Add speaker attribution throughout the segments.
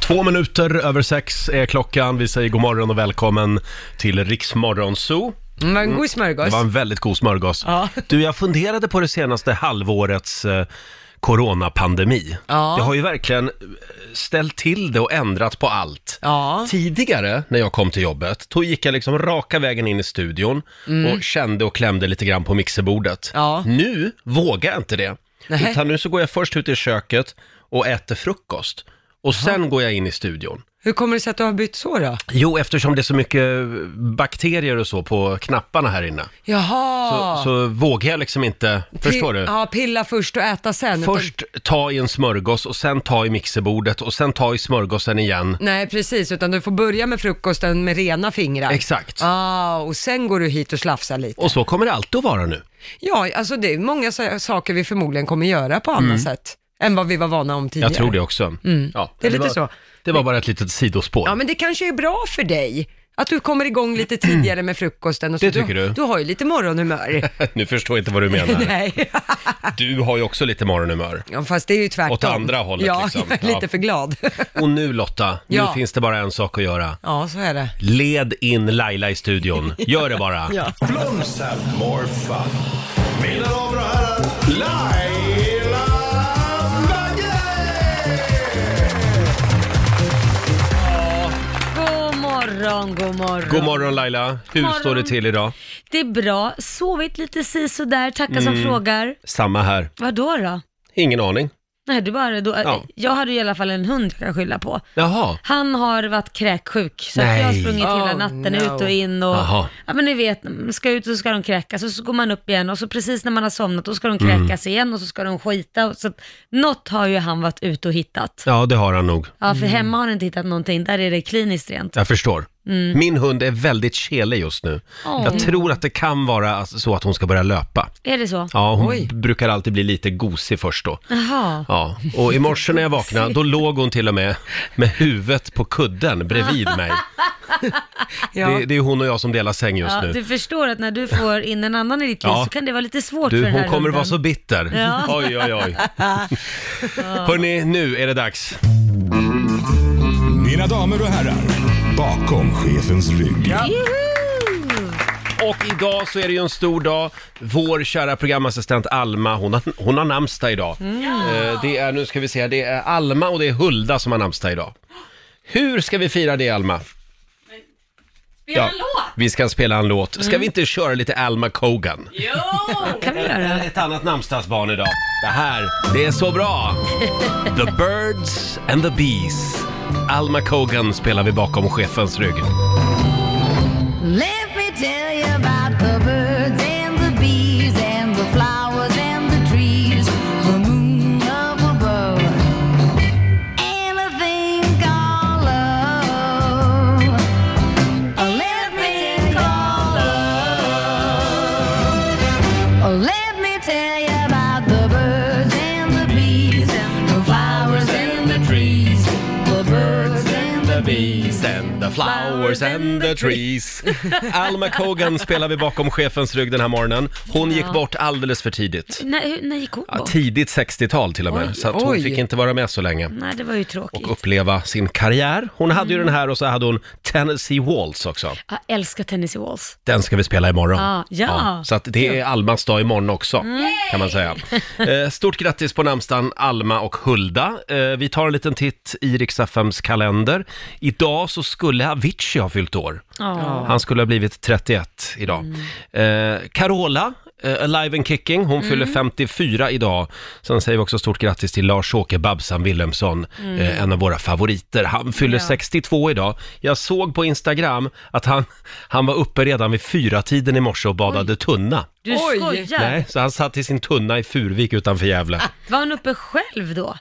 Speaker 1: Två minuter över sex är klockan. Vi säger god morgon och välkommen till Riksmorgon Zoo.
Speaker 2: Mm, vad en god
Speaker 1: Det
Speaker 2: smörgås.
Speaker 1: var en väldigt god smörgås.
Speaker 2: Ja.
Speaker 1: Du, jag funderade på det senaste halvårets eh, coronapandemi.
Speaker 2: Ja.
Speaker 1: Det har ju verkligen eh, ställt till det och ändrat på allt.
Speaker 2: Ja.
Speaker 1: Tidigare, när jag kom till jobbet, då gick jag liksom raka vägen in i studion och kände och klämde lite grann på mixerbordet.
Speaker 2: Mm. Ja.
Speaker 1: Nu vågar jag inte det.
Speaker 2: Nej.
Speaker 1: Utan nu så går jag först ut i köket och äter frukost. Och sen går jag in i studion.
Speaker 2: Hur kommer det sig att du har bytt så då?
Speaker 1: Jo, eftersom det är så mycket eh, bakterier och så på knapparna här inne.
Speaker 2: Jaha!
Speaker 1: Så, så vågar jag liksom inte, förstår
Speaker 2: Pi-
Speaker 1: du?
Speaker 2: Ja, pilla först och äta sen. utan-
Speaker 1: Först ta i en smörgås och sen ta i mixerbordet och sen ta i smörgåsen igen.
Speaker 2: Nej, precis, utan du får börja med frukosten med rena fingrar.
Speaker 1: Exakt.
Speaker 2: ah, och sen går du hit och slafsar lite.
Speaker 1: Och så kommer det alltid att vara nu.
Speaker 2: Ja, alltså det är många sa- saker vi förmodligen kommer göra på annat sätt än vad vi var vana om tidigare.
Speaker 1: Mm. Jag tror det också. Ja,
Speaker 2: Mm. Det är lite
Speaker 1: var,
Speaker 2: så.
Speaker 1: Det var bara ett litet sidospår.
Speaker 2: Ja, men det kanske är bra för dig. Att du kommer igång lite tidigare med frukosten och så.
Speaker 1: Mm. Det tycker du?
Speaker 2: Du har ju lite morgonhumör.
Speaker 1: Nu förstår jag inte vad du menar.
Speaker 2: Nej,
Speaker 1: Du har ju också lite morgonhumör.
Speaker 2: ja, fast det är ju tvärtom.
Speaker 1: Åt andra hållet,
Speaker 2: ja,
Speaker 1: liksom.
Speaker 2: jag är
Speaker 1: Ja.
Speaker 2: lite för glad.
Speaker 1: Och nu Lotta, nu
Speaker 2: Ja.
Speaker 1: finns det bara en sak att göra.
Speaker 2: Ja, så är det.
Speaker 1: Led in Laila i studion. Gör det bara.
Speaker 2: Ja.
Speaker 3: Blooms have more fun. Mina damer och herrar, Laila Bagge!
Speaker 4: God morgon, god morgon.
Speaker 1: God morgon Laila. Hur
Speaker 4: morgon.
Speaker 1: står det till idag?
Speaker 4: Det är bra. Sovit lite si så där. Tackar
Speaker 1: Mm.
Speaker 4: som frågar.
Speaker 1: Samma här.
Speaker 4: Vad då då?
Speaker 1: Ingen aning.
Speaker 4: Nej, du bara, då,
Speaker 1: Ja.
Speaker 4: Jag hade ju i alla fall en hund jag kan skylla på.
Speaker 1: Jaha.
Speaker 4: Han har varit kräksjuk, så att jag har
Speaker 1: Nej.
Speaker 4: sprungit hela
Speaker 2: Oh,
Speaker 4: natten
Speaker 2: no.
Speaker 4: ut och in och...
Speaker 1: Jaha.
Speaker 4: Ja men ni vet, ska ut och så ska de kräkas och så går man upp igen och så precis när man har somnat då ska de
Speaker 1: Mm.
Speaker 4: kräkas igen och så ska de skita. Och så att, något har ju han varit ute och hittat.
Speaker 1: Ja, det har han nog.
Speaker 4: Ja, för hemma har han inte hittat någonting, där är det kliniskt rent.
Speaker 1: Jag förstår. Min hund är väldigt kelig just nu.
Speaker 4: Mm. Åh.
Speaker 1: Jag tror att det kan vara alltså så att hon ska börja löpa.
Speaker 4: Är det så?
Speaker 1: Ja, hon
Speaker 2: Oj.
Speaker 1: brukar alltid bli lite gosig först då.
Speaker 4: Jaha.
Speaker 1: Ja, och i morse när jag vaknade, då låg hon till och med med huvudet på kudden bredvid mig.
Speaker 2: Ja.
Speaker 1: Det, det är hon och jag som delar säng just
Speaker 4: Ja,
Speaker 1: nu.
Speaker 4: du förstår att när du får in en annan i ditt liv
Speaker 1: Ja.
Speaker 4: så kan det vara lite svårt för
Speaker 1: Du,
Speaker 4: den
Speaker 1: hon
Speaker 4: här
Speaker 1: kommer
Speaker 4: hunden.
Speaker 1: vara så bitter.
Speaker 4: Ja.
Speaker 1: Oj, oj, oj. Hörni, nu är det dags.
Speaker 3: Mina damer och herrar, bakom chefens rygg.
Speaker 1: Och idag så är det ju en stor dag. Vår kära programassistent Alma, hon har, hon har namnsdag idag.
Speaker 4: Mm.
Speaker 1: Eh, Det är, nu ska vi se, det är Alma och det är Hulda som har namnsdag idag. Hur ska vi fira det Alma? Spela en låt! Vi ska spela en låt.
Speaker 4: Mm.
Speaker 1: Ska vi inte köra lite Alma Kogan?
Speaker 4: kan vi göra.
Speaker 1: Ett annat namnsdagsbarn idag. Det här, det är så bra! The Birds and the Bees. Alma Kogan spelar vi bakom chefens rygg.
Speaker 5: Let me tell you about the birds and the bees and the flowers and the trees, the moon up above, and a thing called love. Oh, Let me call love. Oh, Let me tell you about the birds and the bees, the flowers and the trees, the birds and the bees.
Speaker 1: and the flowers and the trees. Alma Kogan spelar vi bakom chefens rygg den här morgonen. Hon gick bort alldeles för tidigt.
Speaker 4: När, hur- när gick hon
Speaker 1: Ja,
Speaker 4: bort?
Speaker 1: tidigt 60-tal till och med,
Speaker 2: Oj,
Speaker 1: så att hon
Speaker 2: oj.
Speaker 1: fick inte vara med så länge
Speaker 4: Nej, det var ju tråkigt.
Speaker 1: och uppleva sin karriär. Hon hade
Speaker 2: Mm.
Speaker 1: ju den här och så hade hon Tennessee Waltz också.
Speaker 4: Jag älskar Tennessee Walls.
Speaker 1: Den ska vi spela imorgon.
Speaker 4: Ja, ja.
Speaker 1: så att det är Almas dag imorgon också, kan man säga. Eh, stort grattis på namnsdagen Alma och Hulda. Eh, vi tar en liten titt i Rix FMs kalender. Idag så skulle Avicii ha fyllt år.
Speaker 4: Ja.
Speaker 1: Han skulle ha blivit 31 idag. Eh, Carola, eh, Alive and Kicking, hon fyller 54 idag. Sen säger vi också stort grattis till Lars-Åke Babsan Wilhelmsson, eh, en av våra favoriter. Han fyller 62 idag. Jag såg på Instagram att han, han var uppe redan vid fyra tiden i morse och badade tunna.
Speaker 4: Du
Speaker 2: Oj.
Speaker 4: skojar?
Speaker 1: Nej, så han satt i sin tunna i Furvik utanför Gävle.
Speaker 4: Var han uppe själv då?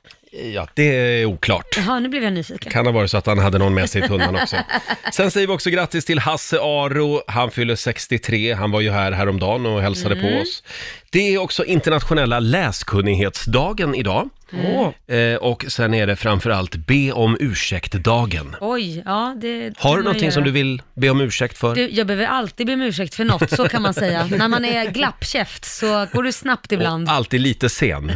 Speaker 1: Ja, det är oklart.
Speaker 4: Jaha, nu blev jag nyfiken.
Speaker 1: Kan ha varit så att han hade någon med sig i tunnan också. Sen säger vi också grattis till Hasse Aro. Han fyller 63. Han var ju här
Speaker 4: Mm.
Speaker 1: häromdagen och hälsade på oss. Det är också internationella läskunnighetsdagen idag.
Speaker 4: Mm.
Speaker 6: Åh.
Speaker 1: Eh, och sen är det framförallt be om ursäkt-dagen.
Speaker 4: Oj, ja det kan
Speaker 1: Har du
Speaker 4: man
Speaker 1: någonting
Speaker 4: göra.
Speaker 1: som du vill be om ursäkt för?
Speaker 4: Du, jag behöver alltid be om ursäkt för något, så kan man säga. När man är glappkäft så går du snabbt ibland.
Speaker 1: Och Ah. alltid lite sen.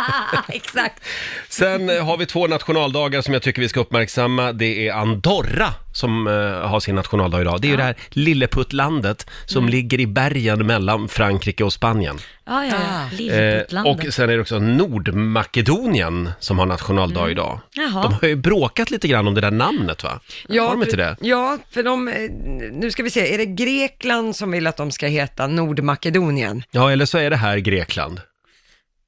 Speaker 4: Exakt.
Speaker 1: Sen eh, har vi två nationaldagar som jag tycker vi ska uppmärksamma. Det är Andorra som eh, har sin nationaldag idag. Det är ju det här lilleputtlandet som
Speaker 2: Mm.
Speaker 1: ligger i bergen mellan Frankrike och Spanien.
Speaker 4: Ja, ja, ja.
Speaker 1: Eh,
Speaker 4: Lillputlandet.
Speaker 1: och sen är det också Nordmakedonien som har nationaldag
Speaker 2: Mm.
Speaker 1: idag.
Speaker 4: Jaha.
Speaker 1: De har ju bråkat lite grann om det där namnet va? har de inte
Speaker 2: för-
Speaker 1: det?
Speaker 2: Ja, för de, eh, nu ska vi se, är det Grekland som vill att de ska heta Nordmakedonien?
Speaker 1: Ja, eller så är det här Grekland.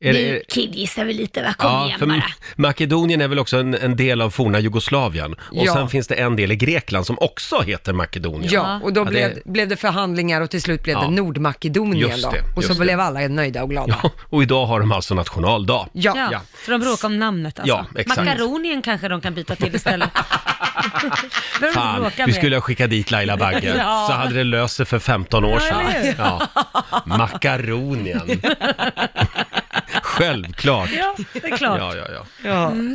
Speaker 1: Är det- är-
Speaker 4: Nu killgissar vi lite, va? Kom
Speaker 1: Ja,
Speaker 4: igen
Speaker 1: för
Speaker 4: bara.
Speaker 1: Makedonien är väl också en, en del av forna Jugoslavien. Och
Speaker 2: Ja.
Speaker 1: sen finns det en del i Grekland som också heter Makedonien.
Speaker 2: Ja, och då
Speaker 1: Ja, det-
Speaker 2: blev, blev det förhandlingar och till slut blev
Speaker 1: Ja.
Speaker 2: det Nordmakedonien
Speaker 1: Just
Speaker 2: då.
Speaker 1: det,
Speaker 2: och så
Speaker 1: just det.
Speaker 2: blev alla nöjda och glada.
Speaker 1: Ja, och idag har de alltså nationaldag.
Speaker 2: Ja.
Speaker 4: Ja, så de bråkar om namnet alltså.
Speaker 1: Ja, exakt.
Speaker 4: Makaronien kanske de kan byta till istället. Behöver de
Speaker 1: Fan,
Speaker 4: bråka
Speaker 1: vi
Speaker 4: med.
Speaker 1: skulle ha skickat dit Laila Bagge,
Speaker 4: Ja.
Speaker 1: så hade det löst sig för 15 år
Speaker 4: Ja, eller
Speaker 1: sedan.
Speaker 4: hur?
Speaker 1: Ja. Makaronien. Självklart.
Speaker 4: Ja, det är klart. Mm.
Speaker 1: Ja, ja, ja.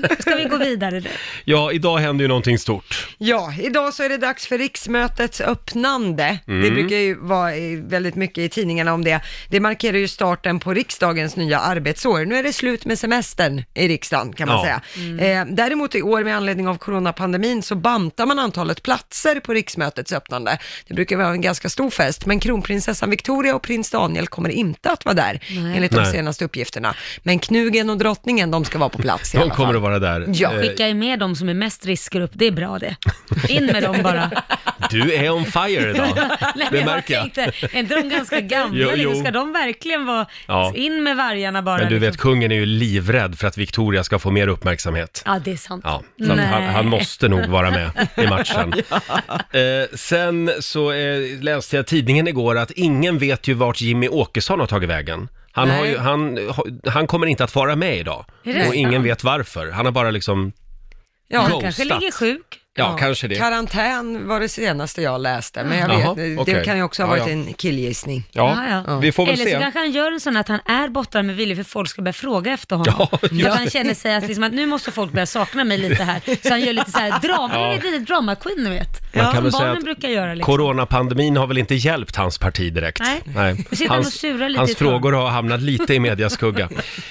Speaker 2: Ja.
Speaker 4: Ska vi gå vidare nu?
Speaker 1: ja, idag händer ju någonting stort.
Speaker 2: Ja, idag så är det dags för riksmötets öppnande.
Speaker 1: Mm.
Speaker 2: Det brukar ju vara i- väldigt mycket i tidningarna om det. Det markerar ju starten på riksdagens nya arbetsår. Nu är det slut med semestern i riksdagen kan man
Speaker 1: Ja.
Speaker 2: säga. Eh, däremot i år med anledning av coronapandemin så bantar man antalet platser på riksmötets öppnande. Det brukar vara en ganska stor fest, men kronprinsessan Victoria och prins Daniel kommer inte att vara där enligt de
Speaker 1: Nej.
Speaker 2: senaste uppgifterna. Men knugen och drottningen, de ska vara på plats i
Speaker 1: De
Speaker 2: alla
Speaker 1: kommer
Speaker 2: fall.
Speaker 1: att vara där.
Speaker 2: Ja.
Speaker 1: Eh,
Speaker 4: Skicka ju med de som är mest riskgrupp, det är bra det. In med dem bara.
Speaker 1: Du är on fire idag.
Speaker 4: Nej,
Speaker 1: Det
Speaker 4: jag
Speaker 1: märker jag.
Speaker 4: Tänkte, är inte de ganska gamla?
Speaker 1: Jo,
Speaker 4: Jo,
Speaker 1: jo.
Speaker 4: Ska de verkligen vara
Speaker 1: Ja.
Speaker 4: in med vargarna bara?
Speaker 1: Men du vet,
Speaker 4: liksom?
Speaker 1: kungen är ju livrädd för att Victoria ska få mer uppmärksamhet.
Speaker 4: Ja, det är sant.
Speaker 1: Ja, så att han, han måste nog vara med i matchen. eh, sen så eh, läste jag i tidningen igår att ingen vet ju vart Jimmy Åkesson har tagit vägen. Han, har ju, han, har- han kommer inte att vara med idag.
Speaker 4: Är det
Speaker 1: Och ingen
Speaker 4: sant?
Speaker 1: vet varför. Han har bara liksom,
Speaker 2: Ja,
Speaker 4: Han
Speaker 1: Ghostat.
Speaker 4: kanske ligger sjuk.
Speaker 1: ja, kanske det.
Speaker 2: Karantän var det senaste jag läste, men jag
Speaker 1: Jaha,
Speaker 2: vet, det- det
Speaker 1: okej.
Speaker 2: kan ju också ha
Speaker 1: Ja,
Speaker 2: varit
Speaker 1: ja.
Speaker 2: en killgissning.
Speaker 1: Ja,
Speaker 4: Ja, ja.
Speaker 1: vi får väl
Speaker 4: Eller så
Speaker 1: se.
Speaker 4: kanske han gör en sån att han är borta med Willy för folk ska börja fråga efter honom.
Speaker 1: Ja,
Speaker 4: för
Speaker 1: just
Speaker 4: att han känner sig att, liksom, att nu måste folk börja sakna mig lite här. Så han gör lite så här drama,
Speaker 1: Ja.
Speaker 4: ja. lite drama queen, ni vet.
Speaker 1: Man kan
Speaker 4: Som
Speaker 1: väl säga
Speaker 4: barnen
Speaker 1: att
Speaker 4: brukar göra liksom.
Speaker 1: Coronapandemin har väl inte hjälpt hans parti direkt?
Speaker 4: Nej. Nu sitter han och
Speaker 1: Hans,
Speaker 4: surar lite
Speaker 1: hans
Speaker 4: i ett hörn.
Speaker 1: frågor har hamnat lite i medias skugga.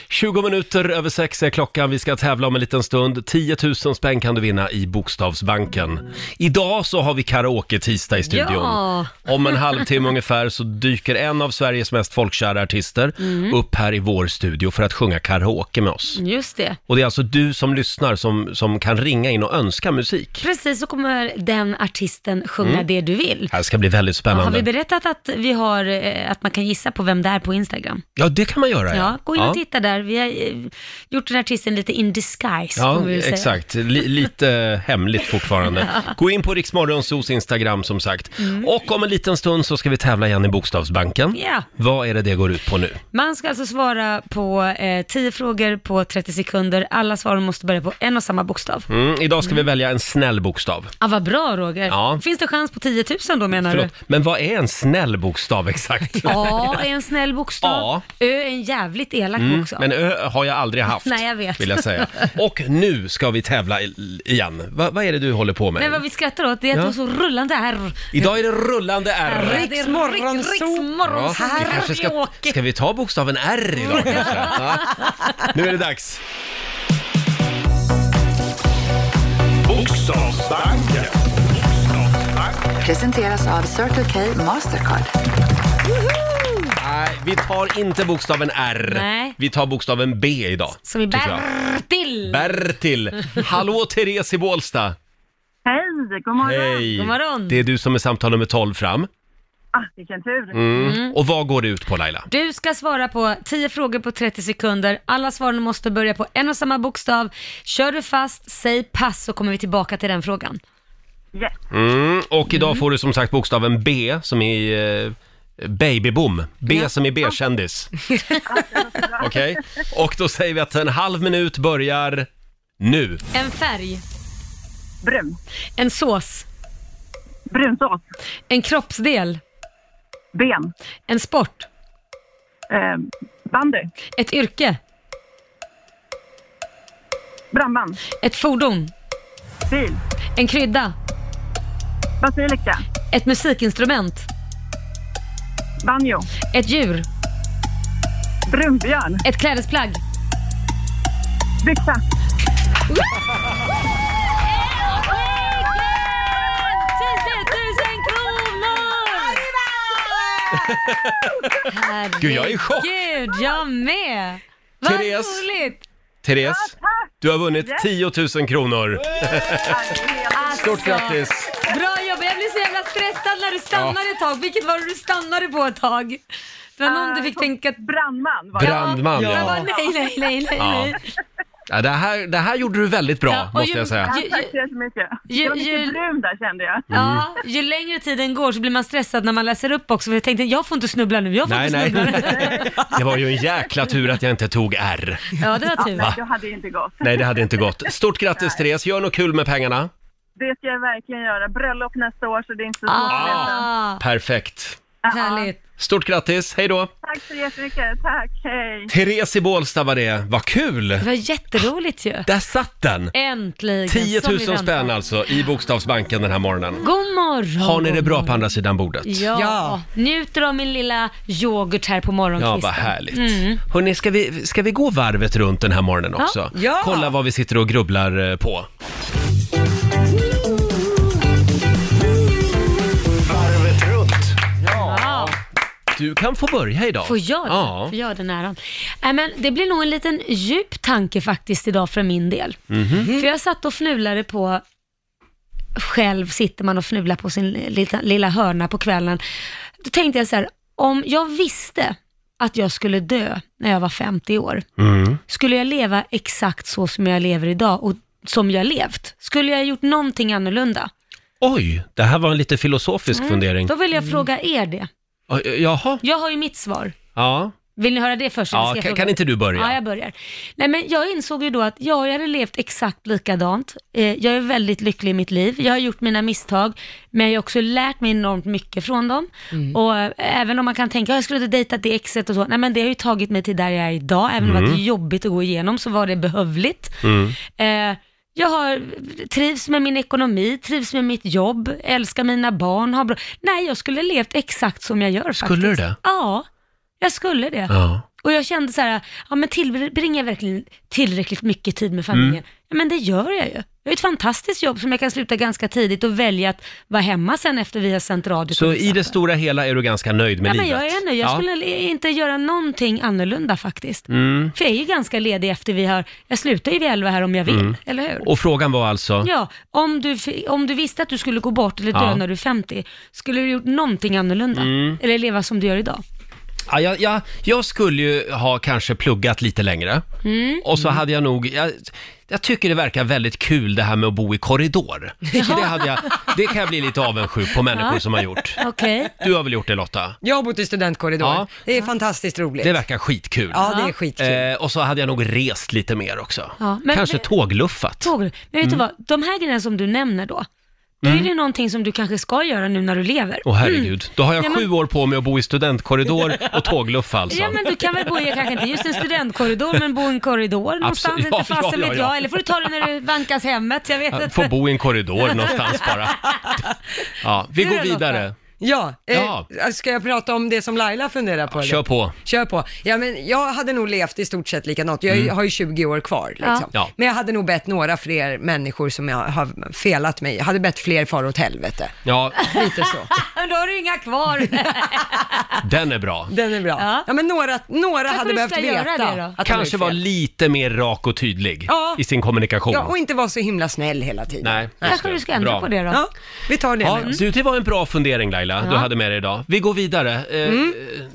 Speaker 1: 20 minuter över sex är klockan. Vi ska tävla om en liten stund. 10 000 spänn kan du vinna i Bokstavsbanken. Idag så har vi karaoke-tisdag i studion.
Speaker 4: Ja.
Speaker 1: Om en halvtimme ungefär så dyker en av Sveriges mest folkkära artister
Speaker 4: Mm.
Speaker 1: upp här i vår studio för att sjunga karaoke med oss.
Speaker 4: Just det.
Speaker 1: Och det är alltså du som lyssnar som, som kan ringa in och önska musik.
Speaker 4: Precis så kommer den artisten sjunga det du vill.
Speaker 1: Det här ska bli väldigt Mm. spännande.
Speaker 4: Har vi berättat att, vi har, eh, att man kan gissa på vem det är på Instagram?
Speaker 1: Ja, det kan man göra.
Speaker 4: Ja, gå in och titta där. Vi har eh, gjort den här artisten lite in disguise,
Speaker 1: Ja,
Speaker 4: kommer vi väl säga.
Speaker 1: exakt. Li- lite hemligt fortfarande. Gå in på Riksmorgonsos Instagram som sagt. Och om en liten stund så ska vi tävla igen i Bokstavsbanken.
Speaker 4: Mm. Ja.
Speaker 1: Vad är det det går ut på nu?
Speaker 4: Man ska alltså svara på eh, 10 frågor på 30 sekunder. Alla svaren måste börja på en och samma bokstav.
Speaker 1: Mm, idag ska vi välja en snäll bokstav.
Speaker 4: Ah, vad bra Roger.
Speaker 1: Ja.
Speaker 4: Finns det chans på 10 000 då menar
Speaker 1: Förlåt,
Speaker 4: du?
Speaker 1: men vad är en snäll bokstav exakt?
Speaker 4: A är en snäll bokstav.
Speaker 1: A.
Speaker 4: Ö är en jävligt elak bokstav.
Speaker 1: Mm, Men ö har jag aldrig haft,
Speaker 4: Nej, jag vet.
Speaker 1: vill jag säga. Och nu ska vi tävla i- igen. Va, vad är det du håller på med?
Speaker 4: Men vad vi skrattar åt det är att
Speaker 1: Ja.
Speaker 4: du har så rullande R.
Speaker 1: Idag är det rullande R.
Speaker 4: Ja, det är
Speaker 2: Riks
Speaker 4: rik-
Speaker 2: morgonzoo.
Speaker 1: Ja,
Speaker 4: Riksmorgonzoo.
Speaker 1: vi kanske ska,
Speaker 4: Karaoke.
Speaker 1: ska vi ta bokstaven R idag
Speaker 4: Mm.
Speaker 1: kanske? Ja. Nu är det dags.
Speaker 3: Bokstavsbanken.
Speaker 7: Presenteras av Circle K Mastercard.
Speaker 1: Nej, vi tar inte bokstaven R.
Speaker 4: Nej.
Speaker 1: Vi tar bokstaven B idag.
Speaker 4: Som i
Speaker 1: tycker jag.
Speaker 4: Bertil.
Speaker 1: Bertil. Hallå Therese i Bålsta.
Speaker 8: Hej, god morgon.
Speaker 1: Hej.
Speaker 4: God morgon.
Speaker 1: Det är du som är samtal nummer 12 fram. Mm.
Speaker 8: Ah, vilken tur.
Speaker 4: Mm.
Speaker 1: Och vad går det ut på Laila?
Speaker 4: Du ska svara på 10 frågor på 30 sekunder. Alla svaren måste börja på en och samma bokstav. Kör du fast, säg pass så kommer vi tillbaka till den frågan.
Speaker 8: Yes.
Speaker 1: Mm, och idag får du som sagt bokstaven B som i eh, babyboom. B som i B-kändis. Okej? Och då säger vi att en halv minut börjar nu.
Speaker 4: En färg,
Speaker 8: Brun.
Speaker 4: en sås,
Speaker 8: Brunsås.
Speaker 4: en kroppsdel,
Speaker 8: Ben.
Speaker 4: en sport,
Speaker 8: Eh, bandy.
Speaker 4: ett yrke,
Speaker 8: Brandman.
Speaker 4: Ett fordon.
Speaker 8: Bil.
Speaker 4: En krydda.
Speaker 8: Basilika.
Speaker 4: Ett musikinstrument.
Speaker 8: Banjo.
Speaker 4: Ett djur.
Speaker 8: Brunbjörn.
Speaker 4: Ett klädesplagg.
Speaker 8: Byxa.
Speaker 1: Gud, jag är i chock.
Speaker 4: Gud, jag med! Vad
Speaker 1: Therese.
Speaker 4: roligt!
Speaker 1: Therese, du har vunnit 10 000 kronor.
Speaker 4: Alltså,
Speaker 1: Stort grattis!
Speaker 4: Bra jobbat! Jag blev så jävla stressad när du stannade ett tag. Vilket var det du stannade på ett tag? Det var någon du fick tänka... att-
Speaker 8: Brandman. Var
Speaker 1: Brandman,
Speaker 4: Jag bara,
Speaker 1: ja.
Speaker 4: nej, nej, nej, Mm. nej,
Speaker 1: Ja. Mm.
Speaker 4: nej.
Speaker 1: ja det, här, det här gjorde du väldigt bra,
Speaker 4: Ja, och
Speaker 1: måste
Speaker 4: ju-
Speaker 1: jag säga.
Speaker 8: Ja, tack så jättemycket.
Speaker 4: Ju-
Speaker 8: Det var
Speaker 4: ju-
Speaker 8: mycket brun där kände jag.
Speaker 4: Ja, ju längre tiden går så blir man stressad när man läser upp också. För jag tänkte, jag får inte snubbla nu, jag får
Speaker 1: Nej,
Speaker 4: inte
Speaker 1: nej.
Speaker 4: snubbla nu.
Speaker 1: Det var ju en jäkla tur att jag inte tog R.
Speaker 4: Ja, det var tur.
Speaker 8: Nej, jag hade inte gått.
Speaker 1: Nej, det hade inte gått. Stort grattis Therese, gör något kul med pengarna.
Speaker 8: Det ska jag verkligen göra. Bröllop nästa år så det är inte så svårt att veta.
Speaker 4: Ah,
Speaker 1: Perfekt.
Speaker 4: härligt.
Speaker 1: Stort grattis, hej då!
Speaker 8: Tack så jättemycket. Tack. Hej.
Speaker 1: Therese i Bålsta var det, vad kul!
Speaker 4: Det var jätteroligt ju.
Speaker 1: Där satt den!
Speaker 4: Äntligen.
Speaker 1: 10
Speaker 4: som vi
Speaker 1: 000
Speaker 4: väntade.
Speaker 1: spänn alltså i Bokstavsbanken den här morgonen.
Speaker 4: God morgon.
Speaker 1: Har ni det
Speaker 4: god
Speaker 1: bra
Speaker 4: morgon.
Speaker 1: på andra sidan bordet?
Speaker 4: Ja.
Speaker 2: Ja.
Speaker 4: Njuter av min lilla yoghurt här på
Speaker 1: Ja,
Speaker 4: morgonkvisten.
Speaker 1: vad härligt.
Speaker 4: Mm.
Speaker 1: Hörrni, ska vi, ska vi gå varvet runt den här morgonen också?
Speaker 2: Ja.
Speaker 1: Kolla vad vi sitter och grubblar eh, på.
Speaker 3: Varvet runt.
Speaker 4: Ja.
Speaker 1: Du kan få börja idag.
Speaker 4: Får jag det?
Speaker 1: Ja.
Speaker 4: Får jag den äran? Nej, men det blir nog en liten djup tanke faktiskt idag för min del.
Speaker 1: Mhm.
Speaker 4: För jag satt och fnulade på, själv sitter man och fnular på sin lilla, lilla hörna på kvällen. Då tänkte jag så här, om jag visste att jag skulle dö när jag var 50 år,
Speaker 1: Mm.
Speaker 4: skulle jag leva exakt så som jag lever idag och som jag levt? Skulle jag ha gjort någonting annorlunda?
Speaker 1: Oj, det här var en lite filosofisk fundering.
Speaker 4: Mm. Då vill jag fråga er det.
Speaker 1: Oj, eh, Jaha,
Speaker 4: Jag har ju mitt svar.
Speaker 1: ja.
Speaker 4: Vill ni höra det först? eller
Speaker 1: ja
Speaker 4: ska jag
Speaker 1: kan,
Speaker 4: fråga?
Speaker 1: kan inte du börja?
Speaker 4: Ja, jag börjar. Nej, men jag insåg ju då att ja, jag hade levt exakt likadant. Eh, jag är väldigt lycklig i mitt liv. Jag har gjort mina misstag, men jag har också lärt mig enormt mycket från dem.
Speaker 1: Mm.
Speaker 4: Och eh, även om man kan tänka, "Ja, jag skulle inte dejtat det exet och så. Nej, men det har ju tagit mig till där jag är idag. Även om det var
Speaker 1: Mm.
Speaker 4: jobbigt att gå igenom så var det behövligt. Eh, jag har, trivs med min ekonomi, trivs med mitt jobb, älskar mina barn, har bra... Nej, jag skulle levt exakt som jag gör
Speaker 1: Skulle du
Speaker 4: faktiskt.
Speaker 1: det?
Speaker 4: Ja, jag skulle det.
Speaker 1: Ja.
Speaker 4: Och jag kände så här, ja men tillbringar jag verkligen tillräckligt mycket tid med familjen?
Speaker 1: Mm.
Speaker 4: Ja men det gör jag ju. Jag har ett fantastiskt jobb som jag kan sluta ganska tidigt och välja att vara hemma sen efter vi har sänt radio.
Speaker 1: Så
Speaker 4: till
Speaker 1: i det
Speaker 4: exempel.
Speaker 1: stora hela är du ganska nöjd med
Speaker 4: Ja men
Speaker 1: livet?
Speaker 4: jag är nu, jag skulle inte göra någonting annorlunda faktiskt.
Speaker 1: Mm.
Speaker 4: För jag är ju ganska ledig efter vi har, jag slutar ju vid elva här om jag vill, eller hur?
Speaker 1: Mm. Och frågan var alltså?
Speaker 4: Ja, om du, fi- om du visste att du skulle gå bort eller dö
Speaker 1: Ja. Mm.
Speaker 4: när du är 50, skulle du gjort någonting annorlunda? Eller leva som du gör idag?
Speaker 1: Ja, jag, jag, jag skulle ju ha kanske pluggat lite längre.
Speaker 4: Mm.
Speaker 1: Och så hade jag nog... Jag, jag tycker det verkar väldigt kul det här med att bo i korridor. Det, hade jag, det kan jag bli lite avundsjuk på människor som har gjort.
Speaker 4: Okej.
Speaker 1: Du har väl gjort det Lotta?
Speaker 2: Jag har bott i studentkorridor.
Speaker 1: Ja.
Speaker 2: Det är fantastiskt roligt.
Speaker 1: Det verkar skitkul.
Speaker 2: Ja, det är skitkul.
Speaker 1: Eh, och så hade jag nog rest lite mer också.
Speaker 4: Ja, men-
Speaker 1: kanske
Speaker 4: men-
Speaker 1: tågluffat.
Speaker 4: Tåg. Men vet
Speaker 1: Mm.
Speaker 4: du vad, de här grejerna som du nämner då, då är det någonting som du kanske ska göra nu när du lever.
Speaker 1: Åh herregud, då har jag
Speaker 4: Mm. Ja, men-
Speaker 1: sju år på mig att bo i studentkorridor och tågluffa alltså.
Speaker 4: Ja men du kan väl bo i, kanske inte just en studentkorridor, men bo i en korridor någonstans,
Speaker 1: ja,
Speaker 4: inte fasen
Speaker 1: ja, ja,
Speaker 4: vet
Speaker 1: ja.
Speaker 4: jag. Eller får du ta det när du vankas hemmet, jag vet
Speaker 1: Jag
Speaker 4: inte.
Speaker 1: Får bo i en korridor någonstans bara. Ja, vi
Speaker 4: Du
Speaker 1: går
Speaker 4: då, Lotta?
Speaker 1: vidare.
Speaker 2: Ja, eh,
Speaker 1: Ja.
Speaker 2: ska jag prata om det som Laila funderar på? eller?
Speaker 1: Kör på.
Speaker 2: Kör på. Ja, men jag hade nog levt i stort sett likadant. Jag har ju 20 år kvar. Liksom.
Speaker 1: Mm. Ja.
Speaker 2: Men jag hade nog bett några fler människor som jag har felat mig. Jag hade bett fler far åt helvete.
Speaker 1: Ja,
Speaker 2: Lite så.
Speaker 4: Då har du inga kvar.
Speaker 1: den är bra.
Speaker 2: Den är bra.
Speaker 4: Ja.
Speaker 2: Ja, men några, några
Speaker 4: Kanske
Speaker 2: hade
Speaker 4: du
Speaker 2: behövt
Speaker 4: ska göra
Speaker 2: veta.
Speaker 4: det då?
Speaker 2: att de
Speaker 1: Kanske
Speaker 2: har
Speaker 1: vara
Speaker 2: gjort fel.
Speaker 1: lite mer rak och tydlig
Speaker 2: Ja.
Speaker 1: i sin kommunikation.
Speaker 2: Ja, och inte vara så himla snäll hela tiden.
Speaker 1: Nej, just
Speaker 4: Kanske
Speaker 1: det.
Speaker 4: du ska ändra
Speaker 1: Bra.
Speaker 4: på det då. Mm.
Speaker 2: Ja, vi tar det
Speaker 1: Ja,
Speaker 2: med oss.
Speaker 1: du, det var en bra fundering Laila, du
Speaker 4: Ja. Mm.
Speaker 1: hade med dig idag. Vi går vidare. Eh,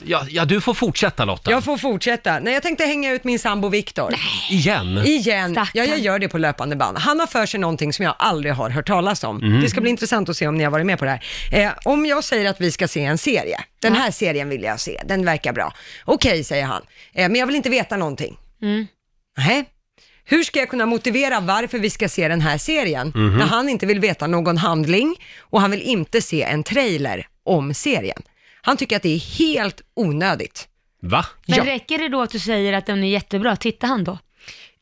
Speaker 1: ja, ja, du får fortsätta Lotta.
Speaker 2: Jag får fortsätta. Nej, jag tänkte hänga ut min sambo Viktor.
Speaker 1: Igen.
Speaker 2: Igen.
Speaker 4: Stackarn.
Speaker 2: Ja, jag gör det på löpande band. Han har för sig någonting som jag aldrig har hört talas om. Det ska bli intressant att se om ni har varit med på det här. Eh, om jag säger att vi ska se en serie. Den här serien vill jag se. Den verkar bra. Okej, säger han. Eh, men jag vill inte veta någonting. Nej. Hur ska jag kunna motivera varför vi ska se den här serien? När han inte vill veta någon handling och han vill inte se en trailer om serien. Han tycker att det är helt onödigt.
Speaker 1: Va?
Speaker 4: Men
Speaker 2: Ja.
Speaker 4: räcker det då att du säger att den är jättebra, tittar han då?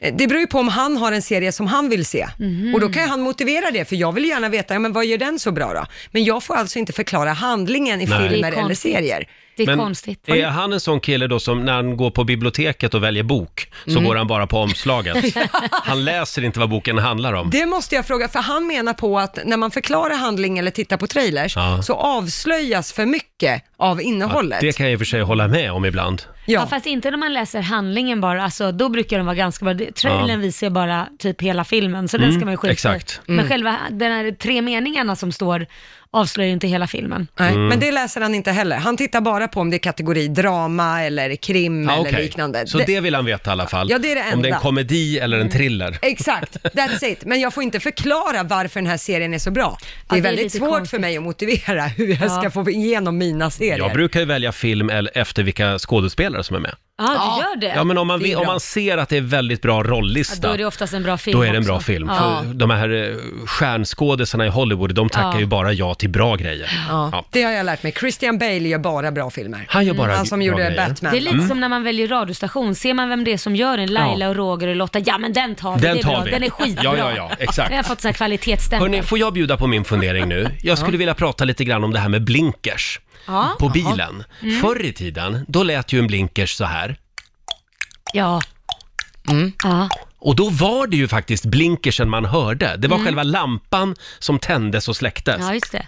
Speaker 2: Eh, Det beror ju på om han har en serie som han vill se.
Speaker 4: Mhm.
Speaker 2: Och då kan ju han motivera det, för jag vill ju gärna veta, ja, men vad gör den så bra då? Men jag får alltså inte förklara handlingen i
Speaker 1: Nej. Det är
Speaker 2: filmer eller
Speaker 4: konstigt.
Speaker 2: serier.
Speaker 4: Det är
Speaker 1: Men
Speaker 4: konstigt.
Speaker 1: är han en sån kille då som när han går på biblioteket och väljer bok så
Speaker 4: Mm.
Speaker 1: går han bara på omslaget? Han läser inte vad boken handlar om.
Speaker 2: Det måste jag fråga, för han menar på att när man förklarar handling eller tittar på trailers
Speaker 1: Ja.
Speaker 2: så avslöjas för mycket av innehållet.
Speaker 1: Det kan jag i och för sig hålla med om ibland.
Speaker 4: Ja.
Speaker 2: ja.
Speaker 4: fast inte när man läser handlingen bara, alltså, då brukar de vara ganska bra. Det- Trailern visar ju bara typ hela filmen, så den ska man ju skita i.
Speaker 1: Mm, exakt. Mm.
Speaker 4: Men själva de här tre meningarna som står avslöjar ju inte hela filmen.
Speaker 2: Nej,
Speaker 1: Mm.
Speaker 2: Men det läser han inte heller. Han tittar bara på om det är kategori drama eller krim
Speaker 1: Ah,
Speaker 2: eller
Speaker 1: okej.
Speaker 2: liknande.
Speaker 1: Så
Speaker 2: Det-
Speaker 1: det... vill han veta i alla fall.
Speaker 2: Ja, det är det
Speaker 1: Om det är
Speaker 2: enda. Mm.
Speaker 1: en komedi eller en thriller.
Speaker 2: Exakt, that's it. Men jag får inte förklara varför den här serien är så bra. Det
Speaker 4: det
Speaker 2: är
Speaker 4: är
Speaker 2: väldigt
Speaker 4: lite
Speaker 2: svårt
Speaker 4: konstigt.
Speaker 2: för mig att motivera hur jag
Speaker 4: Ja.
Speaker 2: ska få igenom mina serier.
Speaker 1: Jag brukar ju välja film el- efter vilka skådespelare som är med.
Speaker 4: Ja, du gör det.
Speaker 1: Ja, men om man,
Speaker 2: det är
Speaker 1: vill, om
Speaker 2: bra.
Speaker 1: man ser att det är väldigt bra
Speaker 4: Ja,
Speaker 1: rollista,
Speaker 4: då är det oftast en bra film
Speaker 1: då är det en
Speaker 4: också.
Speaker 1: bra film.
Speaker 4: Ja.
Speaker 1: För de här eh, stjärnskådisarna i Hollywood, de tackar
Speaker 4: Ja.
Speaker 1: ju bara ja till bra grejer.
Speaker 2: Ja,
Speaker 1: Ja.
Speaker 2: Det har jag lärt mig. Christian Bale gör bara bra filmer.
Speaker 1: Han gör bara
Speaker 2: Han som
Speaker 1: bra
Speaker 2: gjorde
Speaker 1: grejer.
Speaker 2: Batman.
Speaker 4: Det är lite som när man väljer radiostation, ser man vem det är som gör den, Laila
Speaker 1: Mm. Ja.
Speaker 4: och Roger och Lotta, ja men den tar vi,
Speaker 1: Den
Speaker 4: det är
Speaker 1: tar
Speaker 4: bra,
Speaker 1: vi.
Speaker 4: den är skitbra.
Speaker 1: Ja, ja, ja, exakt.
Speaker 4: Jag har fått sån här kvalitetsstämpel.
Speaker 1: Hörrni, får jag bjuda på min fundering nu? Jag skulle vilja prata lite grann om det här med blinkers
Speaker 4: Ja.
Speaker 1: på bilen. Mm. Förr i tiden, då lät ju en blinkers så här.
Speaker 4: Ja.
Speaker 1: Mm.
Speaker 4: ja.
Speaker 1: Och då var det ju faktiskt blinkersen man hörde. Det var själva lampan som tändes och släcktes.
Speaker 4: Mm. Ja, just det.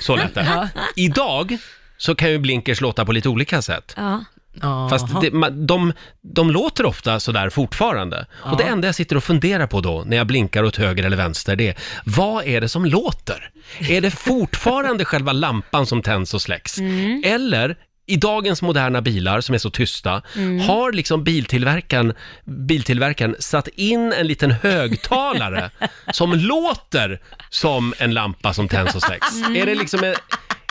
Speaker 1: Så lät det. Idag så kan ju blinkers låta på lite olika sätt.
Speaker 4: Ja.
Speaker 1: Fast det, man, de, de låter ofta sådär fortfarande. Och det enda jag sitter och funderar på då, när jag blinkar åt höger eller vänster, det är vad är det som låter? Är det fortfarande själva lampan som tänds och släcks? Eller i dagens moderna bilar som är så tysta, har liksom biltillverkaren, biltillverkaren satt in en liten högtalare som låter som en lampa som tänds och släcks? Är det liksom en,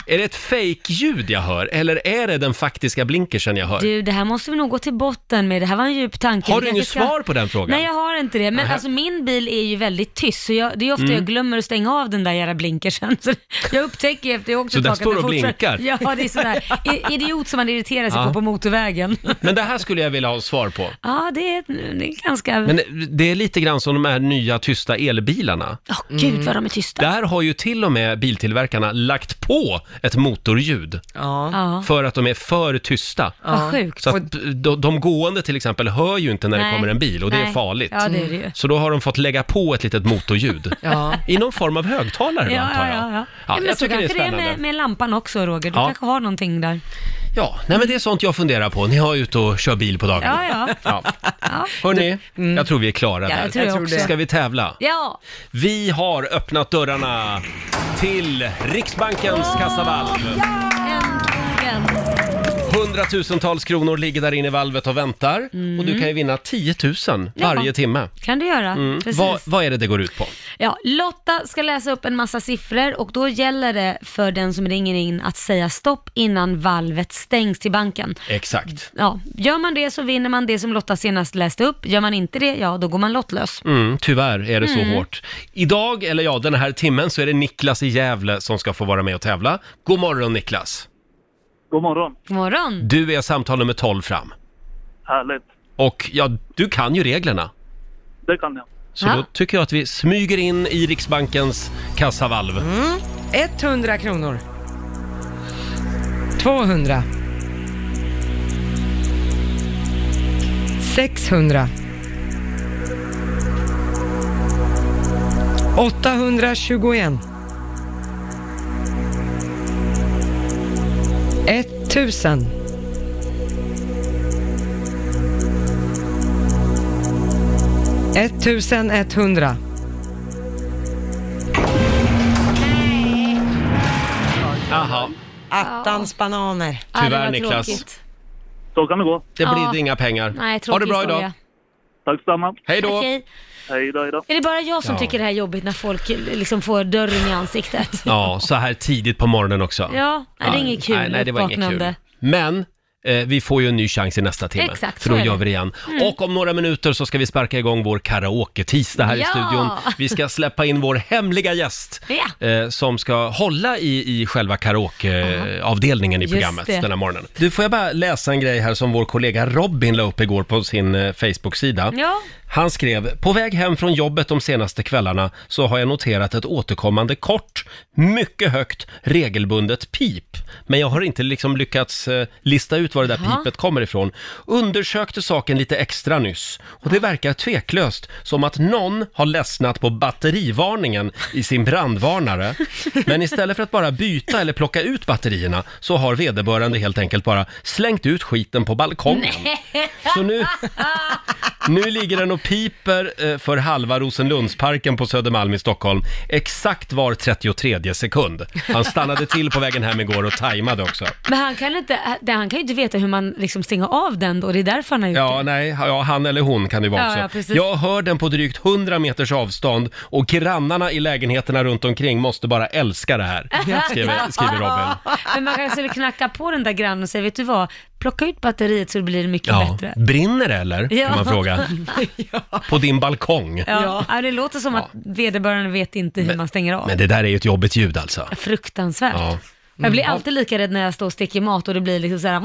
Speaker 1: är det ett fake-ljud jag hör eller är det den faktiska blinkersen jag hör?
Speaker 4: Du, det här måste vi nog gå till botten med. Det här var en djup tanke.
Speaker 1: Har
Speaker 4: Vi
Speaker 1: du
Speaker 4: kanske
Speaker 1: inget svar på den frågan?
Speaker 4: Nej, jag har inte det. Men
Speaker 1: Nähä. Mm.
Speaker 4: alltså min bil är ju väldigt tyst, så jag, det är ofta jag glömmer att stänga av den där jävla blinkersen. Så jag upptäcker ju efter jag åkt
Speaker 1: Så
Speaker 4: ett
Speaker 1: den
Speaker 4: tag att
Speaker 1: står
Speaker 4: den
Speaker 1: och
Speaker 4: fortsätter-
Speaker 1: blinkar?
Speaker 4: Ja, det är sådär. I- Idiot som man irriterar sig
Speaker 1: Ja.
Speaker 4: på på motorvägen.
Speaker 1: Men det här skulle jag vilja ha svar på.
Speaker 4: Ja, det är, det är ganska...
Speaker 1: Men det är lite grann som de här nya tysta elbilarna.
Speaker 4: Åh
Speaker 1: Mm.
Speaker 4: gud vad de är tysta.
Speaker 1: Där har ju till och med biltillverkarna lagt på ett motorljud
Speaker 2: Ja.
Speaker 4: Ja,
Speaker 1: för att de är för tysta.
Speaker 4: vad sjukt.
Speaker 1: Så att de, de gående till exempel hör ju inte när det
Speaker 4: Nej.
Speaker 1: kommer en bil och det är
Speaker 4: Nej.
Speaker 1: farligt. Mm.
Speaker 4: Ja, det är det ju.
Speaker 1: Så då har de fått lägga på ett litet motorljud.
Speaker 2: Ja.
Speaker 1: I någon form av högtalare
Speaker 4: Ja,
Speaker 1: va, antar
Speaker 4: ja,
Speaker 1: jag.
Speaker 4: ja. ja. men
Speaker 1: jag
Speaker 4: så
Speaker 1: tycker det är
Speaker 4: kanske
Speaker 1: spännande.
Speaker 4: med, med lampan också Roger. Du
Speaker 1: Ja.
Speaker 4: kanske har någonting där.
Speaker 1: Ja, nej men det är sånt jag funderar på. Ni har ute och kör bil på dagarna.
Speaker 4: Ja, ja. Ja. Mm.
Speaker 1: Hörni, jag tror vi är klara
Speaker 4: Ja,
Speaker 1: där.
Speaker 4: jag tror jag också.
Speaker 1: Ska vi tävla?
Speaker 4: Ja,
Speaker 1: Vi har öppnat dörrarna till Riksbankens kassavalv.
Speaker 4: äntligen.
Speaker 1: Hundratusentals kronor ligger där inne i valvet och väntar. Och du kan ju vinna 10 000 varje
Speaker 4: Mm. Ja.
Speaker 1: timme. Mm.
Speaker 4: kan du göra. Precis.
Speaker 1: Vad, vad är det det går ut på?
Speaker 4: Ja, Lotta ska läsa upp en massa siffror och då gäller det för den som ringer in att säga stopp innan valvet stängs till banken.
Speaker 1: Exakt.
Speaker 4: Ja, gör man det så vinner man det som Lotta senast läste upp. Gör man inte det, ja då går man lottlös.
Speaker 1: Mm, tyvärr är det så hårt. Idag, eller ja, den här timmen så är det Niklas i Gävle som ska få vara med och tävla. God morgon Niklas!
Speaker 6: God morgon.
Speaker 4: God morgon.
Speaker 1: Du är samtal nummer 12 fram.
Speaker 6: Härligt.
Speaker 1: Och ja, du kan ju reglerna.
Speaker 6: Det kan jag.
Speaker 1: Så
Speaker 4: Ja.
Speaker 1: då tycker jag att vi smyger in i Riksbankens kassavalv.
Speaker 4: Mm.
Speaker 2: 100 kronor. 200. 600. 821. 1000. 1100.
Speaker 1: Aha.
Speaker 2: Attans bananer.
Speaker 4: Ja, det
Speaker 1: Tyvärr,
Speaker 4: var
Speaker 1: Niklas.
Speaker 4: tråkigt.
Speaker 6: Så kan det gå.
Speaker 1: Det blir
Speaker 4: Ja.
Speaker 1: inga pengar.
Speaker 4: Nej, tråkig
Speaker 1: ha det bra idag.
Speaker 4: historia.
Speaker 6: Tack detsamma.
Speaker 1: Hej då.
Speaker 4: Okej.
Speaker 6: Hej då, hej då.
Speaker 4: Är det bara jag som
Speaker 1: Ja.
Speaker 4: tycker det här är jobbigt när folk liksom får dörren i ansiktet?
Speaker 1: Ja, så här tidigt på morgonen också.
Speaker 4: Ja, nej, det är inget kul
Speaker 1: Nej, nej, det var inget kul.
Speaker 4: uppvaknande.
Speaker 1: Men eh, vi får ju en ny chans i nästa timme.
Speaker 4: Exakt,
Speaker 1: för
Speaker 4: så
Speaker 1: då gör
Speaker 4: är det. Mm.
Speaker 1: vi det igen. Och om några minuter så ska vi sparka igång vår karaoke-tisdag här i
Speaker 4: Ja!
Speaker 1: studion. Vi ska släppa in vår hemliga gäst
Speaker 4: Ja.
Speaker 1: eh, som ska hålla i, i själva karaokeavdelningen i
Speaker 4: Just
Speaker 1: programmet
Speaker 4: det.
Speaker 1: den här morgonen. Du, får jag bara läsa en grej här som vår kollega Robin la upp igår på sin eh, Facebook-sida.
Speaker 4: Ja.
Speaker 1: Han skrev, på väg hem från jobbet de senaste kvällarna så har jag noterat ett återkommande kort, mycket högt, regelbundet pip. Men jag har inte liksom lyckats eh, lista ut var det där
Speaker 4: Jaha.
Speaker 1: pipet kommer ifrån. Undersökte saken lite extra nyss och det verkar tveklöst som att någon har ledsnat på batterivarningen i sin brandvarnare. Men istället för att bara byta eller plocka ut batterierna så har vederbörande helt enkelt bara slängt ut skiten på balkongen. Så nu, nu ligger den och piper eh, för halva Rosenlundsparken på Södermalm i Stockholm. Exakt var 33 sekund. Han stannade till på vägen hem igår och tajmade också.
Speaker 4: Men han kan, inte, det- han kan ju inte veta hur man liksom stänger av den då, det är därför han har gjort
Speaker 1: Ja,
Speaker 4: det.
Speaker 1: nej, ja, han eller hon kan det vara
Speaker 4: Ja,
Speaker 1: också.
Speaker 4: ja, precis.
Speaker 1: jag hör den på drygt 100 meters avstånd och grannarna i lägenheterna runt omkring måste bara älska det här, skriver, skriver Robin.
Speaker 4: Men man kanske skulle knacka på den där grannen och säga, vet du vad, plocka ut batteriet så det blir mycket
Speaker 1: Ja,
Speaker 4: bättre.
Speaker 1: brinner det eller? Kan
Speaker 4: Ja.
Speaker 1: man fråga. På din balkong.
Speaker 4: Ja. ja, det låter som att vederbörande vet inte hur man stänger av.
Speaker 1: Men det där är ju ett jobbigt ljud alltså.
Speaker 4: Fruktansvärt.
Speaker 1: Ja.
Speaker 4: Jag blir alltid lika rädd när jag står och steker mat och det blir liksom såhär,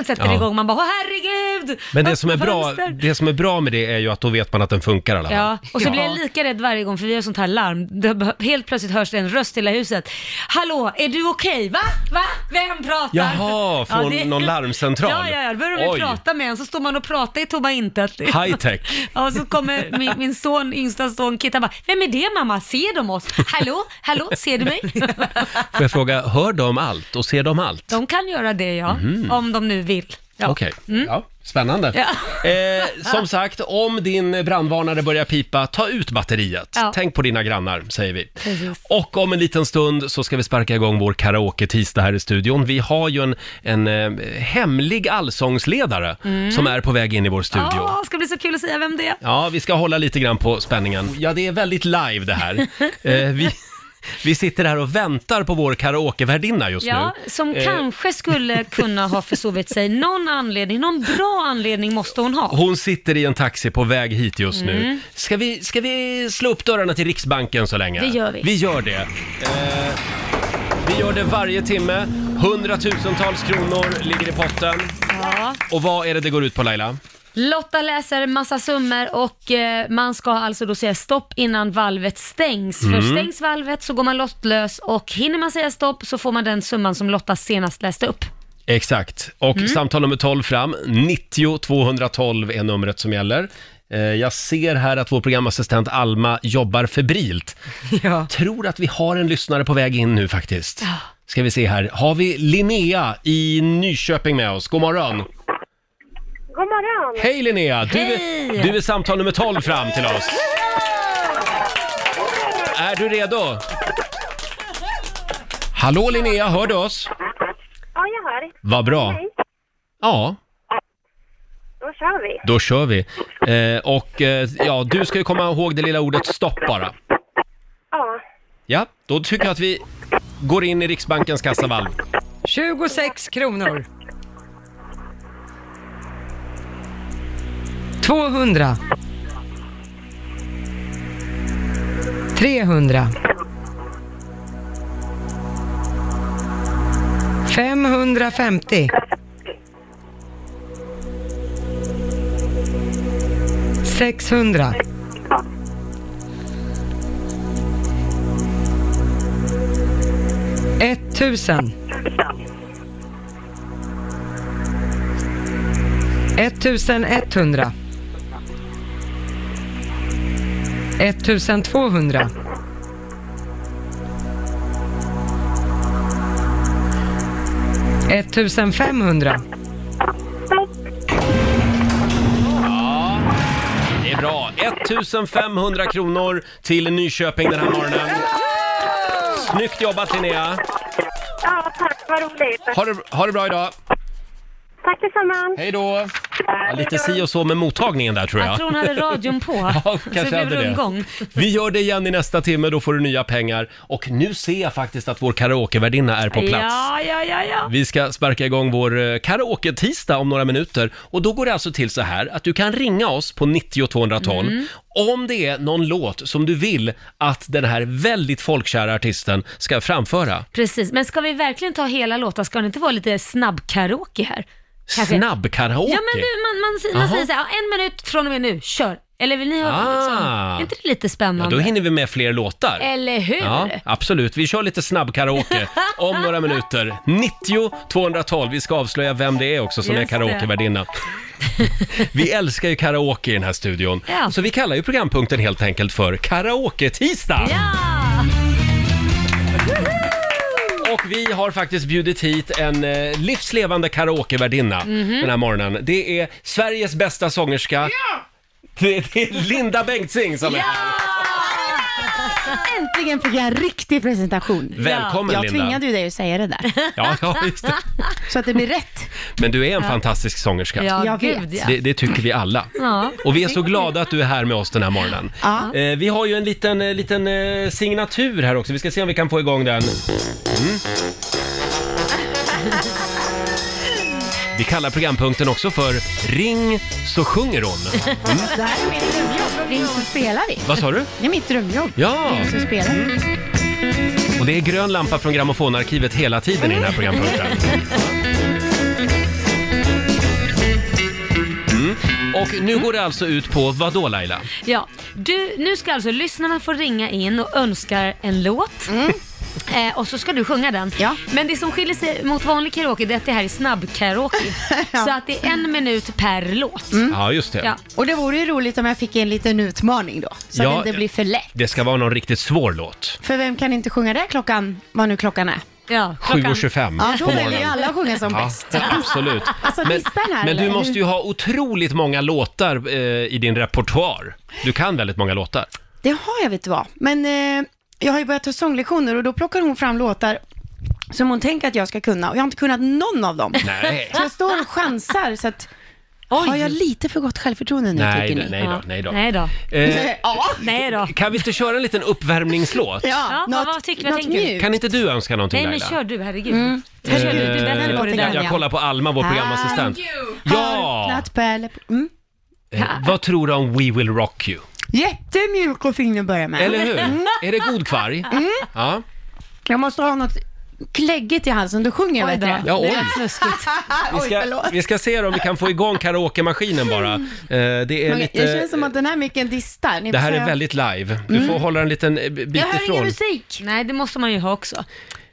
Speaker 4: och sätter
Speaker 1: Ja.
Speaker 4: igång. Man bara, åh herregud!
Speaker 1: Men det som, är
Speaker 4: öppna
Speaker 1: bra,
Speaker 4: fönster."
Speaker 1: det som är bra med det är ju att då vet man att den funkar i alla fall.
Speaker 4: Ja, och så blir jag lika rädd varje gång för vi har sånt här larm. Det, beh- helt plötsligt hörs det en röst i hela huset. Hallå, är du okej? Va? Va? Vem pratar?
Speaker 1: Jaha, från
Speaker 4: det-
Speaker 1: någon larmcentral.
Speaker 4: Ja, ja, ja. Då börjar de
Speaker 1: Oj.
Speaker 4: ju prata med en, så står man och pratar i tomma intet.
Speaker 1: High tech.
Speaker 4: Ja, och så kommer min, min son, yngsta son Kit, han bara, vem är det mamma? Ser de oss? Hallå, hallå, ser du mig?
Speaker 1: Får jag fråga, hör de allt och ser de allt?
Speaker 4: De kan göra det ja, om de nu vill.
Speaker 1: Mhm.
Speaker 4: Ja. Mm.
Speaker 1: Okej, ja, spännande.
Speaker 4: Ja.
Speaker 1: Eh, som sagt, om din brandvarnare börjar pipa, ta ut batteriet.
Speaker 4: Ja.
Speaker 1: Tänk på dina grannar, säger vi.
Speaker 4: Precis.
Speaker 1: Och om en liten stund så ska vi sparka igång vår karaoke-tisdag här i studion. Vi har ju en, en eh, hemlig allsångsledare som är på väg in i vår studio.
Speaker 4: Mm. Ja, ska bli så kul att säga vem det är.
Speaker 1: Ja, vi ska hålla lite grann på spänningen. Ja, det är väldigt live det här. Eh, vi, vi sitter här och väntar på vår karaokevärdinna just
Speaker 4: Ja,
Speaker 1: nu. Eh.
Speaker 4: som kanske skulle kunna ha försovit sig. Någon anledning, någon bra anledning måste hon ha.
Speaker 1: Hon sitter i en taxi på väg hit just
Speaker 4: Mm.
Speaker 1: nu. Ska vi, ska vi slå upp dörrarna till Riksbanken så länge?
Speaker 4: Det gör vi.
Speaker 1: Vi gör det. Eh, vi gör det varje timme. Hundratusentals kronor ligger i potten.
Speaker 4: Ja.
Speaker 1: Och vad är det det går ut på Laila?
Speaker 4: Lotta läser massa summor och eh, man ska alltså då säga stopp innan valvet stängs.
Speaker 1: Mm.
Speaker 4: För stängs valvet så går man lottlös och hinner man säga stopp så får man den summan som Lotta senast läste upp.
Speaker 1: Exakt. Och samtal nummer 12 fram. 90 212 är numret som gäller. Eh, Jag ser här att vår programassistent Alma jobbar febrilt.
Speaker 2: Ja.
Speaker 1: Tror att vi har en lyssnare på väg in nu faktiskt. Ska vi se här. Har vi Linnea i Nyköping med oss? God morgon.
Speaker 9: God morgon!
Speaker 1: Hej Linnea! Du,
Speaker 4: Hej!
Speaker 1: Är, du är samtal nummer 12 fram till oss. Är du redo? Hallå Linnea, hör du oss?
Speaker 9: Ja, jag hör.
Speaker 1: Vad bra.
Speaker 9: Hej.
Speaker 1: Ja,
Speaker 9: Då kör vi.
Speaker 1: Då kör vi. Eh, och eh, ja, du ska ju komma ihåg det lilla ordet stopp bara.
Speaker 9: Ja.
Speaker 1: Ja, då tycker jag att vi går in i Riksbankens kassavalv.
Speaker 2: 26 kronor. 200. 300. 550. 600. 1000. 1100 1200 1500
Speaker 1: Det är bra. 1500 kronor till Nyköping den här morgonen. Snyggt jobbat Linnea!
Speaker 9: Ja, tack. Vad roligt.
Speaker 1: Ha det, ha det bra idag!
Speaker 9: Tack detsamma.
Speaker 1: Hej då! Ja, lite si och så med mottagningen där tror jag.
Speaker 4: Jag tror hon hade radion på.
Speaker 1: Ja,
Speaker 4: så det
Speaker 1: kanske
Speaker 4: blev
Speaker 1: hade det.
Speaker 4: rundgång.
Speaker 1: Vi gör det igen i nästa timme, då får du nya pengar. Och nu ser jag faktiskt att vår karaokevärdinna är på plats.
Speaker 4: Ja, ja, ja, ja.
Speaker 1: Vi ska sparka igång vår eh, karaoke-tisdag om några minuter. Och då går det alltså till så här att du kan ringa oss på 90 212
Speaker 4: Mm.
Speaker 1: om det är någon låt som du vill att den här väldigt folkkära artisten ska framföra.
Speaker 4: Precis, men ska vi verkligen ta hela låtar? Ska det inte vara lite snabb-karaoke här? Kanske.
Speaker 1: Snabb-karaoke!
Speaker 4: Ja, men du, man, man, man
Speaker 1: Jaha.
Speaker 4: säger så här, "Ja, en minut från och med nu, kör. Eller vill ni ha
Speaker 1: Ah.
Speaker 4: liksom, är inte det lite
Speaker 1: Ja,
Speaker 4: spännande?
Speaker 1: då hinner vi med fler låtar.
Speaker 4: Eller hur?
Speaker 1: Ja, absolut. Vi kör lite snabb karaoke om några minuter. 90 212. Vi ska avslöja vem det är också som
Speaker 4: Just
Speaker 1: är
Speaker 4: det.
Speaker 1: karaokevärdinna. Vi älskar ju karaoke i den här studion.
Speaker 4: Ja.
Speaker 1: Så vi kallar ju programpunkten helt enkelt för Karaoke-tisdag.
Speaker 4: Ja!
Speaker 1: Och vi har faktiskt bjudit hit en eh, livslevande karaokevärdinna
Speaker 4: Mhm.
Speaker 1: den här morgonen. Det är Sveriges bästa sångerska. Det, det är Linda Bengtzing som är här.
Speaker 10: Äntligen fick jag en riktig presentation.
Speaker 1: Välkommen
Speaker 10: jag
Speaker 1: Linda.
Speaker 10: tvingade ju dig att säga det där,
Speaker 1: Ja, ja, just det.
Speaker 10: så att det blir rätt.
Speaker 1: Men du är en fantastisk sångerska.
Speaker 4: Ja,
Speaker 10: Jag vet.
Speaker 4: gud ja.
Speaker 1: Det, det tycker vi alla.
Speaker 4: Ja.
Speaker 1: Och vi är så glada att du är här med oss den här morgonen.
Speaker 10: Ja.
Speaker 1: Eh, vi har ju en liten, eh, liten eh, signatur här också. Vi ska se om vi kan få igång den. Mm. Vi kallar programpunkten också för Ring så sjunger hon. Mm.
Speaker 10: Det här är mitt drömjobb. Ring så spelar vi.
Speaker 1: Vad sa du?
Speaker 10: Det är mitt drömjobb.
Speaker 1: Ja,
Speaker 10: Ring så spelar vi.
Speaker 1: och det är grön lampa från grammofonarkivet hela tiden i den här programpunkten. Mm. Och nu går det alltså ut på vad då Laila?
Speaker 4: Ja, du, nu ska alltså lyssnarna få ringa in och önska en låt. Eh, och så ska du sjunga den.
Speaker 10: Mm. Ja.
Speaker 4: Men det som skiljer sig mot vanlig karaoke det är att det här är snabb-karaoke. Så att det är en minut per låt.
Speaker 10: Mm.
Speaker 1: Ja, just det.
Speaker 4: Ja.
Speaker 10: Och det vore ju roligt om jag fick en liten utmaning då, så
Speaker 1: Ja.
Speaker 10: att det inte blir för lätt.
Speaker 1: Det ska vara någon riktigt svår låt.
Speaker 10: För vem kan inte sjunga det klockan, vad nu klockan är?
Speaker 4: Ja, klockan-
Speaker 1: 7.25
Speaker 10: Ja, då
Speaker 1: på
Speaker 10: vill ju
Speaker 1: morgonen.
Speaker 10: alla sjunga som bäst.
Speaker 1: absolut.
Speaker 10: Alltså,
Speaker 1: Men,
Speaker 10: listan här,
Speaker 1: men du
Speaker 10: eller?
Speaker 1: måste ju ha otroligt många låtar eh, i din repertoar. Du kan väldigt många låtar.
Speaker 10: Det har jag, vet du vad. Men eh, jag har ju börjat ta sånglektioner och då plockar hon fram låtar som hon tänker att jag ska kunna och jag har inte kunnat någon av dem.
Speaker 1: Nej.
Speaker 10: Så jag står och chansar så att, har jag lite för gott självförtroende nu
Speaker 1: Nej,
Speaker 10: tycker
Speaker 1: då,
Speaker 10: ni?
Speaker 1: nej då,
Speaker 4: Ja.
Speaker 1: nej då.
Speaker 4: Nej då.
Speaker 1: Eh,
Speaker 10: Ja,
Speaker 4: Nej då.
Speaker 1: kan vi inte köra en liten uppvärmningslåt?
Speaker 4: Ja, vad- vad tycker du, vad
Speaker 10: något
Speaker 4: tänker du?
Speaker 10: mjukt.
Speaker 1: Kan inte du önska någonting
Speaker 4: Nej men
Speaker 1: Laila?
Speaker 4: kör du, herregud.
Speaker 10: Mm.
Speaker 4: Kör du, du är bättre på det
Speaker 1: Eh, jag,
Speaker 4: där.
Speaker 1: jag kollar på Alma, vår programassistent. Ja!
Speaker 10: Natt på eller- mm.
Speaker 1: Eh, vad tror du om We Will Rock You?
Speaker 10: Jättemjuk och fin att börja med.
Speaker 1: Eller hur? Är det god kvarg?
Speaker 4: Mm.
Speaker 1: Ja.
Speaker 10: Jag måste ha något kläggigt i halsen, då sjunger jag
Speaker 4: Oj då.
Speaker 10: bättre.
Speaker 1: ja, oj.
Speaker 4: Snuskigt.
Speaker 1: Vi
Speaker 10: Oj,
Speaker 1: ska,
Speaker 10: förlåt.
Speaker 1: vi ska se om vi kan få igång karaoke-maskinen bara. Eh, det är
Speaker 10: Okej,
Speaker 1: lite...
Speaker 10: Jag känner som att den här micken distar. Ni
Speaker 1: Det här
Speaker 10: får
Speaker 1: är
Speaker 10: säga-
Speaker 1: väldigt live. Du får hålla en liten eh, b- bit
Speaker 10: Mm. Jag hör ingen
Speaker 1: ifrån. Mm.
Speaker 10: musik.
Speaker 4: Nej, det måste man ju ha också.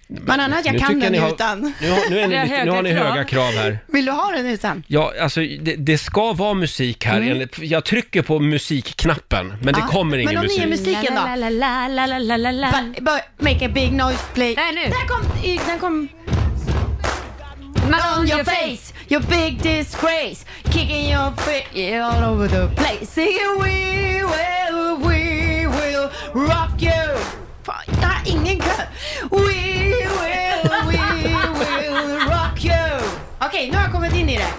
Speaker 10: Men annars, jag kan
Speaker 1: tycker
Speaker 10: den
Speaker 1: ni
Speaker 10: ju
Speaker 1: har-
Speaker 10: utan.
Speaker 1: Nu, har- nu, är
Speaker 4: Vi
Speaker 1: ni
Speaker 4: har
Speaker 1: lite, nu har ni
Speaker 4: höga krav.
Speaker 1: höga krav här.
Speaker 10: Vill du ha den utan?
Speaker 1: Ja, alltså det, det ska vara musik här. enligt- Jag trycker på musikknappen, men det
Speaker 10: Mm. Ja.
Speaker 1: kommer ingen
Speaker 10: Men om ni är
Speaker 1: musik.
Speaker 10: musiken då?
Speaker 4: La, la, la, la, la, la, la, la.
Speaker 10: Va- bara Make a big noise, play.
Speaker 4: Nej, Äh. nu.
Speaker 10: Där kom, i- där kom...
Speaker 4: Man
Speaker 10: On your face, your big disgrace. Kicking your feet all over the place. Singing we will, we will rock you. Fan, jag har ingen kör. We will, we will rock you. Okej, nu har jag kommit in i det.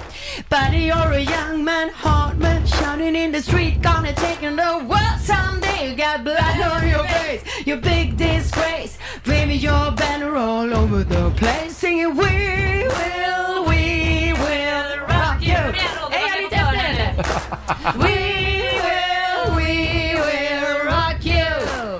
Speaker 10: Buddy, you're a young man, hard man, shouting in the street, gonna take on the world someday. You got blood on your face, your big disgrace. Waving your banner all over the place, singing we will, we will rock you. Är jag lite efter eller? We will, we will rock you.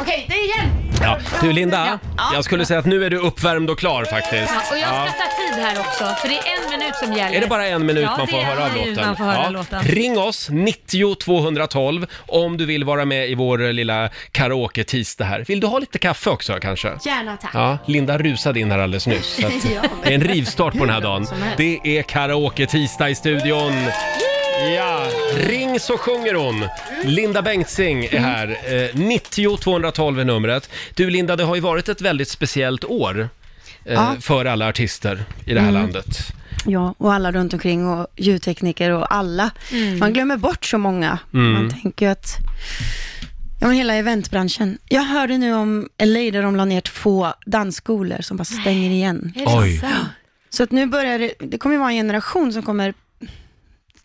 Speaker 10: Okej, det är igen.
Speaker 1: Ja. Du Linda,
Speaker 10: Ja.
Speaker 1: jag skulle säga att nu är du uppvärmd och klar faktiskt.
Speaker 4: Ja, och jag ska ta tid här också, för det är en minut som gäller.
Speaker 1: Är det bara en minut
Speaker 4: ja,
Speaker 1: man får
Speaker 4: det är
Speaker 1: höra av
Speaker 4: en minut
Speaker 1: låten?
Speaker 4: Man får höra
Speaker 1: Ja.
Speaker 4: låten.
Speaker 1: Ring oss, 90 212, om du vill vara med i vår eh, lilla karaoke-tisdag här. Vill du ha lite kaffe också kanske?
Speaker 10: Gärna tack.
Speaker 1: Ja, Linda rusade in här alldeles nyss. Så att det är en rivstart på den här dagen. Det är karaoke-tisdag i studion. Ja, ring så sjunger hon. Linda Bengtzing är här.
Speaker 4: Mm.
Speaker 1: Eh, 90 212 är numret. Du Linda, det har ju varit ett väldigt speciellt år eh,
Speaker 10: Ja.
Speaker 1: för alla artister i det här
Speaker 4: Mm.
Speaker 1: landet.
Speaker 10: Ja, och alla runt omkring och ljudtekniker och alla.
Speaker 4: Mm.
Speaker 10: Man glömmer bort så många.
Speaker 1: Mm.
Speaker 10: Man tänker ju att, ja men hela eventbranschen. Jag hörde nu om LA där de la ner två dansskolor som bara stänger igen.
Speaker 4: Är det
Speaker 1: Oj.
Speaker 4: sant?
Speaker 10: Så att nu börjar det, det kommer ju vara en generation som kommer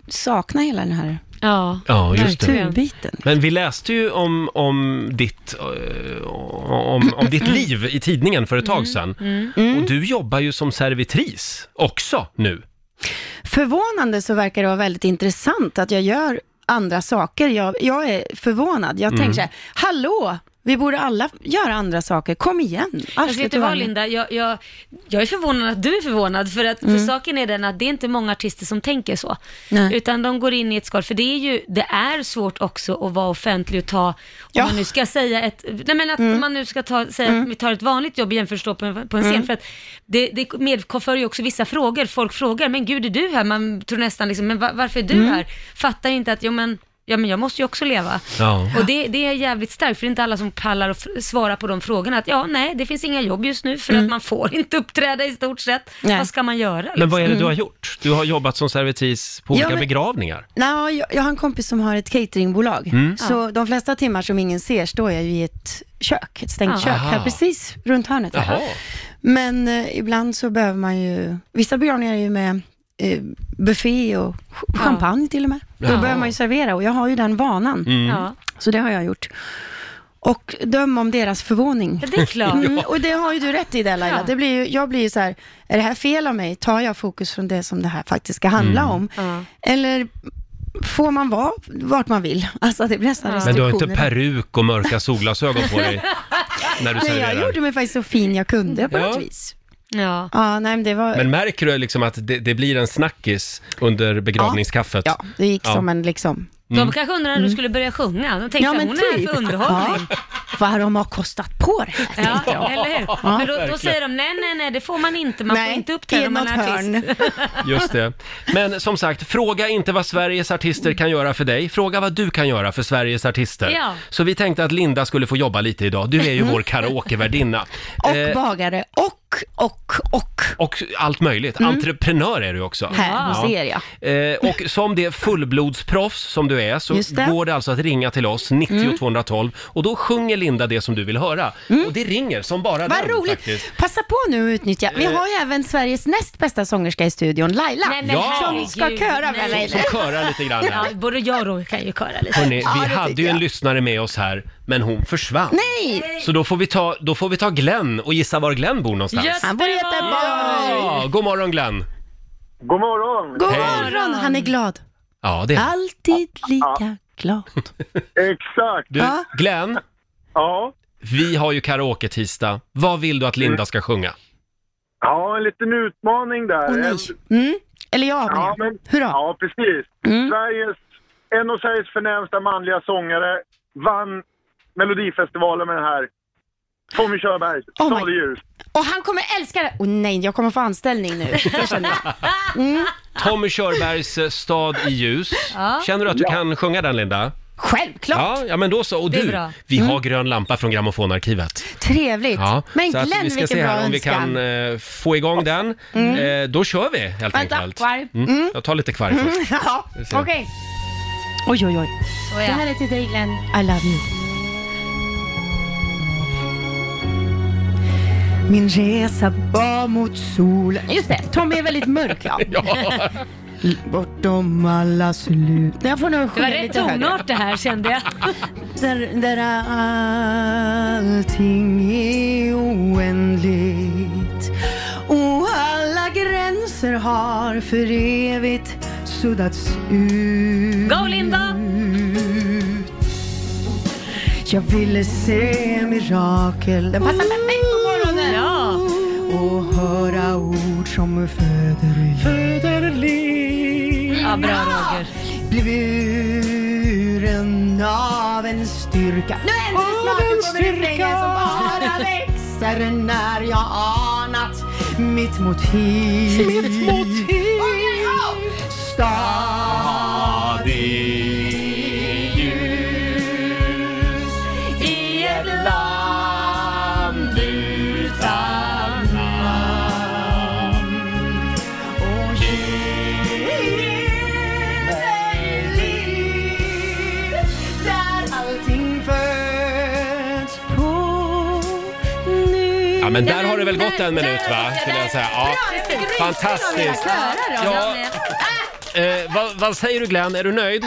Speaker 10: saknar hela den här
Speaker 4: ja,
Speaker 1: Ja, just det.
Speaker 10: turbiten.
Speaker 1: Men vi läste ju om, om, ditt, eh, om, om ditt liv i tidningen för ett tag sedan.
Speaker 10: Mm.
Speaker 1: Och du jobbar ju som servitris också nu.
Speaker 10: Förvånande så verkar det vara väldigt intressant att jag gör andra saker. Jag, jag är förvånad. Jag
Speaker 1: Mm.
Speaker 10: tänker så här, hallå, vi borde alla göra andra saker. Kom igen.
Speaker 4: Alltså, vet du vad Linda, jag, jag, jag är förvånad att du är förvånad för att för
Speaker 10: Mm.
Speaker 4: saken är den att det är inte många artister som tänker så.
Speaker 10: Nej.
Speaker 4: Utan de går in i ett skal, för det är ju, det är svårt också att vara offentlig och ta, om man nu ska säga ett, nej men att
Speaker 10: Mm.
Speaker 4: man nu ska ta, säga att vi tar ett vanligt jobb jämfört med att stå på en, på en scen,
Speaker 10: Mm.
Speaker 4: för att det, det medför ju också vissa frågor, folk frågar, men gud är du här? Man tror nästan liksom, men va- varför är du
Speaker 10: Mm.
Speaker 4: här? Fattar inte att, jo men, ja men jag måste ju också leva.
Speaker 1: Ja.
Speaker 4: Och det, det är jävligt starkt, för det är inte alla som pallar att f- svara på de frågorna. Att ja, nej, det finns inga jobb just nu för
Speaker 10: Mm.
Speaker 4: att man får inte uppträda i stort sett. Vad ska man göra?
Speaker 1: Men vad är det
Speaker 4: liksom?
Speaker 1: du har gjort? Du har jobbat som servitris på
Speaker 10: Mm. Ja,
Speaker 1: olika
Speaker 10: men-
Speaker 1: begravningar.
Speaker 10: Nej, jag, jag har en kompis som har ett cateringbolag.
Speaker 1: Mm.
Speaker 10: Så de flesta timmar som ingen ser står jag ju i ett kök, ett stängt
Speaker 1: Ja.
Speaker 10: kök, här
Speaker 1: Ah. Aha.
Speaker 10: precis runt hörnet. Här.
Speaker 1: Jaha.
Speaker 10: Men eh, ibland så behöver man ju, vissa begravningar är ju med eh, buffé och ch- champagne till och med. Då
Speaker 5: Jaha.
Speaker 10: behöver man ju servera och jag har ju den vanan.
Speaker 5: Mm. Ja.
Speaker 10: Så det har jag gjort. Och döm om deras förvåning.
Speaker 5: det är klart.
Speaker 10: Mm, och det har ju du rätt i där Laila.
Speaker 5: Ja.
Speaker 10: Det blir ju, jag blir ju så här, är det här fel av mig? Tar jag fokus från det som det här faktiskt ska handla
Speaker 1: Mm.
Speaker 10: om? Eller får man vara vart man vill? Alltså det blir nästan
Speaker 1: Men du
Speaker 10: restriktioner.
Speaker 1: har inte peruk och mörka solglasögon på dig när du
Speaker 10: Nej, jag
Speaker 1: serverar.
Speaker 10: gjorde mig faktiskt så fin jag kunde på
Speaker 1: Ja.
Speaker 10: något vis.
Speaker 4: Ja.
Speaker 10: ja, nej men det var...
Speaker 1: Men märker du liksom att det, det blir en snackis under begravningskaffet? Ja,
Speaker 10: det gick som en liksom...
Speaker 4: De kanske undrar när du skulle börja sjunga. De tänkte
Speaker 10: Mm. Ja,
Speaker 4: att
Speaker 10: men
Speaker 4: hon är här
Speaker 10: typ.
Speaker 4: för underhållning.
Speaker 10: Vad de har kostat på det här,
Speaker 4: Ja,
Speaker 10: tänkte jag.
Speaker 4: eller hur?
Speaker 10: Ja.
Speaker 4: Men då, då säger de, nej, nej, nej, det får man inte. Man
Speaker 10: Nej,
Speaker 4: får inte
Speaker 10: i
Speaker 4: uppträda om man är
Speaker 10: något
Speaker 4: artist.
Speaker 1: Just det. Men som sagt, fråga inte vad Sveriges artister kan göra för dig. Fråga vad du kan göra för Sveriges artister.
Speaker 10: Ja.
Speaker 1: Så vi tänkte att Linda skulle få jobba lite idag. Du är ju vår karaokevärdinna.
Speaker 10: Och
Speaker 1: Eh,
Speaker 10: bagare och, och, och.
Speaker 1: och allt möjligt.
Speaker 10: Mm.
Speaker 1: Entreprenör är du också.
Speaker 10: Här, du ser jag.
Speaker 1: Eh, och som det fullblodsproffs som du är så
Speaker 10: Just det.
Speaker 1: går det alltså att ringa till oss, 90
Speaker 10: Mm.
Speaker 1: 212 och då sjunger Linda det som du vill höra. Och det ringer som bara
Speaker 10: Vad
Speaker 1: den
Speaker 10: roligt.
Speaker 1: faktiskt.
Speaker 10: Passa på nu att utnyttja. Vi
Speaker 1: Eh.
Speaker 10: har ju även Sveriges näst bästa sångerska i studion, Laila.
Speaker 1: Nej, men Ja.
Speaker 10: Som
Speaker 1: herregud,
Speaker 10: ska köra med mig.
Speaker 1: Som körar lite grann här.
Speaker 4: Ja, både jag och Roger kan ju köra lite.
Speaker 1: Hörrni, vi hade ju en lyssnare med oss här, men hon försvann.
Speaker 10: Nej!
Speaker 1: Så då får, vi ta, då får vi ta Glenn och gissa var Glenn bor någonstans.
Speaker 10: Han bor i Göteborg.
Speaker 1: Ja, god morgon Glenn!
Speaker 6: God morgon!
Speaker 10: God morgon, han är glad.
Speaker 1: Ja, det är han.
Speaker 10: Alltid lika glad.
Speaker 6: Exakt!
Speaker 1: Du,
Speaker 10: Ja.
Speaker 1: Glenn?
Speaker 6: Ja?
Speaker 1: Vi har ju karaoke-tisdag. Vad vill du att Linda ska sjunga?
Speaker 6: Ja, en liten utmaning där.
Speaker 10: Åh, nej. Mm. Eller jag menar
Speaker 6: Ja,
Speaker 10: jag.
Speaker 6: men,
Speaker 10: Hurra. Mm.
Speaker 6: ja precis. Sveriges, en av Sveriges förnämsta manliga sångare vann Melodifestivalen med den här. Tommy Körberg,
Speaker 10: Oh my-
Speaker 6: Sadeljus.
Speaker 10: Och han kommer älska det. Åh nej, jag kommer få anställning nu. Det känner jag. Mm.
Speaker 1: Tommy Körbergs eh, Stad i ljus.
Speaker 10: Ja.
Speaker 1: Känner du att du
Speaker 10: Ja.
Speaker 1: kan sjunga den Linda?
Speaker 10: Självklart.
Speaker 1: Ja, ja men då så. Och
Speaker 10: Det är
Speaker 1: du,
Speaker 10: bra. Mm.
Speaker 1: vi har grön lampa från grammofonarkivet.
Speaker 10: Trevligt.
Speaker 1: Ja,
Speaker 10: Men
Speaker 1: så att
Speaker 10: Glenn,
Speaker 1: vi ska
Speaker 10: vilken
Speaker 1: se här
Speaker 10: bra
Speaker 1: om vi kan
Speaker 10: önskan.
Speaker 1: eh, få igång den.
Speaker 10: Mm.
Speaker 1: Eh, då kör vi helt
Speaker 10: Vänta,
Speaker 1: enkelt.
Speaker 10: kvarg.
Speaker 1: Mm.
Speaker 10: Mm.
Speaker 1: Jag tar lite kvarg
Speaker 10: Mm,
Speaker 1: först.
Speaker 10: ja,
Speaker 1: Vi ser.
Speaker 10: okej. Oj, oj, oj.
Speaker 4: Det
Speaker 10: här är till dig Glenn. I love you. Min resa var mot solen. Just det, Tommy är väldigt mörk ja. Bortom alla slut. Jag får nog
Speaker 4: Det var
Speaker 10: sjunga
Speaker 4: rätt
Speaker 10: lite högre.
Speaker 4: tonart det här kände jag.
Speaker 10: Där, där allting är oändligt och alla gränser har för evigt suddats ut.
Speaker 4: Go, Linda!
Speaker 10: Mm. Jag ville se mirakel. Den passar perfekt på morgonen. Och höra ord som föder Föder liv.
Speaker 5: Ja, bra, Roger.
Speaker 10: Bli buren av en styrka. Nu är det snart
Speaker 5: Av en
Speaker 10: du kommer en
Speaker 5: styrka.
Speaker 10: som bara växer när jag anat mitt motiv.
Speaker 5: Mitt motiv.
Speaker 10: Oj, oj, oj. Stadig ljus i ett land utan namn. Och ge mig liv där allting föds på nu.
Speaker 1: Ja, men där har det väl gått en minut va? Skulle jag säga. Ja.
Speaker 10: Bra, jag tycker du är
Speaker 1: Fantastiskt!
Speaker 10: inspirerad av mina körer, då.
Speaker 1: Ja,
Speaker 10: Jag med.
Speaker 1: eh, vad, vad säger du Glenn, är du nöjd?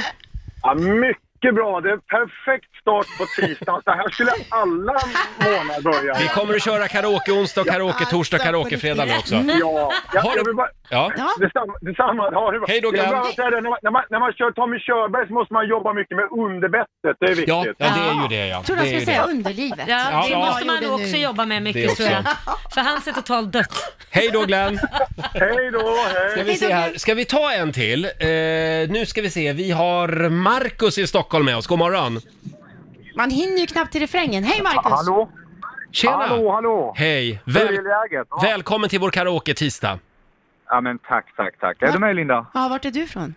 Speaker 6: Ja, mycket bra. Det är en perfekt start på tisdagen. Så här skulle alla månader börja.
Speaker 1: Vi kommer att köra karaoke onsdag, karaoke torsdag, karaoke fredag nu också.
Speaker 10: Mm.
Speaker 6: Ja, jag, jag vill bara...
Speaker 1: Ja.
Speaker 6: Detsamma, detsamma. Ja, det var-
Speaker 1: Hej då,
Speaker 6: Jag vill
Speaker 1: Glenn.
Speaker 6: bara säga det, när, man, när, man, när man kör Tommy Körberg så måste man jobba mycket med underbettet. Det är viktigt.
Speaker 1: Ja, ja, det är ju det, ja.
Speaker 4: Tror
Speaker 1: Det
Speaker 4: jag
Speaker 1: är
Speaker 4: ska
Speaker 1: ju
Speaker 4: säga
Speaker 1: det.
Speaker 10: underlivet.
Speaker 4: Ja, det
Speaker 1: Ja,
Speaker 4: måste
Speaker 1: ja.
Speaker 4: man nog också jobba med
Speaker 1: Det
Speaker 4: mycket
Speaker 1: också.
Speaker 4: tror jag. För han ser totalt dött.
Speaker 1: Hej då Glenn!
Speaker 6: Hej då, hej!
Speaker 1: Ska vi, se här. ska vi ta en till? Eh, nu ska vi se, vi har Markus i Stockholm med oss, god morgon.
Speaker 10: Man hinner ju knappt till refrängen. Hej Marcus!
Speaker 6: Hallå?
Speaker 1: Tjena!
Speaker 11: Hallå, hallå!
Speaker 1: Hej!
Speaker 11: Hur är
Speaker 1: Väl-
Speaker 11: läget? Ja.
Speaker 1: Välkommen till vår karaoke tisdag.
Speaker 11: Ja men tack, tack, tack. Är du med Linda?
Speaker 10: Ja, vart är du ifrån?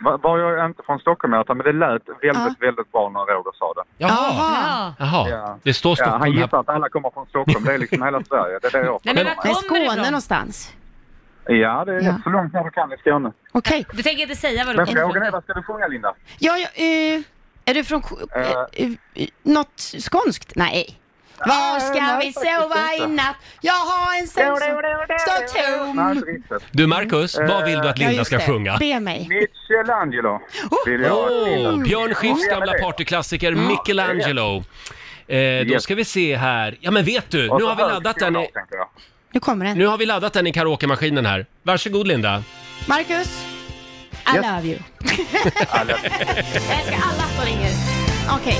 Speaker 11: Va- Var jag inte från Stockholm jag tar, men det lät väldigt, väldigt bra när Roger sa det.
Speaker 10: Jaha.
Speaker 1: Jaha, det står
Speaker 11: Ja,
Speaker 1: Stockholm
Speaker 11: han
Speaker 1: här.
Speaker 11: gissar att alla kommer från Stockholm, det är liksom hela Sverige. Det är det jag
Speaker 10: Nej, men var kommer Skåne någonstans.
Speaker 11: Ja, det är rätt så långt ner du kan i Skåne.
Speaker 10: Okej.
Speaker 4: Du tänker inte säga vad du
Speaker 11: Men
Speaker 4: kommer
Speaker 11: frågan
Speaker 4: från?
Speaker 11: är, vad ska du sjunga Linda?
Speaker 10: Ja, ja, eh, är du från Ko- eh, eh, något skånskt? Nej. Var ska
Speaker 5: nej,
Speaker 10: vi
Speaker 5: faktiskt
Speaker 10: sova
Speaker 5: inte.
Speaker 10: i natt? Jag har en säng som
Speaker 11: Nej,
Speaker 10: står tom.
Speaker 11: inte riktigt.
Speaker 1: Du Markus, vad vill du att
Speaker 11: Eh,
Speaker 10: Ja,
Speaker 1: Linda
Speaker 10: just
Speaker 1: ska
Speaker 10: det.
Speaker 1: sjunga?
Speaker 10: Be mig. Oh,
Speaker 11: Michelangelo vill jag
Speaker 1: Åh,
Speaker 11: att Linda ska
Speaker 1: Björn Skifs
Speaker 11: sjunga.
Speaker 1: gamla partyklassiker
Speaker 11: Mm.
Speaker 1: Michelangelo. Eh, då ska vi se här. Ja men vet du,
Speaker 11: Och
Speaker 1: nu
Speaker 11: så
Speaker 1: har vi
Speaker 11: hög
Speaker 1: laddat
Speaker 11: ska
Speaker 1: den
Speaker 11: jag
Speaker 1: i,
Speaker 11: ha, tänker jag.
Speaker 10: Nu kommer den.
Speaker 1: nu har vi laddat den i karaoke-maskinen här. Varsågod Linda.
Speaker 10: Marcus, I love you. Jag älskar alla som ringer. Okej.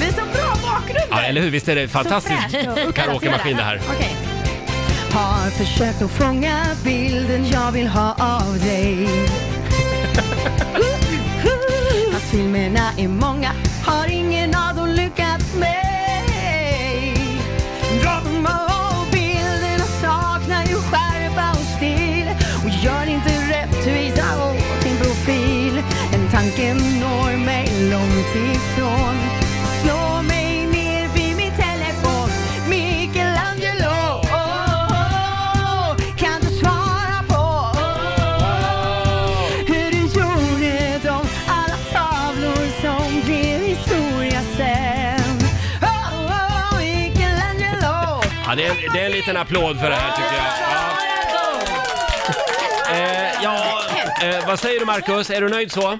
Speaker 10: Det är så bra bakgrund.
Speaker 1: Ja, eller hur? Visst är det fantastisk
Speaker 10: fräscht och uppdaterat.
Speaker 1: karaoke-maskin det här?
Speaker 10: Okej.
Speaker 12: Har försökt att fånga bilden jag vill ha av dig Fast filmerna är många, har ingen av dem lyckats mig Drömmar och bilderna saknar ju skärpa och stil och gör inte rättvisa åt din profil En tanke når mig långt ifrån Slå mig ner vid min telefon Michelangelo Kan du svara på hur du gjorde de alla tavlor som blev historia sen Oh, oh, Michelangelo
Speaker 1: Ja, det, är, det är en liten applåd för det här tycker jag. Ja, eh, ja eh, vad säger du Markus? Är du nöjd så?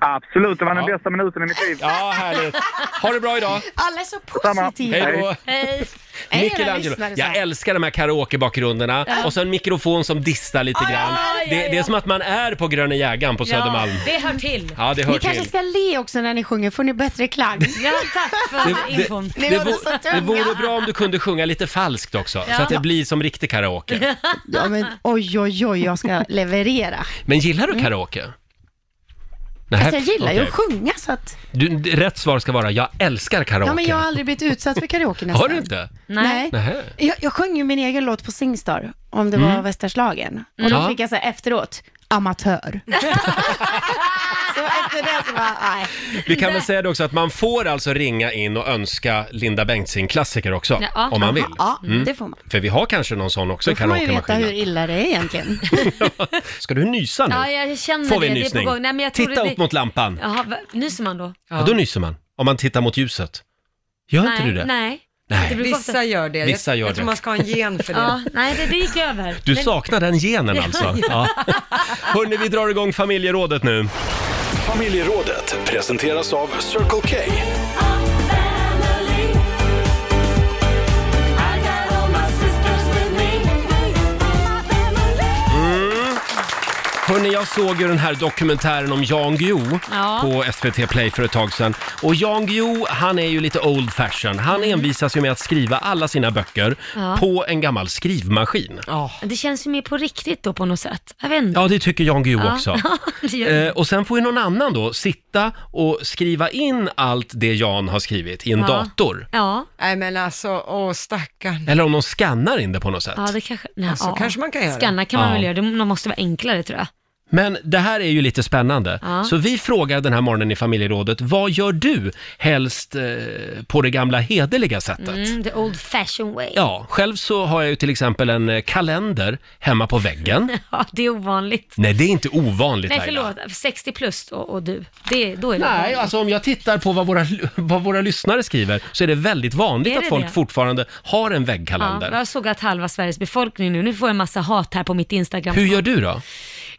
Speaker 11: Absolut, det var den bästa minuten i mitt liv.
Speaker 1: Ja, härligt. Ha det bra idag.
Speaker 10: Alla är så
Speaker 11: Detsamma.
Speaker 10: positiva.
Speaker 1: Hej då.
Speaker 4: Hej.
Speaker 10: Hej, era
Speaker 1: Michelangelo.
Speaker 10: lyssnare, så här.
Speaker 1: Jag älskar de här karaokebakgrunderna
Speaker 4: Ja.
Speaker 1: och så en mikrofon som distar
Speaker 10: Ah,
Speaker 1: lite
Speaker 4: Ja,
Speaker 1: grann.
Speaker 4: ja, ja,
Speaker 1: Det, det är
Speaker 4: ja.
Speaker 1: som att man är på Gröna Jägaren på Södermalm.
Speaker 4: Ja, det hör till.
Speaker 1: Ja, det hör
Speaker 10: Ni kanske
Speaker 1: till.
Speaker 10: ska le också när ni sjunger, får ni bättre klang.
Speaker 4: Ja, tack för
Speaker 1: Det, det,
Speaker 4: infon.
Speaker 1: det, vore, det vore bra om du kunde sjunga lite falskt också,
Speaker 10: Ja.
Speaker 1: så att det blir som riktig karaoke.
Speaker 10: Ja men oj, oj, oj, jag ska leverera.
Speaker 1: Men gillar du karaoke? Nej,
Speaker 10: Fast Mm. Alltså, jag gillar ju
Speaker 1: okej.
Speaker 10: att sjunga så att...
Speaker 1: Du, d- rätt svar ska vara jag älskar karaoke.
Speaker 10: Ja men jag har aldrig blivit utsatt för karaoke nästan.
Speaker 1: Har du inte?
Speaker 10: Nej.
Speaker 1: Nähä.
Speaker 10: Jag, jag sjöng ju min egen låt på Singstar, om det
Speaker 1: Mm.
Speaker 10: var Västra Slagen. Och
Speaker 1: Mm.
Speaker 10: då
Speaker 1: Ja.
Speaker 10: fick jag så här efteråt, amatör. så efter det så bara, nej.
Speaker 1: Vi kan väl säga det också att man får alltså ringa in och önska Linda Bengtzing-klassiker också,
Speaker 10: Ja.
Speaker 1: om man vill. Mm.
Speaker 10: Ja, det får man.
Speaker 1: För vi har kanske någon sån också i
Speaker 10: Då får man ju veta hur
Speaker 1: karaoke-maskinen.
Speaker 10: illa det är egentligen.
Speaker 1: Ska du nysa nu?
Speaker 4: Ja, jag känner
Speaker 1: Får vi
Speaker 4: det.
Speaker 1: en
Speaker 4: Det är på
Speaker 1: nysning?
Speaker 4: gång. Nej, men jag tror
Speaker 1: Titta
Speaker 4: det-
Speaker 1: upp mot lampan. Ja.
Speaker 4: Jaha, va- nyser man då?
Speaker 1: då nyser man. Om man tittar mot ljuset. Gör
Speaker 4: nej,
Speaker 1: inte du det?
Speaker 4: Nej.
Speaker 1: Nej.
Speaker 4: Det brukar
Speaker 2: Vissa
Speaker 4: ofta-
Speaker 2: gör det. Jag-
Speaker 1: Vissa gör
Speaker 2: jag tror
Speaker 1: det.
Speaker 2: man ska ha en gen för det.
Speaker 4: Ja, nej, det, det gick över.
Speaker 1: Du
Speaker 4: Men-
Speaker 1: saknar den genen alltså? Ja. Hörni, vi drar igång familjerådet nu.
Speaker 3: Familjerådet presenteras av Circle K.
Speaker 1: Hörni, jag såg ju den här dokumentären om Jan Guillou
Speaker 4: Ja.
Speaker 1: på SVT Play för ett tag sedan. Och Jan Guillou, han är ju lite old fashion. Han envisas ju med att skriva alla sina böcker
Speaker 4: Mm. Ja.
Speaker 1: på en gammal skrivmaskin.
Speaker 4: Det känns ju mer på riktigt då på något sätt. Jag vet inte.
Speaker 1: Ja, det tycker Jan Guillou
Speaker 4: Ja.
Speaker 1: också.
Speaker 4: det gör det.
Speaker 1: Eh, och sen får ju någon annan då sitta och skriva in allt det Jan har skrivit i en
Speaker 4: Ja.
Speaker 1: dator.
Speaker 4: Ja.
Speaker 2: Nej men alltså, åh stackarn.
Speaker 1: Eller om de skannar in det på något sätt.
Speaker 4: Ja, det kanske... Nej,
Speaker 2: Alltså,
Speaker 4: ja.
Speaker 2: kanske man kan göra.
Speaker 4: Skanna kan man
Speaker 1: Ja.
Speaker 4: väl göra. Det må- måste vara enklare tror jag.
Speaker 1: Men det här är ju lite spännande.
Speaker 4: Ja.
Speaker 1: Så vi frågar den här morgonen i familjerådet, vad gör du helst eh, på det gamla hederliga sättet?
Speaker 4: Mm, the old fashion way.
Speaker 1: Ja, själv så har jag ju till exempel en eh, kalender hemma på väggen.
Speaker 4: Ja, det är ovanligt.
Speaker 1: Nej, det är inte ovanligt
Speaker 4: Nej,
Speaker 1: Laila.
Speaker 4: förlåt. 60 plus och, och du. Det, då är det
Speaker 1: Nej,
Speaker 4: ovanligt.
Speaker 1: alltså om jag tittar på vad våra, vad våra lyssnare skriver så är det väldigt vanligt
Speaker 4: Är det
Speaker 1: att folk
Speaker 4: det?
Speaker 1: fortfarande har en
Speaker 4: Ja,
Speaker 1: väggkalender.
Speaker 4: jag såg att halva Sveriges befolkning nu, nu får jag en massa hat här på mitt Instagram.
Speaker 1: Hur gör du då?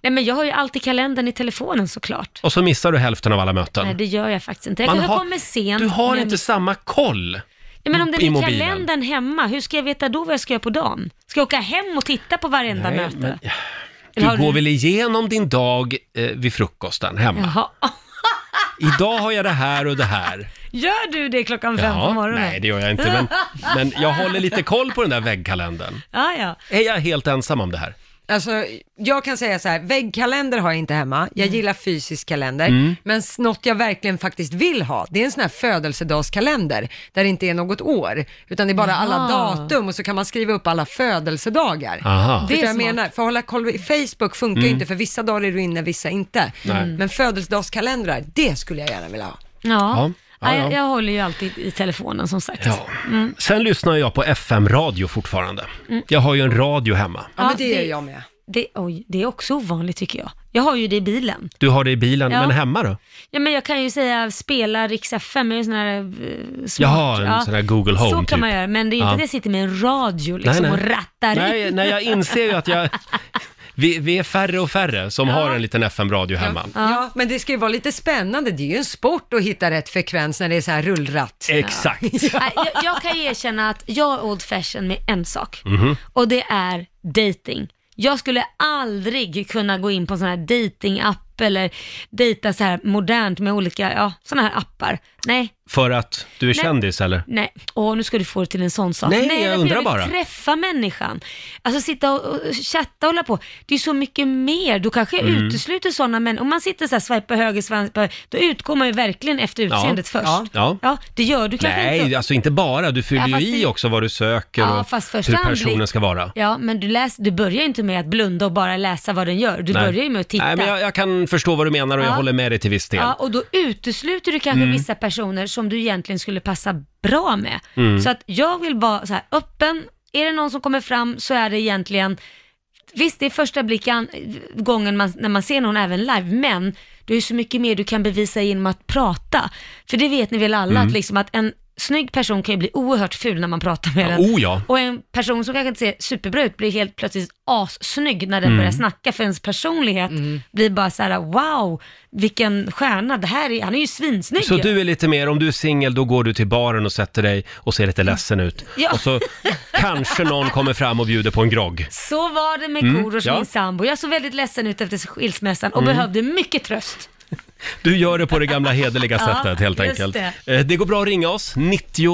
Speaker 4: Nej men jag har ju alltid kalendern i telefonen såklart.
Speaker 1: Och så missar du hälften av alla möten.
Speaker 4: Nej det gör jag faktiskt inte. Jag
Speaker 1: Man
Speaker 4: kanske
Speaker 1: har-
Speaker 4: kommer sent.
Speaker 1: Du har
Speaker 4: men-
Speaker 1: inte samma koll
Speaker 4: Ja, men om det
Speaker 1: i
Speaker 4: är
Speaker 1: mobilen.
Speaker 4: kalendern hemma, hur ska jag veta då vad jag ska göra på dagen? Ska jag åka hem och titta på varenda
Speaker 1: Nej,
Speaker 4: möte?
Speaker 1: men-
Speaker 4: Eller har
Speaker 1: Du går väl igenom din dag eh, vid frukosten hemma?
Speaker 4: Jaha.
Speaker 1: Idag har jag det här och det här.
Speaker 4: Gör du det klockan fem på morgonen?
Speaker 1: nej det gör jag inte, men, men jag håller lite koll på den där väggkalendern.
Speaker 4: Ja, ja.
Speaker 1: Är jag helt ensam om det här?
Speaker 2: Alltså, jag kan säga så här, väggkalender har jag inte hemma. Jag gillar fysisk kalender.
Speaker 1: Mm.
Speaker 2: Men s- något jag verkligen faktiskt vill ha, det är en sån här födelsedagskalender där det inte är något år, utan det är bara alla
Speaker 4: Jaha.
Speaker 2: datum och så kan man skriva upp alla födelsedagar.
Speaker 1: Aha.
Speaker 2: Det
Speaker 1: Det
Speaker 2: är
Speaker 1: är
Speaker 2: jag menar, för att hålla koll i Facebook funkar ju
Speaker 1: Mm.
Speaker 2: inte, för vissa dagar är du inne, vissa inte. Mm.
Speaker 1: Nej.
Speaker 2: Men födelsedagskalendrar, det skulle jag gärna vilja ha.
Speaker 1: Ja,
Speaker 4: Ja.
Speaker 1: ja, ja.
Speaker 4: Jag, jag håller ju alltid i telefonen som sagt.
Speaker 1: Ja.
Speaker 4: Mm.
Speaker 1: Sen lyssnar jag på FM-radio fortfarande.
Speaker 4: Mm.
Speaker 1: Jag har ju en radio hemma.
Speaker 2: Ja, men det gör jag med.
Speaker 4: Det, oj, det är också ovanligt tycker jag. Jag har ju det i bilen.
Speaker 1: Du har det i bilen,
Speaker 4: Ja.
Speaker 1: men hemma då?
Speaker 4: Ja, men jag kan ju säga spela Rix FM, jag är ju sån här eh, smart.
Speaker 1: Jaha, en sån här Google Home,
Speaker 4: Så kan
Speaker 1: typ.
Speaker 4: man göra, men det är ju inte
Speaker 1: Ja.
Speaker 4: det jag sitter med en radio liksom och rattar
Speaker 1: nej,
Speaker 4: i.
Speaker 1: nej, jag inser ju att jag... Vi, vi är färre och färre som har en liten FM-radio hemma.
Speaker 2: Ja, men det ska ju vara lite spännande. Det är ju en sport att hitta rätt frekvens när det är så här rullratt.
Speaker 1: Exakt.
Speaker 4: Nej, jag, jag kan erkänna att jag är old fashion med en sak.
Speaker 1: Mhm.
Speaker 4: Och det är dating. Jag skulle aldrig kunna gå in på en sån här datingapp eller dejta så här modernt med olika, ja, såna här appar. Nej,
Speaker 1: För att du är
Speaker 4: Nej.
Speaker 1: kändis, eller?
Speaker 4: nej. Åh, nu ska du få det till en sån sak.
Speaker 1: Nej, jag
Speaker 4: därför
Speaker 1: undrar
Speaker 4: vill
Speaker 1: bara.
Speaker 4: träffa människan. Alltså sitta och, och chatta och hålla på. Det är så mycket mer. Du kanske
Speaker 1: Mm.
Speaker 4: utesluter sådana människor. Om man sitter så här, swipar höger, swipar höger, då utgår man ju verkligen efter utseendet först.
Speaker 1: Ja. Ja.
Speaker 4: det gör du kanske
Speaker 1: Nej,
Speaker 4: inte.
Speaker 1: alltså inte bara. Du fyller
Speaker 4: Ja, fast
Speaker 1: ju i
Speaker 4: det-
Speaker 1: också vad du söker
Speaker 4: Ja,
Speaker 1: och
Speaker 4: fast första
Speaker 1: hur
Speaker 4: anblick-
Speaker 1: personen ska vara.
Speaker 4: Ja, men du, läs, du börjar ju inte med att blunda och bara läsa vad den gör. Du
Speaker 1: Nej.
Speaker 4: börjar ju med att titta.
Speaker 1: Nej, men jag, jag kan förstå vad du menar och jag
Speaker 4: Ja.
Speaker 1: håller med dig till viss del.
Speaker 4: Ja, och då utesluter du kanske
Speaker 1: Mm.
Speaker 4: vissa personer som du egentligen skulle passa bra med.
Speaker 1: Mm.
Speaker 4: Så att jag vill vara så här öppen. Är det någon som kommer fram så är det egentligen, visst det är första blicken, gången man, när man ser någon även live, men du har ju så mycket mer du kan bevisa genom att prata. För det vet ni väl alla,
Speaker 1: Mm.
Speaker 4: att, liksom att en snygg person kan ju bli oerhört ful när man pratar med den.
Speaker 1: oh ja.
Speaker 4: Och en person som kanske inte ser superbra ut blir helt plötsligt assnygg när den
Speaker 1: Mm.
Speaker 4: börjar snacka, för ens personlighet blir bara så här: wow, vilken stjärna, det här är, han är ju svinsnygg.
Speaker 1: Så
Speaker 4: ju.
Speaker 1: du är lite mer, om du är singel, då går du till baren och sätter dig och ser lite ledsen ut.
Speaker 4: Ja.
Speaker 1: Och så kanske någon kommer fram och bjuder på en grogg.
Speaker 4: Så var det med
Speaker 1: Mm,
Speaker 4: Korosh,
Speaker 1: ja.
Speaker 4: min sambo. Jag såg väldigt ledsen ut efter skilsmässan och
Speaker 1: Mm.
Speaker 4: behövde mycket tröst.
Speaker 1: Du gör det på det gamla hederliga
Speaker 4: Ja,
Speaker 1: sättet helt
Speaker 4: just
Speaker 1: enkelt. Eh,
Speaker 4: det.
Speaker 1: Det. det går bra att ringa oss, 90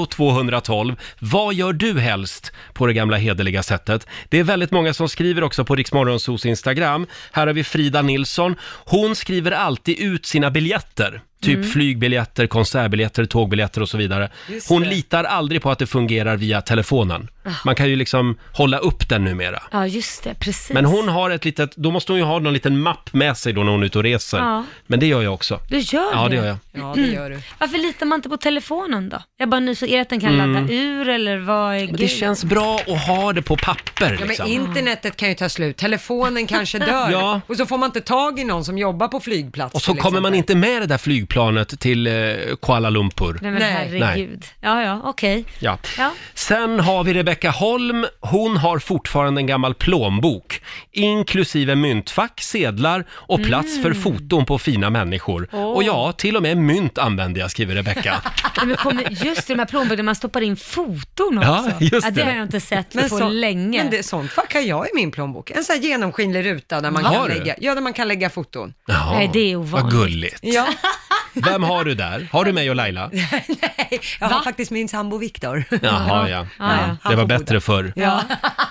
Speaker 1: 212. Vad gör du helst på det gamla hederliga sättet? Det är väldigt många som skriver också på Riksmorgonsos Instagram. Här har vi Frida Nilsson. Hon skriver alltid ut sina biljetter. Typ
Speaker 13: Mm.
Speaker 1: flygbiljetter, konsertbiljetter, tågbiljetter och så vidare.
Speaker 13: Just
Speaker 1: Hon
Speaker 13: det.
Speaker 1: litar aldrig på att det fungerar via telefonen.
Speaker 4: Ah.
Speaker 1: Man kan ju liksom hålla upp den numera.
Speaker 4: Ja, just det, precis.
Speaker 1: Men hon har ett litet, då måste hon ju ha någon liten mapp med sig då när hon är ute och reser.
Speaker 4: Ja.
Speaker 1: Men det gör jag också.
Speaker 4: Du gör
Speaker 1: Ja,
Speaker 4: det?
Speaker 1: det gör jag.
Speaker 2: Ja, det gör du.
Speaker 4: Varför litar man inte på telefonen då? Jag bara nyfiken, är det att den kan
Speaker 1: Mm.
Speaker 4: ladda ur eller vad är
Speaker 1: Men det
Speaker 4: grejen?
Speaker 1: känns bra att ha det på papper
Speaker 2: Ja, men
Speaker 1: liksom.
Speaker 2: internetet kan ju ta slut, telefonen kanske dör
Speaker 1: Ja.
Speaker 2: och så får man inte tag i någon som jobbar på flygplats.
Speaker 1: Och så
Speaker 2: till
Speaker 1: kommer
Speaker 2: exempel.
Speaker 1: man inte med det där flygplanet till eh, Kuala Lumpur.
Speaker 4: Nej men herregud. Ja, ja, okej.
Speaker 1: Ja.
Speaker 4: Ja.
Speaker 1: Sen har vi Rebecka Holm. Hon har fortfarande en gammal plånbok, inklusive myntfack, sedlar och plats för foton på fina människor.
Speaker 4: Åh.
Speaker 1: Och ja, till och med mynt använder jag, skriver Rebecka.
Speaker 4: Nej, men kommer, just det, de här plånböckerna man stoppar in foton också.
Speaker 1: Ja, just
Speaker 4: det.
Speaker 1: det.
Speaker 4: har jag inte sett
Speaker 2: Men
Speaker 4: på
Speaker 2: så-
Speaker 4: länge.
Speaker 2: Men det, sånt fack har jag i min plånbok. En sån här genomskinlig ruta där man,
Speaker 1: Har
Speaker 2: kan
Speaker 1: du?
Speaker 2: lägga, ja, där man kan lägga foton.
Speaker 1: Jaha,
Speaker 4: Nej, det är
Speaker 1: Vad
Speaker 4: ovanligt.
Speaker 1: gulligt.
Speaker 2: Ja,
Speaker 1: Vem har du där? Har du mig och Laila?
Speaker 2: jag har faktiskt min sambo Viktor.
Speaker 1: Jaha, ja.
Speaker 2: Ja,
Speaker 1: Det var bättre förr.
Speaker 2: Ja.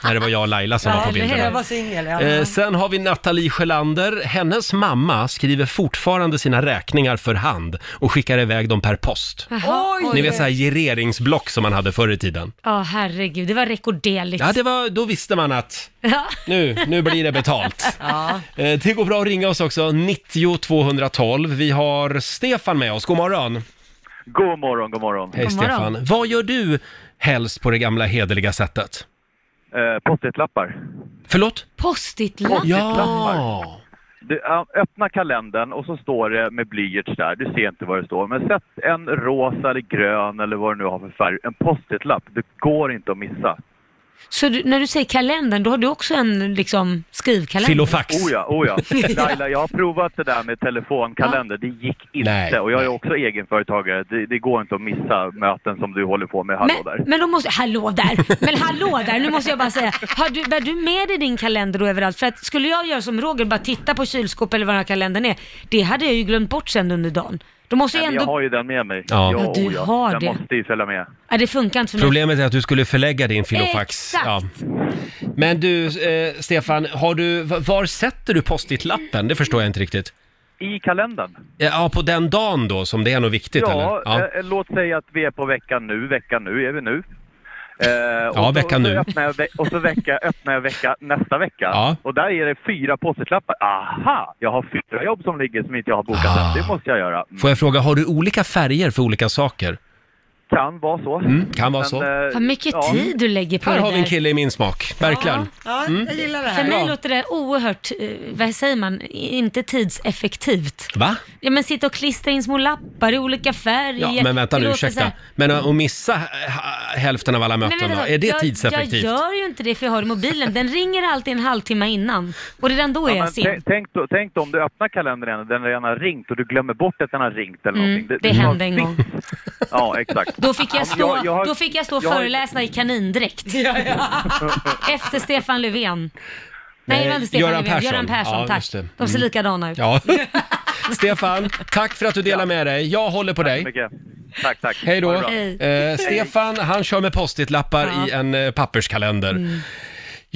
Speaker 1: När det var jag och Laila som var på bilderna.
Speaker 2: Jag var singel, ja.
Speaker 1: Eh, sen har vi Nathalie Sjölander. Hennes mamma skriver fortfarande sina räkningar för hand och skickar iväg dem per post.
Speaker 2: Ah.
Speaker 4: Jaha,
Speaker 1: Ni vet så här gireringsblock som man hade förr i tiden.
Speaker 4: Ja, herregud. Det var rekorderligt.
Speaker 1: Ja, det var, då visste man att
Speaker 4: Ja.
Speaker 1: nu, nu blir det betalt.
Speaker 4: Ja.
Speaker 1: Eh, det går bra att ringa oss också, 90 212. Vi har Stefan med oss, god morgon.
Speaker 14: God morgon, god morgon.
Speaker 1: Hej Stefan. Vad gör du helst på det gamla hederliga sättet?
Speaker 14: Eh, Post-it-lappar.
Speaker 1: Förlåt?
Speaker 4: Post-it-lapp.
Speaker 1: Ja!
Speaker 14: Du, ja, öppna kalendern och så står det med blyerts där, du ser inte vad det står, men sätt en rosa eller grön eller vad du nu har för färg, en post-it-lapp. Det går inte att missa.
Speaker 4: Så du, när du säger kalendern, då har du också en liksom, skrivkalender?
Speaker 14: Oh ja, oh ja. Laila, jag har provat det där med telefonkalender. Det gick inte.
Speaker 4: Nej,
Speaker 14: och jag är också egenföretagare. Det, det går inte att missa möten som du håller på med. Hallå där.
Speaker 4: men, men då måste, hallå där, men hallå där, nu måste jag bara säga, har du, bär du med dig din kalender då överallt? För att skulle jag göra som Roger, bara titta på kylskåp eller vad den här kalendern är, det hade jag ju glömt bort sen under dagen. Då måste jag
Speaker 14: Men jag
Speaker 4: ändå,
Speaker 14: har ju den med mig.
Speaker 1: Ja.
Speaker 4: Ja, du
Speaker 14: oh
Speaker 4: har
Speaker 14: den
Speaker 4: det.
Speaker 14: måste ju följa med.
Speaker 4: ja, det funkar inte för mig.
Speaker 1: Problemet är att du skulle förlägga din filofax.
Speaker 4: Mm. Exakt.
Speaker 1: Men du, eh, Stefan, har du, v- var sätter du post-it-lappen? Det förstår jag inte riktigt. Eh,
Speaker 14: I kalendern.
Speaker 1: Ja, på den dagen då som det är något viktigt
Speaker 14: Ja,
Speaker 1: eller? Ja.
Speaker 14: Eh, låt säga att vi är på veckan nu. Veckan nu är vi nu. Eh, och
Speaker 1: Ja,
Speaker 14: så-
Speaker 1: veckan
Speaker 14: så
Speaker 1: nu.
Speaker 14: öppnar jag ve- och så vecka, öppnar jag vecka nästa vecka.
Speaker 1: Ja.
Speaker 14: Och där är det fyra post-it-lappar. Aha! Jag har fyra jobb som ligger som inte jag har bokat
Speaker 1: Ah.
Speaker 14: än. Det måste jag göra. Mm.
Speaker 1: Får jag fråga, har du olika färger för olika saker?
Speaker 14: Kan vara så.
Speaker 1: Mm, kan vara
Speaker 14: Men,
Speaker 1: så.
Speaker 14: eh,
Speaker 4: Vad mycket
Speaker 14: ja.
Speaker 4: tid du lägger på
Speaker 1: Här
Speaker 4: det
Speaker 1: har vi en
Speaker 4: där.
Speaker 1: kille i min smak, verkligen.
Speaker 2: Ja,
Speaker 1: Mm.
Speaker 2: jag gillar det här.
Speaker 4: För mig låter det oerhört, eh, vad säger man, inte tidseffektivt.
Speaker 1: Va?
Speaker 4: Ja men sitta och klistra in små lappar i olika färger.
Speaker 1: Ja, men vänta
Speaker 4: Det
Speaker 1: nu,
Speaker 4: låter så
Speaker 1: ursäkta.
Speaker 4: här-
Speaker 1: Men eh, att missa eh, hälften av alla
Speaker 4: Men
Speaker 1: möten,
Speaker 4: vänta,
Speaker 1: då, är det
Speaker 4: jag,
Speaker 1: tidseffektivt?
Speaker 4: Jag gör ju inte det för jag har det i mobilen. Den ringer alltid en halvtimme innan. Och redan då är
Speaker 14: Ja, men
Speaker 4: jag sen.
Speaker 14: tänk, tänk, då, tänk då om du öppnar kalendern igen och den redan har ringt och du glömmer bort att den har ringt eller
Speaker 4: Mm,
Speaker 14: någonting.
Speaker 4: det
Speaker 14: tar
Speaker 4: hände en gång.
Speaker 14: sitt- Ja, exakt.
Speaker 4: Då fick
Speaker 14: Ja,
Speaker 4: jag
Speaker 14: men
Speaker 4: stå,
Speaker 14: jag- jag har-
Speaker 4: då fick jag stå och
Speaker 14: jag har-
Speaker 4: föreläsna i kanindräkt. Efter Stefan Löfven. Nej, det var inte Stefan
Speaker 1: Göran
Speaker 4: Löfven.
Speaker 1: Persson.
Speaker 4: Göran Persson,
Speaker 1: Ja,
Speaker 4: tack.
Speaker 1: just det.
Speaker 4: De ser
Speaker 1: Mm.
Speaker 4: likadana ut.
Speaker 1: Ja. Stefan, tack för att du delar med dig. Jag håller på dig.
Speaker 14: Tack, tack.
Speaker 1: Hej då.
Speaker 14: Ha det bra.
Speaker 4: Hej.
Speaker 1: Eh, Stefan, han kör med post-it-lappar i en eh, papperskalender.
Speaker 13: Mm.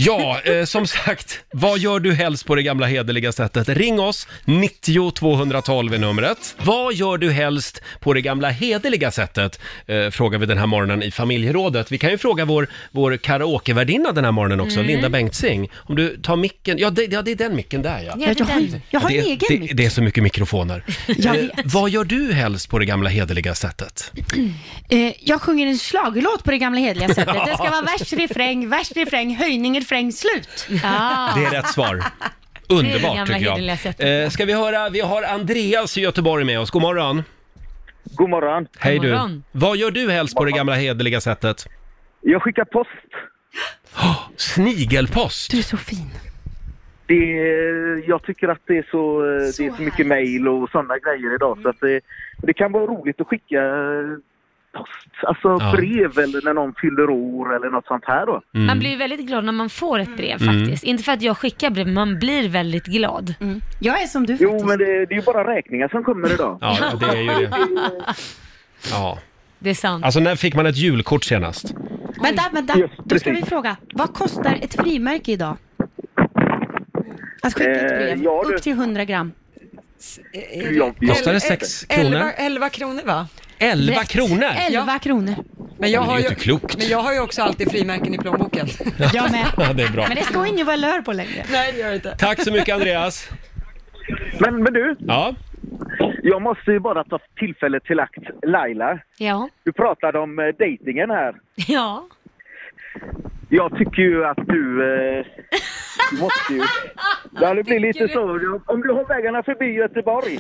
Speaker 1: Ja, eh, som sagt, vad gör du helst på det gamla hederliga sättet? Ring oss, 90 212 är numret. Vad gör du helst på det gamla hederliga sättet? Eh, frågar vi den här morgonen i familjerådet. Vi kan ju fråga vår, vår karaokevärdinna den här morgonen också,
Speaker 13: Mm.
Speaker 1: Linda Bengtzing. Om du tar micken, ja det, ja, det är den micken där ja.
Speaker 13: Ja, det är Jag har- den. jag har
Speaker 1: det,
Speaker 13: en egen
Speaker 1: det,
Speaker 13: mick.
Speaker 1: Det är så mycket mikrofoner.
Speaker 13: Jag
Speaker 1: Eh, vad gör du helst på det gamla hederliga sättet?
Speaker 10: Eh, jag sjunger en schlagerlåt på det gamla hederliga sättet. Det ska vara
Speaker 1: Ja.
Speaker 10: vers, refräng, vers, refräng, höjning, refräng, slut.
Speaker 4: Ah.
Speaker 1: Det är rätt svar.
Speaker 10: Det är det
Speaker 1: Underbart
Speaker 10: gamla hederliga
Speaker 1: tycker jag.
Speaker 10: sättet.
Speaker 1: Eh, ska vi höra, vi har Andreas i Göteborg med oss. God morgon.
Speaker 15: God morgon.
Speaker 1: Hej
Speaker 15: God
Speaker 1: du.
Speaker 15: morgon.
Speaker 1: Vad gör du helst på det gamla hederliga sättet?
Speaker 15: Jag skickar post.
Speaker 1: Snigelpost. Du är
Speaker 10: så fin.
Speaker 15: Det är, jag tycker att det är så, eh, det är så mycket mejl och sådana grejer idag så att det, det kan vara roligt att skicka eh, post, alltså
Speaker 4: Ja.
Speaker 15: brev eller när någon fyller år eller något sånt här då.
Speaker 1: Mm.
Speaker 4: Man blir ju väldigt glad när man får ett brev
Speaker 15: Mm.
Speaker 4: faktiskt. Inte för att jag skickar brev, men man blir väldigt glad.
Speaker 10: Jag är som du
Speaker 15: Jo men det, det är ju bara räkningar som kommer idag.
Speaker 1: Ja, det är ju det. Ja.
Speaker 4: Det är sant.
Speaker 1: Alltså när fick man ett julkort senast?
Speaker 10: Vänta, vänta.
Speaker 1: Yes,
Speaker 10: Då ska
Speaker 1: precis.
Speaker 10: vi fråga, vad kostar ett frimärke idag? Att skicka ett
Speaker 1: Eh,
Speaker 10: brev,
Speaker 1: ja, du-
Speaker 10: upp till 100 gram.
Speaker 1: Kostar det sex
Speaker 2: Eh, Elva,
Speaker 1: kronor?
Speaker 2: elva kronor va?
Speaker 1: Elva kronor?
Speaker 10: Elva kronor.
Speaker 2: Men jag,
Speaker 1: Men det är
Speaker 2: har
Speaker 1: ju
Speaker 2: ju,
Speaker 1: inte klokt.
Speaker 2: men jag har ju också alltid frimärken i plånboken.
Speaker 10: Jag med.
Speaker 1: Ja, det är bra.
Speaker 10: Men det står ingen valör på längre.
Speaker 2: Nej, det gör det inte.
Speaker 1: Tack så mycket Andreas.
Speaker 15: Men, men du,
Speaker 1: Ja.
Speaker 15: jag måste ju bara ta tillfället till akt Laila.
Speaker 4: Ja.
Speaker 15: Du pratade om eh, dejtingen här.
Speaker 4: Ja.
Speaker 15: Jag tycker ju att du... Eh, du måste ju... Ja, det blir lite så. Om du har vägarna förbi Göteborg.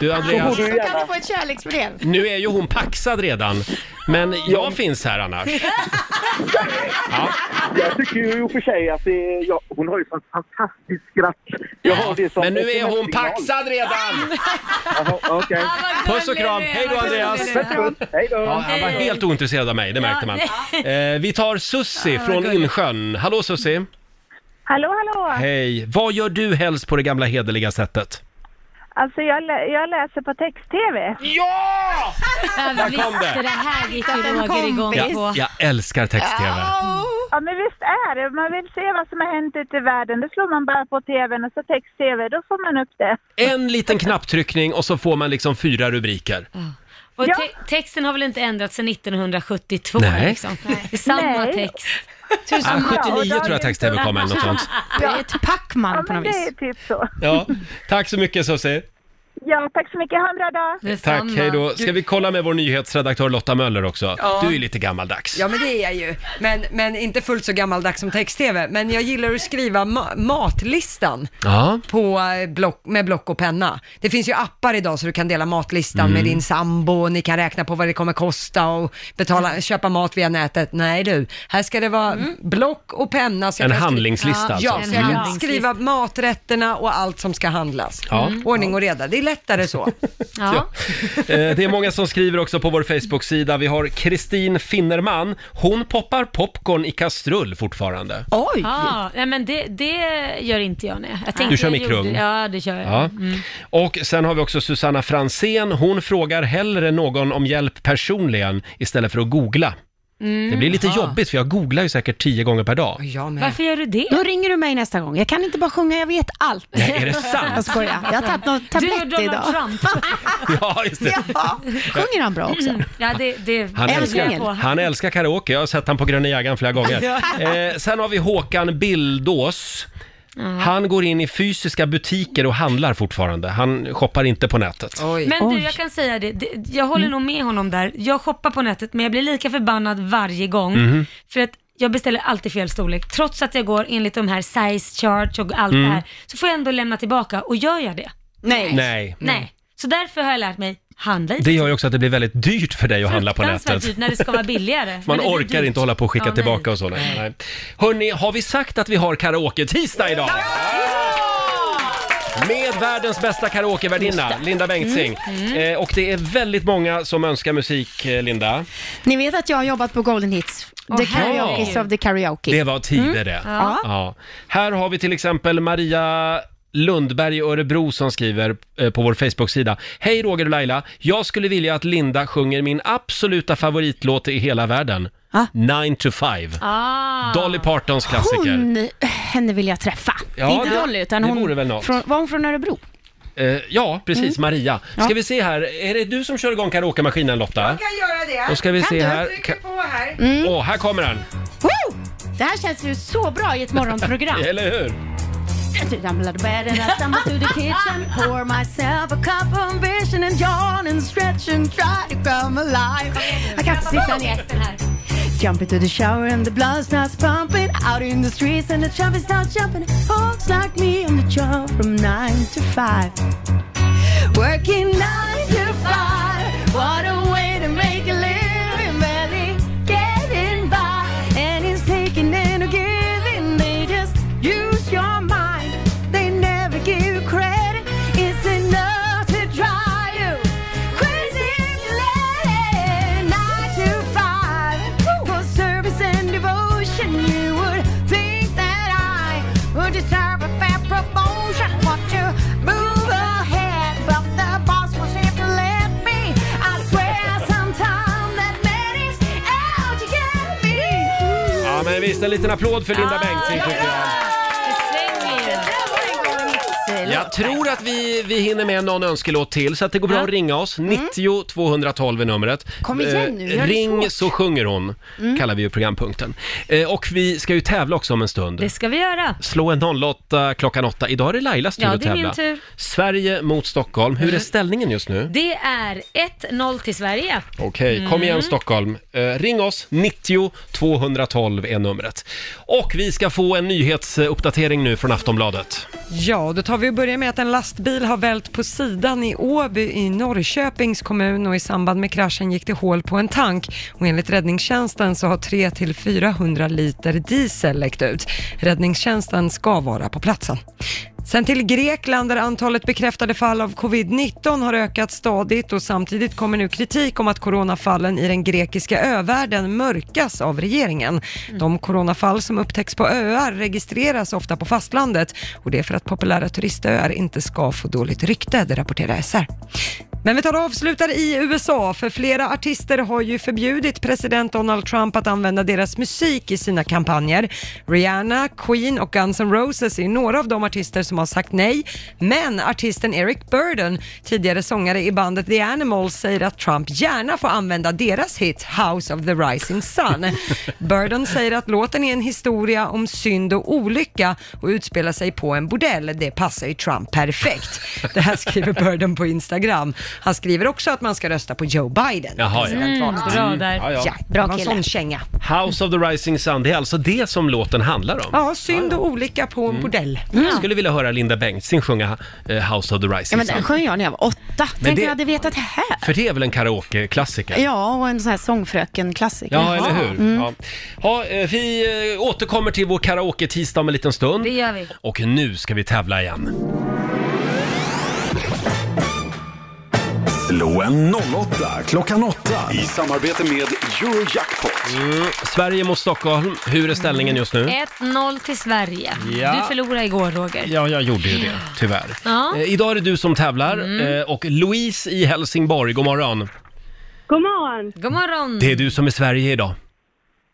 Speaker 1: Du
Speaker 10: Då
Speaker 1: Andreas,
Speaker 10: kan du få ett kärleksbrev.
Speaker 1: nu är ju hon paxad redan. Men jag finns här annars.
Speaker 15: Jag tycker ju i och för sig att det, är- ja, hon har ju sånt fantastiskt skratt. Jag har det som
Speaker 1: Men nu är hon
Speaker 15: SMS-signal.
Speaker 1: paxad redan!
Speaker 15: Jaha, okej.
Speaker 1: Puss och kram, hej då Andreas!
Speaker 15: Hej då!
Speaker 1: Ja, han var helt ointresserad av mig, det märkte man. Eh, vi tar Sussi
Speaker 9: Ja,
Speaker 1: från
Speaker 9: vad gulligt.
Speaker 1: Insjön. Hallå Sussi!
Speaker 9: Hallå, hallå!
Speaker 1: Hej! Vad gör du helst på det gamla hederliga sättet?
Speaker 9: Alltså, jag, lä- jag läser på text-tv.
Speaker 1: Ja!
Speaker 4: Jag
Speaker 1: Där kom
Speaker 4: visste
Speaker 1: det.
Speaker 4: det här gick
Speaker 9: Att
Speaker 4: ju
Speaker 9: en
Speaker 4: Roger igång på.
Speaker 1: Jag, jag älskar text-tv.
Speaker 9: Ja, men visst är det. Man vill se vad som har hänt ute i världen. Då slår man bara på tvn och så text-tv. Då får man upp det.
Speaker 1: En liten knapptryckning och så får man liksom fyra rubriker.
Speaker 4: Och te- texten har väl inte ändrats sedan 1972?
Speaker 1: Nej.
Speaker 4: Liksom. Det är samma
Speaker 9: Nej.
Speaker 4: text.
Speaker 1: Ah, 79 tror jag text-tv kom eller något sånt.
Speaker 10: Det är ett Pac-Man på något vis.
Speaker 9: Det är typ så.
Speaker 1: Ja, tack så mycket Susie.
Speaker 9: Ja, tack så mycket. Ha en bra dag.
Speaker 1: Tack, hej då. Ska vi kolla med vår nyhetsredaktör Lotta Möller också?
Speaker 2: Ja.
Speaker 1: Du är ju lite gammaldags.
Speaker 2: Ja men det är jag ju, men, men inte fullt så gammaldags som text-tv. Men jag gillar att skriva ma- matlistan
Speaker 1: Ja.
Speaker 2: på, eh, block, med block och penna. Det finns ju appar idag så du kan dela matlistan
Speaker 1: Mm.
Speaker 2: med din sambo och ni kan räkna på vad det kommer kosta och betala, köpa mat via nätet. Nej du, här ska det vara block och penna. Så jag
Speaker 1: En
Speaker 2: kan skri-
Speaker 1: handlingslista
Speaker 2: ja,
Speaker 1: alltså.
Speaker 2: Ja, så jag
Speaker 1: Mm.
Speaker 2: kan skriva maträtterna och allt som ska handlas.
Speaker 1: Ja.
Speaker 2: Mm. Ordning och reda, det är lättare så.
Speaker 1: Eh, Det är många som skriver också på vår Facebook-sida. Vi har Kristin Finnerman. Hon poppar popcorn i kastrull fortfarande.
Speaker 2: Oj!
Speaker 4: Ja, nej, men det, det gör inte jag. Nej. jag tänkte
Speaker 1: Du kör
Speaker 4: jag
Speaker 1: mikrugn.
Speaker 4: gjorde- Ja, det kör jag.
Speaker 1: Ja.
Speaker 4: Mm.
Speaker 1: Och sen har vi också Susanna Fransén. Hon frågar hellre någon om hjälp personligen istället för att googla.
Speaker 4: Mm.
Speaker 1: Det blir lite
Speaker 4: Ja.
Speaker 1: jobbigt för jag googlar ju säkert tio gånger per dag.
Speaker 4: Varför gör du det?
Speaker 10: Då ringer du mig nästa gång. Jag kan inte bara sjunga, jag vet allt.
Speaker 1: Nej, är det sant?
Speaker 10: Jag skojar. Jag har tagit någon
Speaker 4: Du
Speaker 10: tablett
Speaker 4: och Donald
Speaker 10: idag.
Speaker 4: Trump.
Speaker 1: Ja, just det.
Speaker 10: Sjunger han bra också?
Speaker 1: Mm.
Speaker 4: Ja, det, det
Speaker 1: Han älskar, han älskar karaoke, jag har sett han på Gröna Jägaren flera gånger. Eh, sen har vi Håkan Bildås.
Speaker 4: Mm.
Speaker 1: Han går in i fysiska butiker och handlar fortfarande. Han shoppar inte på nätet.
Speaker 4: Men du, jag kan säga det. det jag håller nog med honom där. Jag shoppar på nätet, men jag blir lika förbannad varje gång.
Speaker 1: Mhm.
Speaker 4: För att jag beställer alltid fel storlek. Trots att jag går enligt de här size charts och allt
Speaker 1: Mm.
Speaker 4: det här, så får jag ändå lämna tillbaka. Och gör jag det? Nej.
Speaker 1: Nej.
Speaker 4: Nej. Så därför har jag lärt mig, handla i
Speaker 1: Det gör ju också att det blir väldigt dyrt för dig att handla på
Speaker 4: fruktansvärt
Speaker 1: nätet.
Speaker 4: dyrt när det ska vara billigare.
Speaker 1: Man
Speaker 4: Men det blir
Speaker 1: orkar
Speaker 4: dyrt.
Speaker 1: inte hålla på och skicka
Speaker 4: Ja, nej.
Speaker 1: tillbaka och så. Nej. Nej. Hörni, har vi sagt att vi har karaoke-tisdag idag? Med världens bästa karaokevärdinna,
Speaker 10: Just det.
Speaker 1: Linda Bengtzing.
Speaker 10: Mm. Mm.
Speaker 1: Eh, och det är väldigt många som önskar musik, eh, Linda.
Speaker 10: Ni vet att jag har jobbat på Golden Hits. the
Speaker 1: herregud.
Speaker 10: karaoke of the karaoke.
Speaker 1: Det var tider
Speaker 10: Mm.
Speaker 1: det.
Speaker 10: Ja.
Speaker 1: Ja. Här har vi till exempel Maria Lundberg i Örebro som skriver eh, på vår Facebook-sida. Hej Roger och Laila, jag skulle vilja att Linda sjunger min absoluta favoritlåt i hela världen. Nine to five.
Speaker 10: Ah.
Speaker 1: Dolly Partons klassiker.
Speaker 10: Hon, eh, henne vill jag träffa.
Speaker 1: Ja,
Speaker 10: inte
Speaker 1: det-
Speaker 10: Dolly, utan
Speaker 1: det
Speaker 10: hon,
Speaker 1: vore väl något.
Speaker 10: Från, var hon från Örebro?
Speaker 1: Eh, ja, precis,
Speaker 10: Mm.
Speaker 1: Maria. Ska
Speaker 10: Ja.
Speaker 1: vi se här, är det du som kör igång karaokemaskinen Lotta?
Speaker 2: Jag kan göra det.
Speaker 1: Då ska vi
Speaker 2: Kan
Speaker 1: se
Speaker 2: du?
Speaker 1: här.
Speaker 2: Jag trycker på här.
Speaker 1: Åh,
Speaker 10: Mm.
Speaker 1: här kommer den!
Speaker 10: Woo!
Speaker 1: Mm.
Speaker 10: Det här känns ju så bra i ett morgonprogram.
Speaker 1: Eller hur?
Speaker 10: Tumbled bed and I stumbled to the kitchen, pour myself a cup of vision and yawn and stretch and try to come alive. I got to sit down here. Jump into the shower and the blood starts pumping Out in the streets and the traffic starts jumping Folks like me on the job from 9 to 5 Working 9 to 5 What a way to make a living Barely getting by And it's taking and a giving They just use your mind They never give you credit It's enough to drive you Crazy lady Nine to five For service and devotion You would think that I Would deserve a fair promotion Want to move ahead But the boss was here to let me I swear sometime that man is out to get me
Speaker 1: Ja, men visst, en liten applåd för
Speaker 10: Ah.
Speaker 1: Linda Bengtzing tycker jag. Jag tror att vi, vi hinner med någon önskelåt till, så att det går bra att ringa oss.
Speaker 4: Mm.
Speaker 1: 90 212 är numret.
Speaker 10: Kom igen nu,
Speaker 1: Eh,
Speaker 10: gör det
Speaker 1: Ring
Speaker 10: svårt.
Speaker 1: så sjunger hon,
Speaker 4: Mm.
Speaker 1: kallar vi ju programpunkten. Eh, Och vi ska ju tävla också om en stund.
Speaker 4: Det ska vi göra.
Speaker 1: Slå en 08 klockan 8. Idag är det Lailas tur
Speaker 4: Ja,
Speaker 1: att
Speaker 4: det är min
Speaker 1: tävla.
Speaker 4: tur. Mm.
Speaker 1: Sverige mot Stockholm. Hur är ställningen just nu?
Speaker 4: Det är 1-0 till Sverige.
Speaker 1: Okej, kom igen
Speaker 4: Mm.
Speaker 1: Stockholm. Eh, ring oss, 90 212 är numret. Och vi ska få en nyhetsuppdatering nu från Aftonbladet.
Speaker 2: Ja, då tar vi och börjar med att en lastbil har vält på sidan i Åby i Norrköpings kommun och i samband med kraschen gick det hål på en tank och enligt räddningstjänsten så har 3 till 400 liter diesel läckt ut. Räddningstjänsten ska vara på platsen. Sen till Grekland där antalet bekräftade fall av covid-19 har ökat stadigt och samtidigt kommer nu kritik om att coronafallen i den grekiska övärlden mörkas av regeringen. De coronafall som upptäcks på öar registreras ofta på fastlandet och det är för att populära turistöar inte ska få dåligt rykte, det rapporterar SR. Men vi tar och avslutar i USA, för flera artister har ju förbjudit president Donald Trump att använda deras musik i sina kampanjer. Rihanna, Queen och Guns N' Roses är några av de artister som har sagt nej, men artisten Eric Burden, tidigare sångare i bandet The Animals, säger att Trump gärna får använda deras hit House of the Rising Sun. Burden säger att låten är en historia om synd och olycka och utspelar sig på en bordell. Det passar ju Trump perfekt. Det här skriver Burden på Instagram. Han skriver också att man ska rösta på Joe Biden.
Speaker 1: Jaha, ja.
Speaker 2: presidentvalet.
Speaker 1: Mm, bra där. Ja, ja.
Speaker 2: bra
Speaker 1: Bra
Speaker 2: kille.
Speaker 1: kille.
Speaker 2: sån känga.
Speaker 1: House of the Rising Sun, det är alltså det som låten handlar om.
Speaker 2: Ja, synd och olycka på en bordell.
Speaker 1: Jag skulle vilja höra Linda Bengtzing sjunga eh, House of the Rising
Speaker 10: Ja, men
Speaker 1: Sun.
Speaker 10: den sjöng jag när jag var åtta. Tänk om
Speaker 1: det-
Speaker 10: jag hade vetat det här.
Speaker 1: För det är väl en karaokeklassiker?
Speaker 10: Ja, och en sån här sångfröken-klassiker.
Speaker 1: Ja, eller hur?
Speaker 10: Mm.
Speaker 1: Ja. Ja, eh, vi eh, återkommer till vår karaoke-tisdag om en liten stund.
Speaker 4: Det gör vi.
Speaker 1: Och nu ska vi tävla igen. Mm.
Speaker 3: Slå en 08 klockan 8 i samarbete med Eurojackpot.
Speaker 1: Mm, Sverige mot Stockholm. Hur är ställningen just
Speaker 4: Eh.
Speaker 1: nu?
Speaker 4: 1-0 till Sverige.
Speaker 1: Ja.
Speaker 4: Du förlorade igår Roger.
Speaker 1: Ja, jag gjorde ju det, tyvärr.
Speaker 4: Ja.
Speaker 1: Eh, idag är det du som tävlar
Speaker 4: Mm.
Speaker 1: eh, och Louise i Helsingborg, god morgon.
Speaker 4: God morgon. God morgon.
Speaker 1: Det är du som är Sverige idag.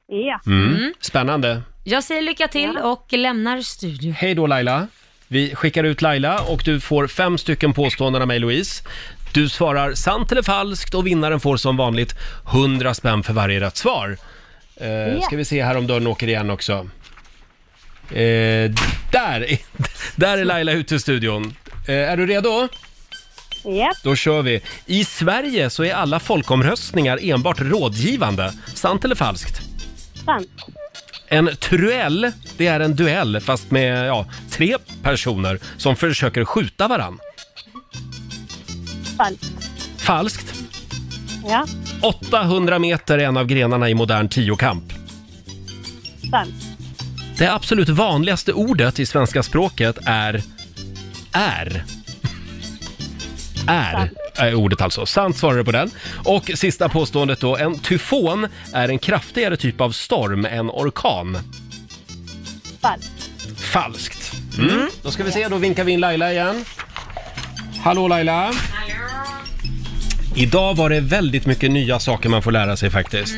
Speaker 4: Ja.
Speaker 1: Mm.
Speaker 4: Mm.
Speaker 1: Spännande.
Speaker 4: Jag säger lycka till och lämnar studion.
Speaker 1: Hej då Laila. Vi skickar ut Laila och du får fem stycken påståenden av mig Louise. Du svarar sant eller falskt och vinnaren får som vanligt 100 spänn för varje rätt svar. Eh,
Speaker 3: Ja.
Speaker 1: Ska vi se här om dörren åker igen också. Eh, där, är- där är Laila ute i studion. Eh, är du redo?
Speaker 9: Ja.
Speaker 1: Då kör vi. I Sverige så är alla folkomröstningar enbart rådgivande. Sant eller falskt?
Speaker 9: Sant.
Speaker 1: En truell, det är en duell fast med ja, tre personer som försöker skjuta varann.
Speaker 9: Falskt.
Speaker 1: Falskt.
Speaker 9: Ja.
Speaker 1: 800 meter är en av grenarna i modern tiokamp.
Speaker 9: Sant.
Speaker 1: Det absolut vanligaste ordet i svenska språket är är. Är, är ordet alltså. Sant svarar du på den. Och sista påståendet då. En tyfon är en kraftigare typ av storm än orkan.
Speaker 9: Falskt.
Speaker 1: Falskt. Mm. Då ska vi se, då vinkar vi in Laila igen. Hallå Laila. Idag var det väldigt mycket nya saker man får lära sig faktiskt.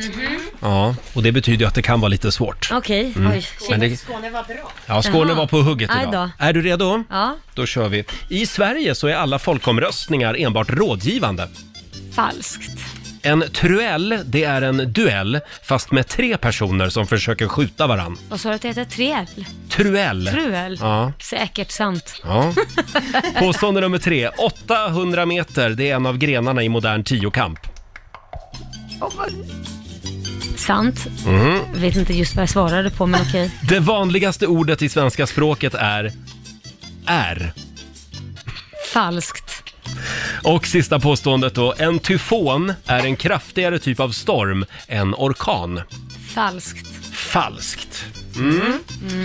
Speaker 1: Ja, och det betyder ju att det kan vara lite svårt.
Speaker 4: Okej,
Speaker 1: Mm.
Speaker 4: oj.
Speaker 1: Men det-
Speaker 10: Skåne var bra.
Speaker 1: Ja, Skåne var på hugget
Speaker 4: Aj
Speaker 1: idag.
Speaker 4: då.
Speaker 1: Är du redo?
Speaker 4: Ja,
Speaker 1: Då kör vi. I Sverige så är alla folkomröstningar enbart rådgivande.
Speaker 4: falskt.
Speaker 1: En truell, det är en duell fast med tre personer som försöker skjuta varann.
Speaker 4: Vad sa du att det heter? Triell?
Speaker 1: Truell.
Speaker 4: Truell?
Speaker 1: Ja.
Speaker 4: Säkert sant.
Speaker 1: Ja. Påstående nummer tre. 800 meter, det är en av grenarna i modern tiokamp.
Speaker 4: Sant.
Speaker 1: Mhm.
Speaker 4: Vet inte just vad jag svarade på, men okej.
Speaker 1: Det vanligaste ordet i svenska språket är är.
Speaker 4: Falskt.
Speaker 1: Och sista påståendet då. En tyfon är en kraftigare typ av storm än orkan.
Speaker 4: Falskt.
Speaker 1: Falskt. Mm.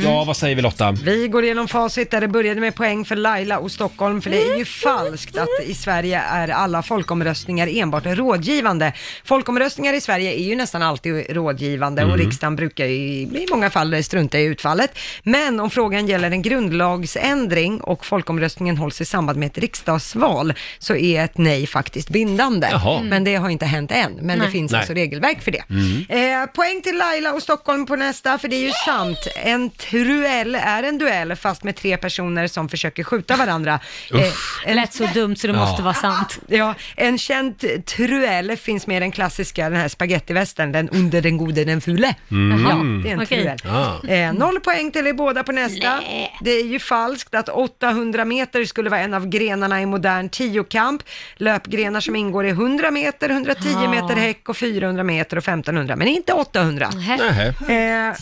Speaker 1: Ja, vad säger vi Lotta?
Speaker 2: Vi går igenom facit där det började med poäng för Laila och Stockholm, för det är ju falskt att i Sverige är alla folkomröstningar enbart rådgivande. Folkomröstningar i Sverige är ju nästan alltid rådgivande och
Speaker 13: Mm.
Speaker 2: riksdagen brukar ju i många fall strunta i utfallet. Men om frågan gäller en grundlagsändring och folkomröstningen hålls i samband med ett riksdagsval så är ett nej faktiskt bindande.
Speaker 13: Jaha.
Speaker 2: Men det har inte hänt än, men
Speaker 13: Nej.
Speaker 2: det finns
Speaker 13: Nej.
Speaker 2: alltså regelverk för det.
Speaker 13: Mm.
Speaker 2: Eh, poäng till Laila och Stockholm på nästa, för det är ju sant. En truell är en duell fast med tre personer som försöker skjuta varandra. Eh,
Speaker 4: Uff. Lät så dumt så det måste vara sant.
Speaker 2: Ja, en känd truell finns med i den klassiska, den här spagettivästern, den under den gode den fule.
Speaker 13: Mm.
Speaker 2: Ja, det är en
Speaker 13: Okej.
Speaker 2: truell.
Speaker 13: Ah.
Speaker 2: Eh, noll poäng till er båda på nästa. Det är ju falskt att 800 meter skulle vara en av grenarna i modern tiokamp. Löpgrenar som ingår är 100 meter, 110
Speaker 13: Ah.
Speaker 2: meter häck och 400 meter och 1500, men inte 800.
Speaker 13: Nähä.
Speaker 2: Eh,